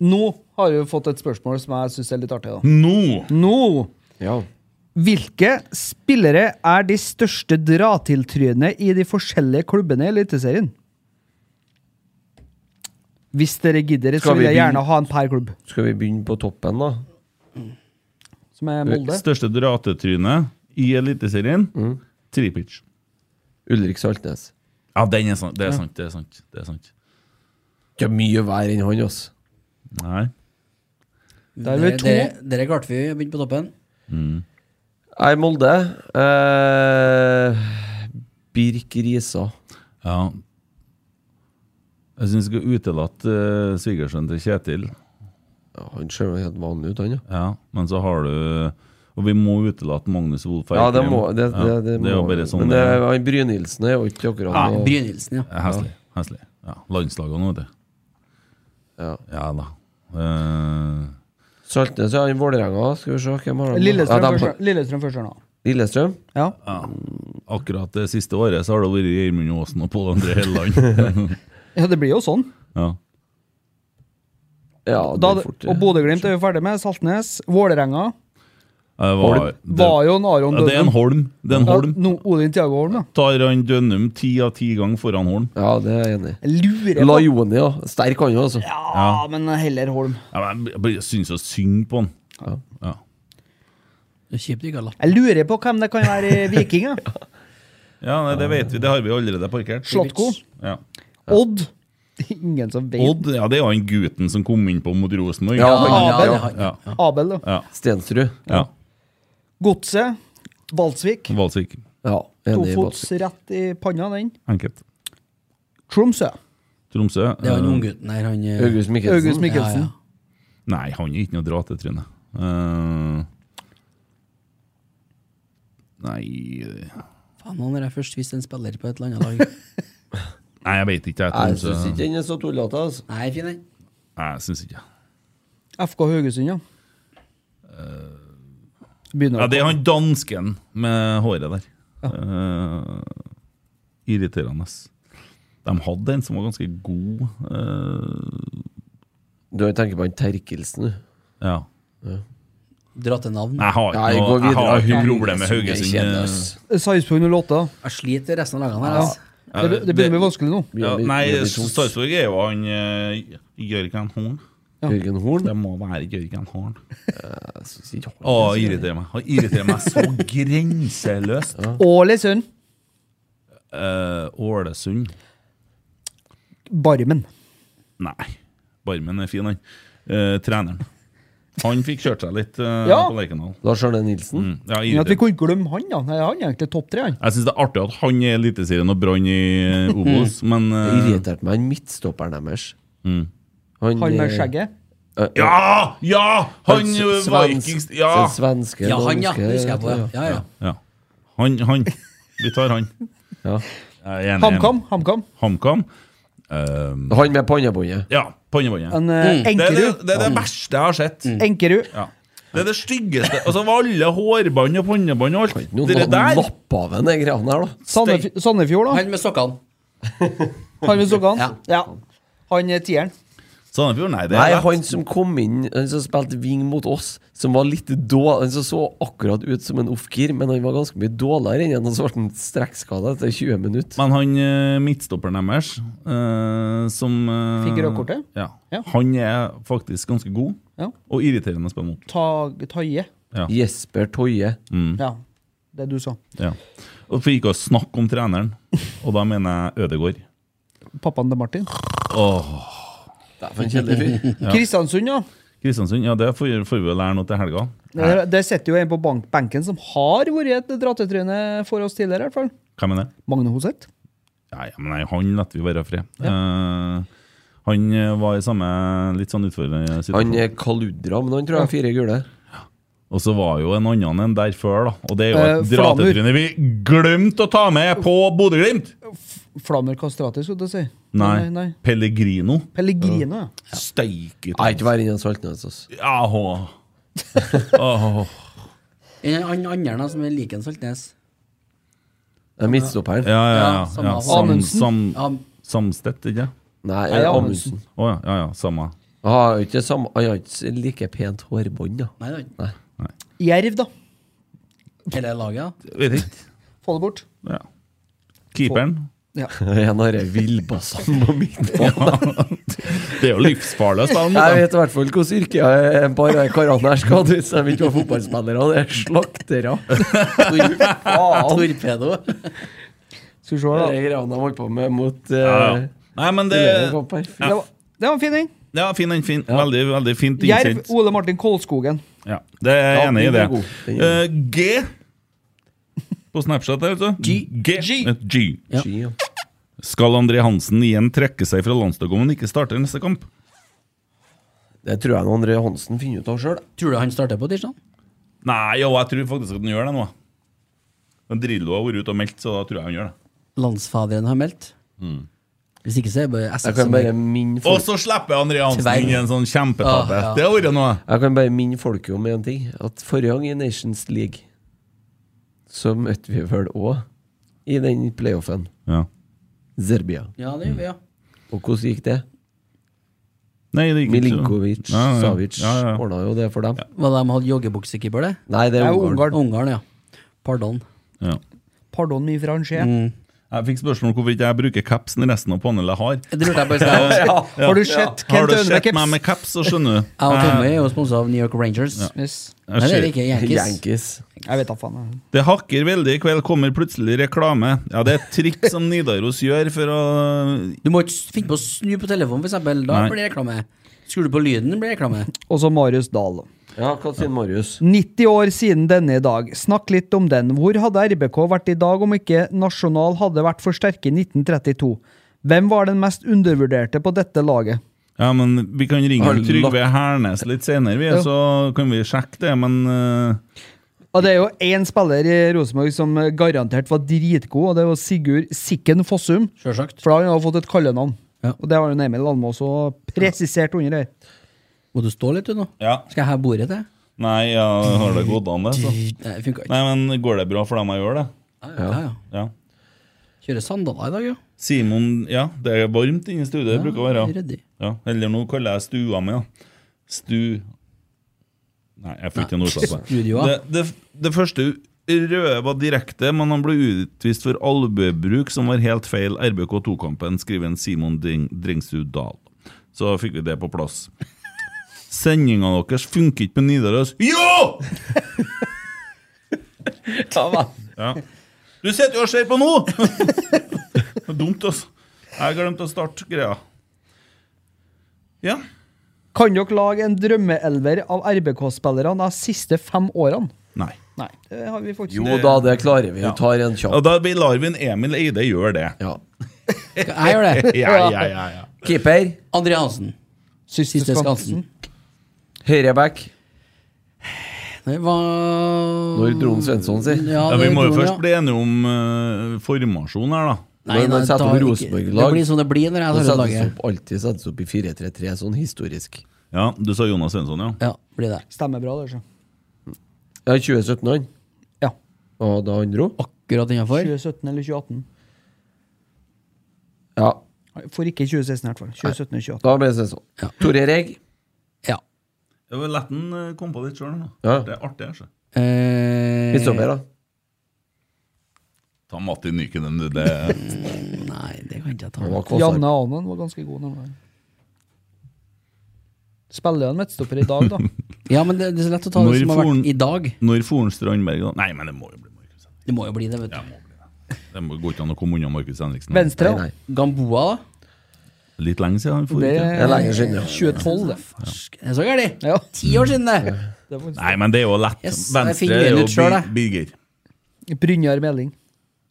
Nå har vi fått et spørsmål som jeg syns er litt artig. da. Nå! Nå Ja. Hvilke spillere er de største dra-til-trynene i de forskjellige klubbene i Eliteserien? Hvis dere gidder, så Skal vi vil jeg begynne- gjerne ha en per klubb, Skal vi begynne på toppen, da? som er Molde. Største dratetrynet i Eliteserien. Tripic. Ulrik Saltnes. Ja, den er sant. Det er sant. Det er sant. Det er sant. Ikke mye verre enn han, ass. Nei. Der er vi to. Dere, dere klarte vi begynte på toppen. Nei, Molde eh, Birk Risa. Ja. Jeg syns vi skal utelate eh, svigersønnen til Kjetil. Ja, han ser jo helt vanlig ut, han, ja. Ja, men så har du Og vi må utelate Magnus Wolff Ja, det må det, det, Ja, det, er jo må- bare sånn Men det, det er Ah, han Brynildsen er jo ikke akkurat Ja, noe- Brynildsen, ja. Heslig. heslig. Ja, Landslaget nå, vet du. Ja. Ja da. Eh, Saltnes, ja. Han Vålerenga, skal vi se hvem har han? Lillestrøm ja, først- de, Lillestrøm først her nå. Lillestrøm? Ja. akkurat det siste året så har det vært Gjermund Aasen og Pål André Helleland. ja, det blir jo sånn. ja. Ja, Da, det er fort, eh, og Bodø-Glimt er vi ferdig med. Saltnes. Vålerenga Det var, det, var jo en Aron ja, det er en Dødum. Holm. Det er en Ja, Holm. no, Odin Tiago Holm, ja. Tar han Dønnum ti av ti ganger foran Holm? Ja, det er jeg enig i. Jeg Lurer på Lajoni, ja. Sterk han jo, altså. Ja, men heller Holm. Ja, men jeg jeg syns jo synd på han. Ja. Det er kjipt vi ikke har latt Jeg lurer på hvem det kan være i Viking. ja. Ja, nei, det vet vi. Det har vi allerede parkert. Slotko. Ja. Odd. Ingen som vet. Odd, ja, det er jo han gutten som kom inn på mot Rosenborg. Ja, han- Abel. ja. ja. Abel, da. Stensrud. ja. Godset. Valsvik. Valsvik. Ja, enig i Tofots Båtsvik. rett i panna, den. Enkelt. Tromsø. Tromsø. Det er han eh, unggutten her, han eh, August Mikkelsen. August Ja, Mikkelsen. ja. Nei, han er ikke noe dra til trynet. Eh, nei Faen, han har jeg først vist en spiller på et eller annet lag. Nei, jeg vet ikke. Jeg, Nei, Jeg Tromsø. syns ikke den er så tullete, altså. Nei, fin den. Nei, jeg syns ikke. FK Haugesund, ja. Begynner Ja, å det er han dansken med håret der. Eh, irriterende. De hadde en som var ganske god. eh, Du tenker på han Terkelsen, du. ja. Dra til navn. Nei, Jeg har Nei, ikke gå noe jeg har ikke videre. noe problem med Det er Haugesund. kjedelig, eh. ass. Sarpsborg 08. da. Jeg sliter med resten av lagene her. Ja. Altså. Det, det begynner å bli vanskelig nå. Ja, nei, Jørgen Horn. Sarpsborg er jo han eh, Jørgen Horn. Jørgen Horn. Det må være Jørgen Horn. Jeg synes ikke han Å, er så- irriterer meg. Han irriterer meg så grenseløst. Ålesund. Eh, Ålesund Barmen. Nei. Barmen er fin, han. Eh, treneren. Han fikk kjørt seg litt eh, Ja. på Lerkendal. Lars Arne Nilsen. Mm, Men ja, at vi irriterende. kunne glemme han, da. Nei, han er egentlig topp tre, han. jeg syns det er artig at han er i Eliteserien og Brann i eh, Obos, men Det eh, irriterte meg, han midtstopperen deres. Mm. Han, Han med eh, skjegget. eh, Ja! Ja! Han s- eh, svensk- Vikings Ja! den Svenske, Ja, han, ja. danske, Det husker jeg på. Ja, ja. ja. ja. Han, han. Vi tar han. Ja. Jeg er enig, HamKam. enig. HamKam. Mm. HamKam. Eh, Han med pannebåndet. ja, pannebåndet. En Mm. eh, Det er det, Enkerud. det er det verste jeg har sett. Mm. Enkerud. Ja. Det er det styggeste. Altså, var alle hårbånd og pannebånd og alt Noen Det der napp av en, de greiene her, da. Sandef Sandefjord, da. Han med sokkene. Han med sokkene. Ja. Ja. Han er tieren. Sandefjord, nei, det Nei, er han som kom inn, han som spilte wing mot oss, som var litt dårlig Han som så akkurat ut som en off-gear, men han var ganske mye dårligere enn han, og så ble han strekkskada etter 20 minutter. Men han eh, midtstopperen deres, eh, som eh, Fikk rødt kortet? Ja. Ja. Han er faktisk ganske god, Ja. og irriterende å spille mot. Ta- Taie. Jesper Toje. Mm. Ja. Det du sa. Ja. Og For ikke å snakke om treneren, og da mener jeg Ødegaard. Pappaen til Martin. Dæven, kjedelig fyr. Kristiansund, ja. Kristiansund, ja, det får, får vi vel lære noe til helga. Der, der sitter jo en på bank benken som har vært et drattetryne for oss tidligere, i hvert fall. Hvem er det? Magne Hoseth. Ja, ja, men nei, han lar vi være i fred. Eh, han eh, var i samme litt sånn utfordrende Han situasjon. er kaludra, men han tror jeg har fire gule. Og så var jo en annen enn der før, da. Og det er jo et Eh, Flamur. dratetryne vi glemte å ta med på Bodø-Glimt! Flammer Kastrati, skulle du si. Nei. Pellegrino. Pellegrino, ja. Steike Nei, ikke verre enn han Saltnes. Altså. Ja, hå. Åh. En- Han andre da, som er lik en Saltnes. Det er Midtstopperen. Ja, ja, Ja, ja. samme ja. av- Sam, Amundsen. sam, Ja, samstedt, ikke sant? Nei, Nei, ja, Amundsen. Å ja, ja, ja, samme. Han har jo ikke samme Han har ikke like pent hårbånd, da. nei, det er han. Nei. Jerv, da. Hele laget. ja. Vet ikke. Få det bort. Ja. Keeperen. Ja. En av de villbassene på midtbanen. Det er jo livsfarlig. da, Jeg mot dem. vet i hvert fall hvordan yrket er en par av de karene her skal hvis de ikke var fotballspillere. Det er slaktere. Faen! Torpedo. Skal vi se, Det da. er greiene de holdt på med mot eh, Ja, ja. Nei, men det Elever på Perf. Det var, det var en fin en. Ja, fin en, fin. Veldig, veldig fint Jerv innsett. Ole Martin Kolskogen. Ja, det er jeg Ja, enig i den det. er god. Den er Eh, G på Snapchat der, altså. G. G. G. Ski, ja. Skal André Hansen igjen trekke seg fra landslaget om han ikke starter neste kamp? Det tror jeg André Hansen finner ut av sjøl. Tror du han starter på tirsdag? Nei, jo, jeg tror faktisk at han gjør det nå. Men Drillo har vært ute og meldt, så da tror jeg han gjør det. Landsfaderen har meldt. Hvis ikke så er det bare Jeg SF kan som bare minne Og folk, så slipper André Hansen Tvang. inn i en sånn kjempetape. Ah, ja. Det har vært noe. jeg kan bare minne folk om én ting. At forrige gang i Nations League så møtte vi vel òg i den playoffen Ja. Serbia. Ja, det gjør vi, ja. Og hvordan gikk det? Nei, det gikk ikke så- Milinkovic, Ja, ja. Savic Ja, ja. ordna jo det for dem. Var det de hadde joggebuksekeeper, det? Nei, det Det er er jo Ungarn. Ungarn. Ungarn, ja. Pardon. Ja. Pardon, mi franché. Jeg fikk spørsmål om hvorfor ikke jeg bruker capsen resten av panelet har. Det lurte jeg på i sted. Ja. Har du Ja. sett Har Kent du sett meg Ønebekkeps? med caps, så skjønner du. Jeg og Tommy Eh, er jo sponsa av New York Rangers. Yes. jeg Nei, det er det ser- ikke. Yankees. Yankees. Jeg vet da faen. jeg. Det hakker veldig i kveld, kommer plutselig reklame. Ja, det er et trikk som Nidaros gjør for å Du må ikke finne på å snu på telefonen, for eksempel. Da Nei. blir det reklame. Skrur du på lyden, blir det reklame. Og så Marius Dahl. Ja, hva sier Marius? 90 år siden denne i dag. Snakk litt om den. Hvor hadde RBK vært i dag om ikke Nasjonal hadde vært for sterke i 1932? Hvem var den mest undervurderte på dette laget? Ja, men vi kan ringe Har opp Trygve lagt- Hernes litt senere, vi, Ja. så kan vi sjekke det, men eh, Og Det er jo én spiller i Rosenborg som garantert var dritgod, og det var Sigurd Sikken Fossum. Sjølsagt. For han har fått et kallenavn. Ja. Og det har jo Emil Almås også presisert under her. Må du stå litt, du, nå? Ja. Skal jeg heve bordet til? Nei, ja, har det gått an, det? Så. Nei, det funka ikke. Nei, men går det bra for dem jeg gjør det? Ja, ja. Ja. Kjører sandaler i dag, ja. Simon Ja, det er varmt inne i studiet, det bruker å være. ryddig. Ja, eller nå kaller jeg stua mi, da. Stu... Nei, jeg får ikke noe ut av det. Studioa. Det, det. Det første røde var direkte, men han ble utvist for albuebruk, som var helt feil. RBK2-kampen, skriver en Simon Dring, Dringsrud Dahl. Så fikk vi det på plass. Sendinga deres funker ikke på Nidaros. Jo! Ja. Du sitter jo og ser på nå! det er dumt, altså. Jeg glemte å starte greia. Ja. Kan dere lage en drømmeelver av RBK-spillerne de siste fem årene? Nei. Nei, det har vi faktisk Jo da, det klarer vi. Vi tar en Og kjapp. da vi lar vi en Emil Eide gjøre det. Ja. Jeg gjør det. Ja, ja, ja, ja. Keeper. André Hansen. Siste Skansen. Høyreback. Det var Når dro han Svensson si? Mm, Ja, Ja, vi det må jo dro han, først bli enige om eh, formasjon her, da. Nei, Når man nei, setter da opp ikke- Rosenborg-lag, Det blir som det blir når jeg Det tar ut settes laget. opp, alltid settes opp i 4-3-3, sånn historisk. Ja, Du sa Jonas Svensson, ja? Ja, blir det. Stemmer bra, det. altså. så. Ja, 2017 han. Ja. Og da han dro? Akkurat innafor. 2017 eller 2018. Ja. For ikke 2016, i hvert fall. 2017 eller 2018. Da ble det sånn. Ja. Tor Erik. Ja. Det var lett han eh, kom på litt sjøl. Ja. Det er artig. altså. Eh, Midtstopper, da. Ta Matti Nykenen, du. Det Nei, det kan ikke jeg ta. Han var kvassarm. Janne Almen var ganske god. når han var her. Spiller han midtstopper i dag, da? Ja, men det, det er så lett å ta Når det som har for- vært i dag. Når Foren Strandberg da Nei, men det må jo bli Markus Henriksen. Det må jo bli det, vet du. Det må- går ikke an å komme unna Markus Henriksen. Venstre? Nei, nei. Gamboa, da? Litt lenge siden. han for Det ikke. Det er er lenge siden, ja. 2012, det. Farsk. Det er så gærent! Ja. Ti år siden, det! det var Nei, men det er jo lett. Yes, jeg Venstre finner er den jo ut selv, jeg. Bi- Birger. Brynjar Meling.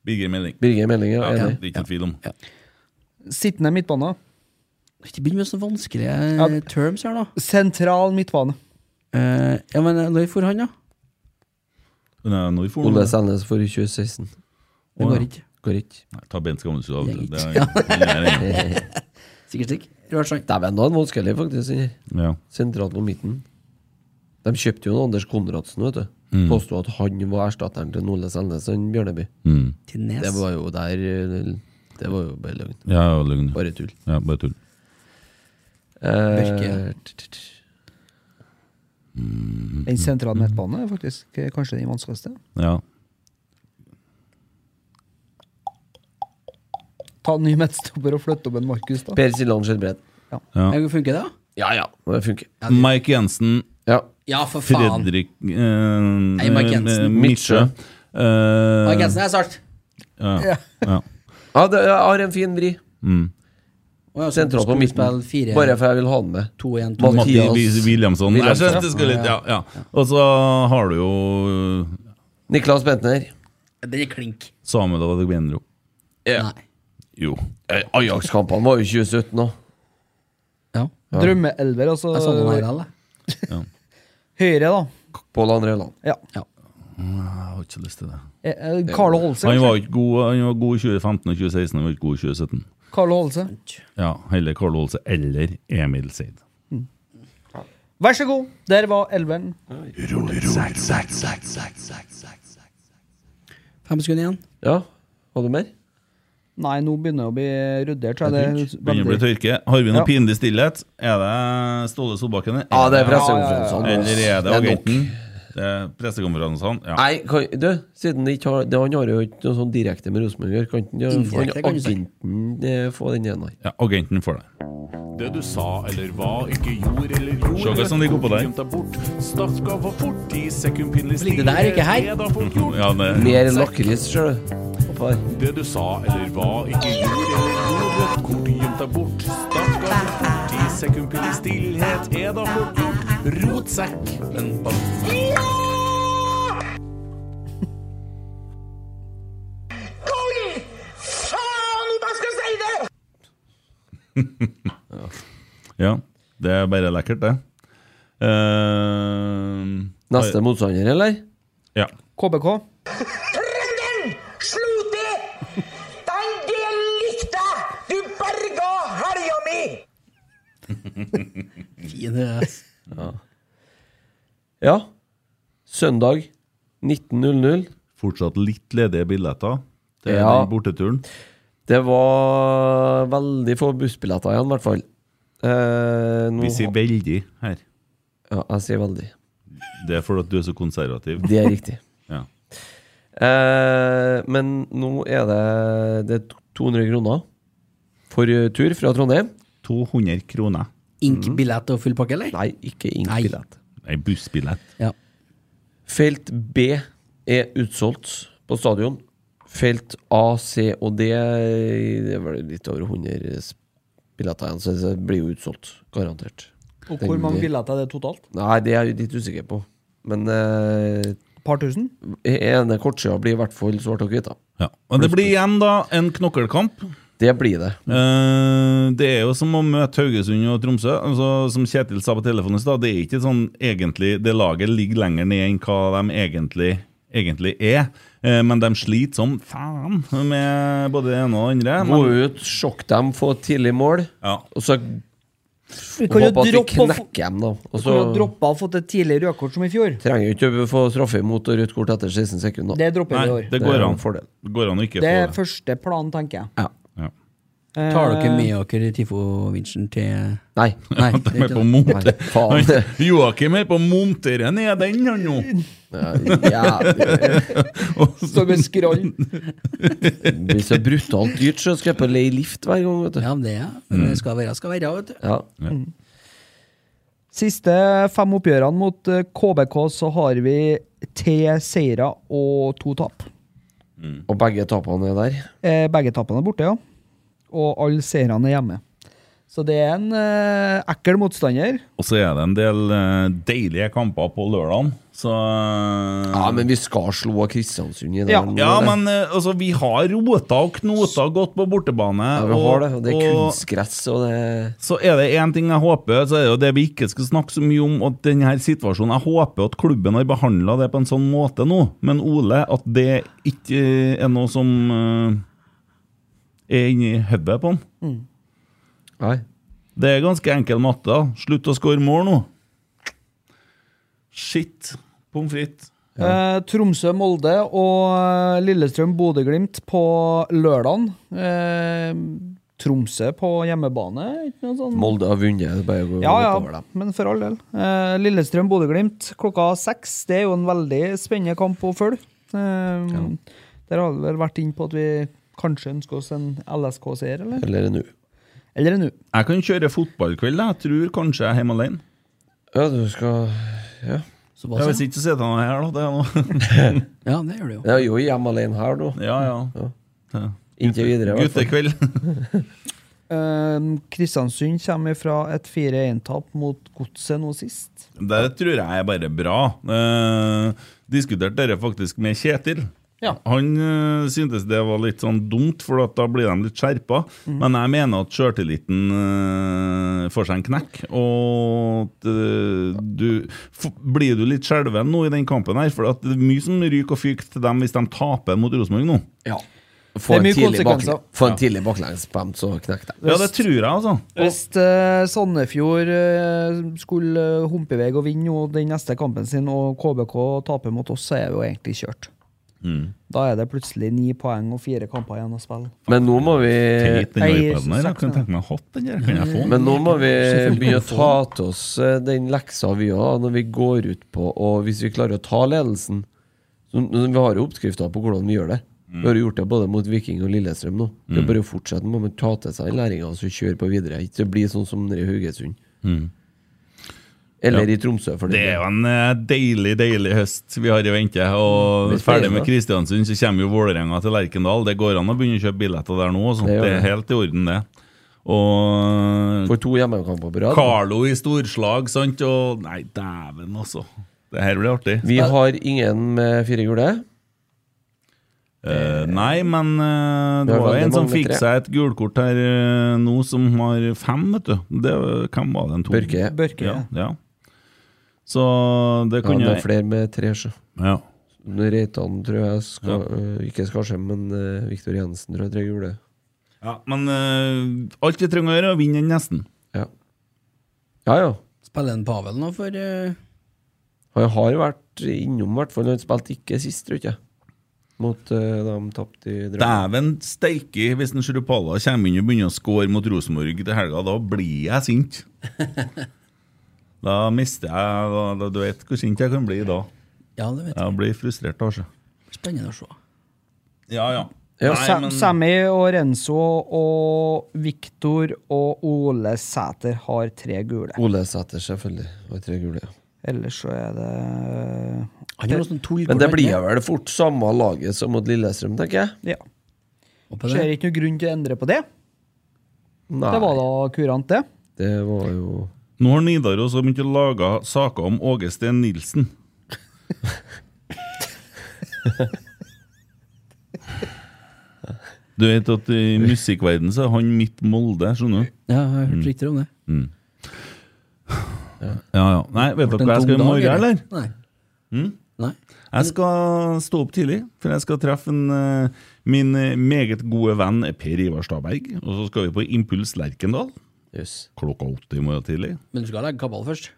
Birger Meling. Birger Meling, ja. Ja, det Enig. er ikke noe tvil om. Sittende midtbane. Ikke begynn med sånne vanskelige eh, terms her, da. Sentral midtbane. Eh, ja, men eh, når for han, da? Men, eh, Når Foren Ole Selnes for 2016. Det går ikke. Går ikke. Nei, Ta Bent Skammelsrud av. Jeg Det er- Sikkert slik. Rørt sang. Dæven, da er han vanskelig, faktisk. den her. Ja. Sentralt på midten. De kjøpte jo en Anders Konradsen, vet du. Mm. Påsto at han var erstatteren til Ole Selnes og Bjørneby. Mm. Til Nes. Det var jo der eh, Det var jo bare løgn. ja, løgn. Bare tull. Ja, bare tull. Eh, Bjørke. t- t- t- Den sentrale midtbanen er faktisk eh, kanskje den vanskeligste. Ja. Ta en ny midtstopper og flytte opp en Markus, da. Per Siljan Skjelbred. Ja. Eh, Funker det, da? Ja ja, det funker. Mike Jensen, Ja. Ja, for faen. Fredrik eh, Nei, Mike Jensen. eh, Midtsjø. Eh, Mike Jensen er svart. ja. ja. ja det, jeg har en fin vri. Sentral på midten. Bare for jeg vil ha den med. To, en, to. Mathias. Mathias Williamson. Jeg Williamson, skjønte det skulle litt, ja, ja. Og så har du jo eh, Niklas Bentner. Den er klink. Samuel Adegbenro. Nei. Jo. Eh, Ajax-kampene var jo 2017 òg. Ja. Drømmeelver, altså. Jeg så den her, eller? Høyre, da. Pål André Land. Jeg har ikke lyst til det. Eh, eh, Carlo Holse. Han kanskje? var, ikke god, han var god i 2015 og 2016, han var ikke god i 2017. Carlo Holse. Ja, Heller Karl Olse eller Emil Seid. Vær så god. Der var elveren. Fem sekunder igjen. Ja, var det mer? Nei, nå begynner det å bli ruddert. Så er det Begynner å bli veldig- tørke. Har vi noe Ja. pinlig stillhet? Er det Ståle Solbakken? Ja, det er pressekonferansene. pressekonferansene. Eller er det nok. agenten? Det er Pressekonferansene? Ja. Nei, kan, du, siden det ikke har, det, han har jo ikke noe sånn direkte med Rosenborg å gjøre, kan ikke han- han Indirekte, kan du si. agenten eh, få den igjen her? ja, agenten får det. Det du sa eller hva, ikke gjorde eller gjorde. Se hva som ligger oppå der. Gjemt deg bort. Stats skal få fort i sekundpinnelig Ligger det der, ikke her? Det da fort gjort. Ja, det Mer lakris, ser du. Oppå her. Det du sa eller hva, ikke gjorde eller gjorde. Rødt kort gjemt deg bort. Stats skal få fort i sekundpinnelig stillhet. Er da fort gjort. Rotsekk. Ja, det er bare lekkert, det. Eh, Neste motstander, eller? Ja. KBK. Fin, eh, Ja. Søndag 19.00. Fortsatt litt ledige billetter til Ja. den borteturen. Det var veldig få bussbilletter igjen, i hvert fall. Eh, nå, Vi sier veldig her. ja, jeg sier veldig. Det er fordi at du er så konservativ. Det er riktig. Ja. Eh, men nå er det, det er 200 kroner for eh, tur fra Trondheim. 200 kroner. Ink-billett og full pakke, eller? Nei, ikke Nei. inkbillett. Ei bussbillett. Ja. Felt B er utsolgt på stadion. Felt A, C og D Det er vel litt over 100 s- billetter igjen, så det blir jo utsolgt. Garantert. Og hvor mange billetter er det totalt? Nei, det er jeg litt usikker på. Men eh, e-, Par tusen? ene kortsida blir i hvert fall svart og hvitt. da. Ja. Men det blir igjen, da, en knokkelkamp. Det blir det. Eh, det er jo som å møte Haugesund og Tromsø. Altså, som Kjetil sa på telefonen i stad, det er ikke sånn egentlig Det laget ligger lenger ned enn hva de egentlig, egentlig er. Eh, men de sliter som faen med både det ene og det andre. Gå Men, ut, sjokk dem, få et tidlig mål, ja. og så Vi kan jo håpe at vi droppe å få- knekker dem, da. Og vi kan jo så droppe å ha fått et tidlig rødkort som i fjor. trenger jo ikke å få straffe imot og rødt kort etter 16 sekunder. Det dropper Nei, vi i år. det Det er går en an. fordel. Det går an å ikke Det er få det. første planen, tenker jeg. Ja. Ja. Tar dere med dere Tifo-vinsjen til Nei. Nei, det De er er på ikke å det. monte- faen. Han- Joakim er på å montere ned den, han nå. Ja, det Står med skrall. blir så brutalt dyrt, så skal jeg på leie lift hver gang, vet du. Ja, men det er Men det skal være, skal være, vet du. Ja. Siste fem oppgjørene mot eh, KBK så har vi tre seire og to tap. Og begge tapene er der. Eh, Begge tapene er borte, ja. Og alle seirene er hjemme. Så det er en eh, ekkel motstander. Og så er det en del eh, deilige kamper på lørdagen, så eh, Ja, men vi skal slå av Kristiansund i den. Ja. her nå, Ja, det. men eh, altså, vi har rota og knota godt på bortebane. ja, vi har det, og det er og kunstgress, og det så er det én ting jeg håper, så er det jo det vi ikke skal snakke så mye om, at denne situasjonen Jeg håper at klubben har behandla det på en sånn måte nå, men Ole, at det ikke eh, er noe som eh, er inni hodet på han. Nei. Det er ganske enkel matte. da. Slutt å score mål nå. Shit. Pommes frites. Eh, Tromsø-Molde og Lillestrøm-Bodø-Glimt på lørdagen. Eh, Tromsø på hjemmebane. Ikke noe sånn. Molde har vunnet. Det er bare å gå Ja, oppover ja, dem. men for all del. Eh, Lillestrøm-Bodø-Glimt klokka seks. Det er jo en veldig spennende kamp å følge. Eh, Der har vi vel vært inne på at vi kanskje ønsker oss en LSK-seier, eller? Eller nå. Eller en U. Jeg kan kjøre fotballkveld. Jeg tror kanskje jeg er hjemme alene. Ja, du skal Ja. Ja, hvis ikke, så sitter han her, da. Det er noe. Ja, det gjør det jo. Jeg er jo hjemme alene her nå. Ja, ja. Inntil videre. i hvert fall. Guttekveld. Ehm, Kristiansund kommer fra et 4-1-tap mot Godset nå sist. Det tror jeg er bare bra. Eh, diskuterte dette faktisk med Kjetil. Ja. Han eh, syntes det var litt sånn dumt, for at da blir de litt skjerpa. Mhm. Men jeg mener at sjøltilliten eh, får seg en knekk. Og at eh, du f Blir du litt skjelven nå i den kampen her? For at det er mye som ryker og fyker til dem hvis de taper mot Rosenborg nå. Ja. Det Få er en mye tidlig, konsekvenser. bakle- få en tidlig baklengsbam, så knekk det. Ja, det tror jeg, altså. Hvis eh, Sandefjord eh, skulle eh, humpe i vei og vinne nå den neste kampen sin, og KBK taper mot oss, så er vi jo egentlig kjørt. Mm. Da er det plutselig ni poeng og fire kamper igjen å spille. Men nå må vi Tenk, den Eh, jeg- iPaden her, jeg kunne tenke meg å ha den der. Kan jeg få den? Men nå må vi begynne å ta til oss eh, den leksa vi har når vi går ut på Og hvis vi klarer å ta ledelsen så, men Vi har jo oppskrifter på hvordan vi gjør det. Vi har jo gjort det både mot Viking og Lillestrøm nå. Mm. Det er bare å fortsette med å ta til seg læringa og så kjøre på videre. Ikke bli sånn som nede i Haugesund. Eller i Tromsø, for Mm. Det det er jo en eh, deilig deilig høst vi har i vente. Og Hvis det er ferdig med det. Kristiansund, så kommer jo Vålerenga til Lerkendal. Det går an å begynne å kjøpe billetter der nå. og sånt. Det gjør Det er det. helt i orden, det. Og For to hjemmekamper på rad. Carlo i storslag, sant. Og nei, dæven, altså. Det her blir artig. Vi har ingen med fire gule. Eh, nei, men eh, Vi det har var jo veldig en som mange fikk tre. seg et gulkort her eh, nå, som har fem, vet du. Det, var- hvem var den? To? Børke. Børke. Ja, ja. Så det Ja, kunne det er flere med tre, så. ja. Reitan tror jeg skal, øh, ikke Skarsheim, men uh, Viktor Jensen tror jeg tre gule. Ja, men eh, alt vi trenger å gjøre, er å vinne den nesten. Ja. ja ja. Spiller en Pavel nå for eh, Han har vært innom, i hvert fall. Han spilte ikke sist, tror jeg. Mot øh, de tapte i Drømmen. Dæven steike, hvis en Sjurupala kommer inn og begynner å score mot Rosenborg til helga, da blir jeg sint. Da mister jeg da, da, Du vet hvor sint jeg kan bli da. Ja, det vet jeg. Jeg blir frustrert, altså. Spennende å se. Ja, ja. Ja, Nei, Sam, men- Sammy og Renzo og Viktor og Ole Sæter har tre gule. Ole Sæter, selvfølgelig. Og tre gule. ja. Ellers så er det Han har noe sånn tullkort. Men det blir vel fort samme laget som mot Lillestrøm, tenker jeg. Ja. Håper det. Ser ikke noe grunn til å endre på det. Nei, Det var da kurant, det. det var jo Nå har Nidaros så begynt å lage saker om Åge Steen Nilsen. Du vet at i musikkverdenen så er han midt Molde, skjønner du? Ja, jeg har Mm. hørt rykter om det. Ja, ja. Nei, vet dere En hva jeg skal tung i dag, morgen, eller? Nei. Nei. Jeg skal stå opp tidlig, for jeg skal treffe en, eh, min eh, meget gode venn eh, Per Ivar Staberg. Og så skal vi på Impuls Lerkendal Jøss. klokka åtte i morgen tidlig. Men du skal legge kabal først.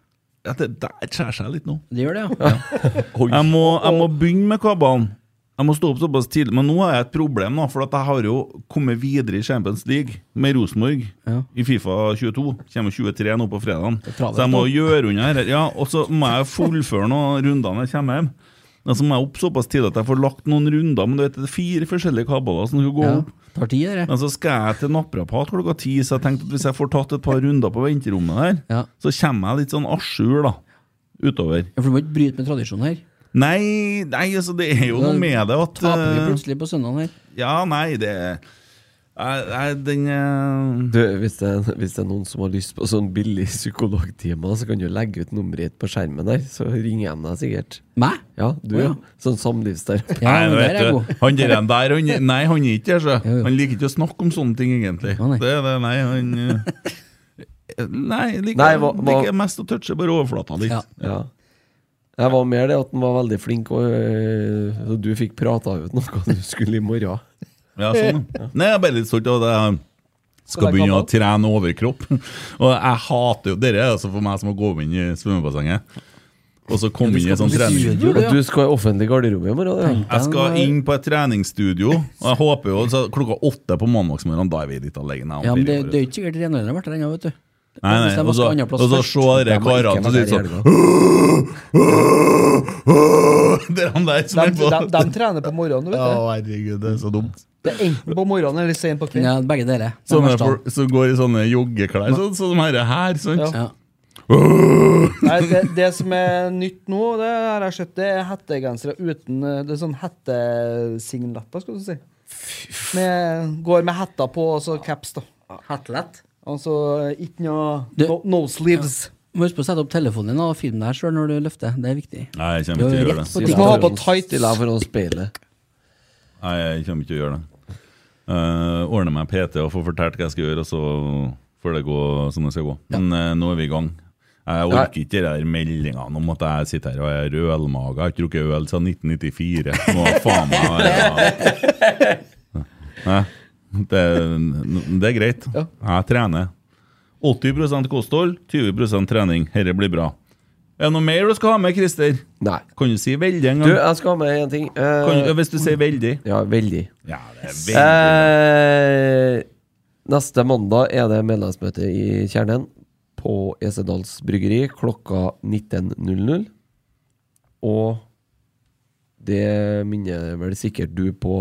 Ja, det der skjærer seg litt nå. Det gjør det, ja. Jeg må, jeg må begynne med kabalen. Jeg må stå opp såpass tidlig, men nå har jeg et problem, da, for at jeg har jo kommet videre i Champions League med Rosenborg Ja. i Fifa 22. Kommer 23 nå på fredagen. er Så travelt, jeg må da. gjøre unna dette. Ja, og så må jeg fullføre noen runder når jeg kommer hjem. Og så må jeg opp såpass tidlig at jeg får lagt noen runder, men du vet, det er fire forskjellige kabaler som skal gå ja. opp. Tar tid, det. Men så skal jeg til naprapat klokka ti, så jeg tenkte at hvis jeg får tatt et par runder på venterommet der, Ja. så kommer jeg litt sånn à jour, da. Utover. Ja, For du må ikke bryte med tradisjonen her. Nei, nei, altså det er jo Da noe med det at Taper vi eh, plutselig på søndagen her. Ja, nei, det Nei, nei, den eh, Du, hvis, det, hvis det er noen som har lyst på sånn billig psykologtime, så kan du legge ut nummeret ditt på skjermen der, så ringer jeg deg sikkert. Meg? Ja, du, Å, ja. ja. Sånn samlivsterapeut. Ja, Nei, men der vet er jeg du, god. han der, han der han, Nei, han er ikke der, så. Jo, jo. Han liker ikke å snakke om sånne ting, egentlig. Å, nei. Det er det, nei, han eh, Nei, liker, Nei, hva- hva- liker mest å touche bare overflata litt. Ja. Ja. Jeg var mer det at han var veldig flink, og, øh, og du fikk prata ut noe du skulle i morgen. Ja, sånn. ja. Nei, jeg er bare litt stolt av at jeg skal begynne å trene overkropp. Og jeg hater jo Dere er altså for meg som har gått inn i svømmebassenget. Og så komme inn i en sånn trening. Gjør det, At du skal i offentlig garderobe i morgen. det, Ja. Jeg skal inn på et treningsstudio, og jeg håper jo så klokka åtte på mandagsmorgenen. Da er vi litt alene. Ja, men det, det er jo ikke sikkert renholderen har vært der ennå, vet du. nei, nei, Hvis og de så, vasker andre plass og så først. se dere Jeg må ikke karene som være sitter der i sånn helga. Det er han der som De, er på de, de trener på morgenen, du Å, vet du. herregud, det er Sånn så dumt. Det er enten på morgenen eller sent på kvelden. Ja, begge deler. Det er Sånne verst, da. folk som går i sånne joggeklær, sånn som de her, her sant? Ja. Ja. Nei, det, det som er nytt nå, det har jeg sett, det er hettegensere uten eh, Det er sånn hettesingletter, skal du si. Med, går med hetta på og så caps, da. Hattelett. Altså ikke noe Du- no, no sleeves. Må huske på å sette opp telefonen din og filme deg sjøl når du løfter. Det er viktig. Nei, jeg kommer ikke til å gjøre det. Du må ha på tights. Stille deg foran speilet. Nei, jeg kommer ikke til å gjøre det. Eh, ordne meg PT og få fortalt hva jeg skal gjøre, og så får det gå som det skal gå. Men eh, nå er vi i gang. Jeg Nei. orker ikke de der meldingene om at jeg sitter her og er rødmage. Jeg har ikke drukket øl siden 1994. Nå faen meg ja. Nei, det, det er greit. Jeg trener. 80 kosthold, 20 trening. Dette blir bra. Er det noe mer du skal ha med, Christer? Nei. Kan du si veldig en Du, gang? jeg skal ha med en ting. Eh, kan, ja, hvis du sier veldig. ja, veldig. Ja, det er veldig Eh, neste mandag er det medlemsmøte i Kjernen på Esedals Bryggeri klokka 19.00. Og det minner vel sikkert du på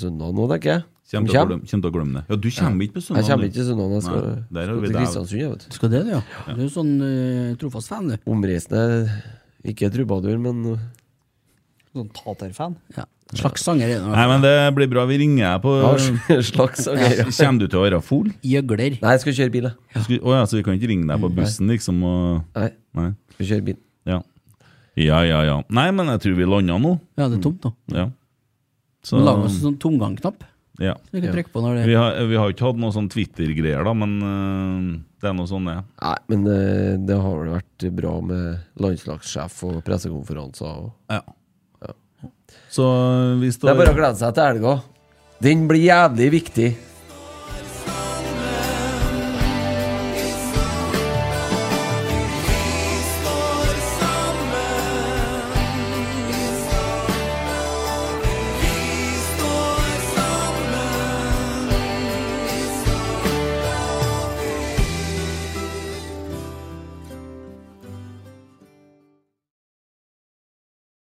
søndag nå, tenker jeg. Som Kjem til å glemme- kjem til å glemme det. Ja, du kommer ikke på søndag. Jeg kommer du. ikke søndag. Jeg skal, Nei, der har skal vi til deg. Kristiansund, jeg, vet du. Du skal det, du, ja. Du er jo sånn eh, trofast fan, du. Omreisende. Ikke trubadur, men uh, Sånn taterfan. Ja. Slags sanger er det. altså. Nei, men det blir bra. Vi ringer deg på ja, slags og greier. Kommer du til å være full? Gjøgler. Nei, jeg skal kjøre bil, jeg. Å ja, så vi kan ikke ringe deg på bussen, liksom? Og... Nei, Nei. jeg skal kjøre bil. Ja. ja, ja, ja. Nei, men jeg tror vi landa nå. Ja, det er tomt nå. Ja. Så Så lag oss en sånn tomgangknapp. ja. Så vi kan trykke på når det Vi har, vi har ikke hatt noe sånn Twitter-greier, da, men øh, det er noe sånn, det. Nei, men eh, det har vel vært bra med landslagssjef og pressekonferanser. Og Ja. Så øh, vi det står eh, er bare å glede seg til helga. Den blir jævlig viktig.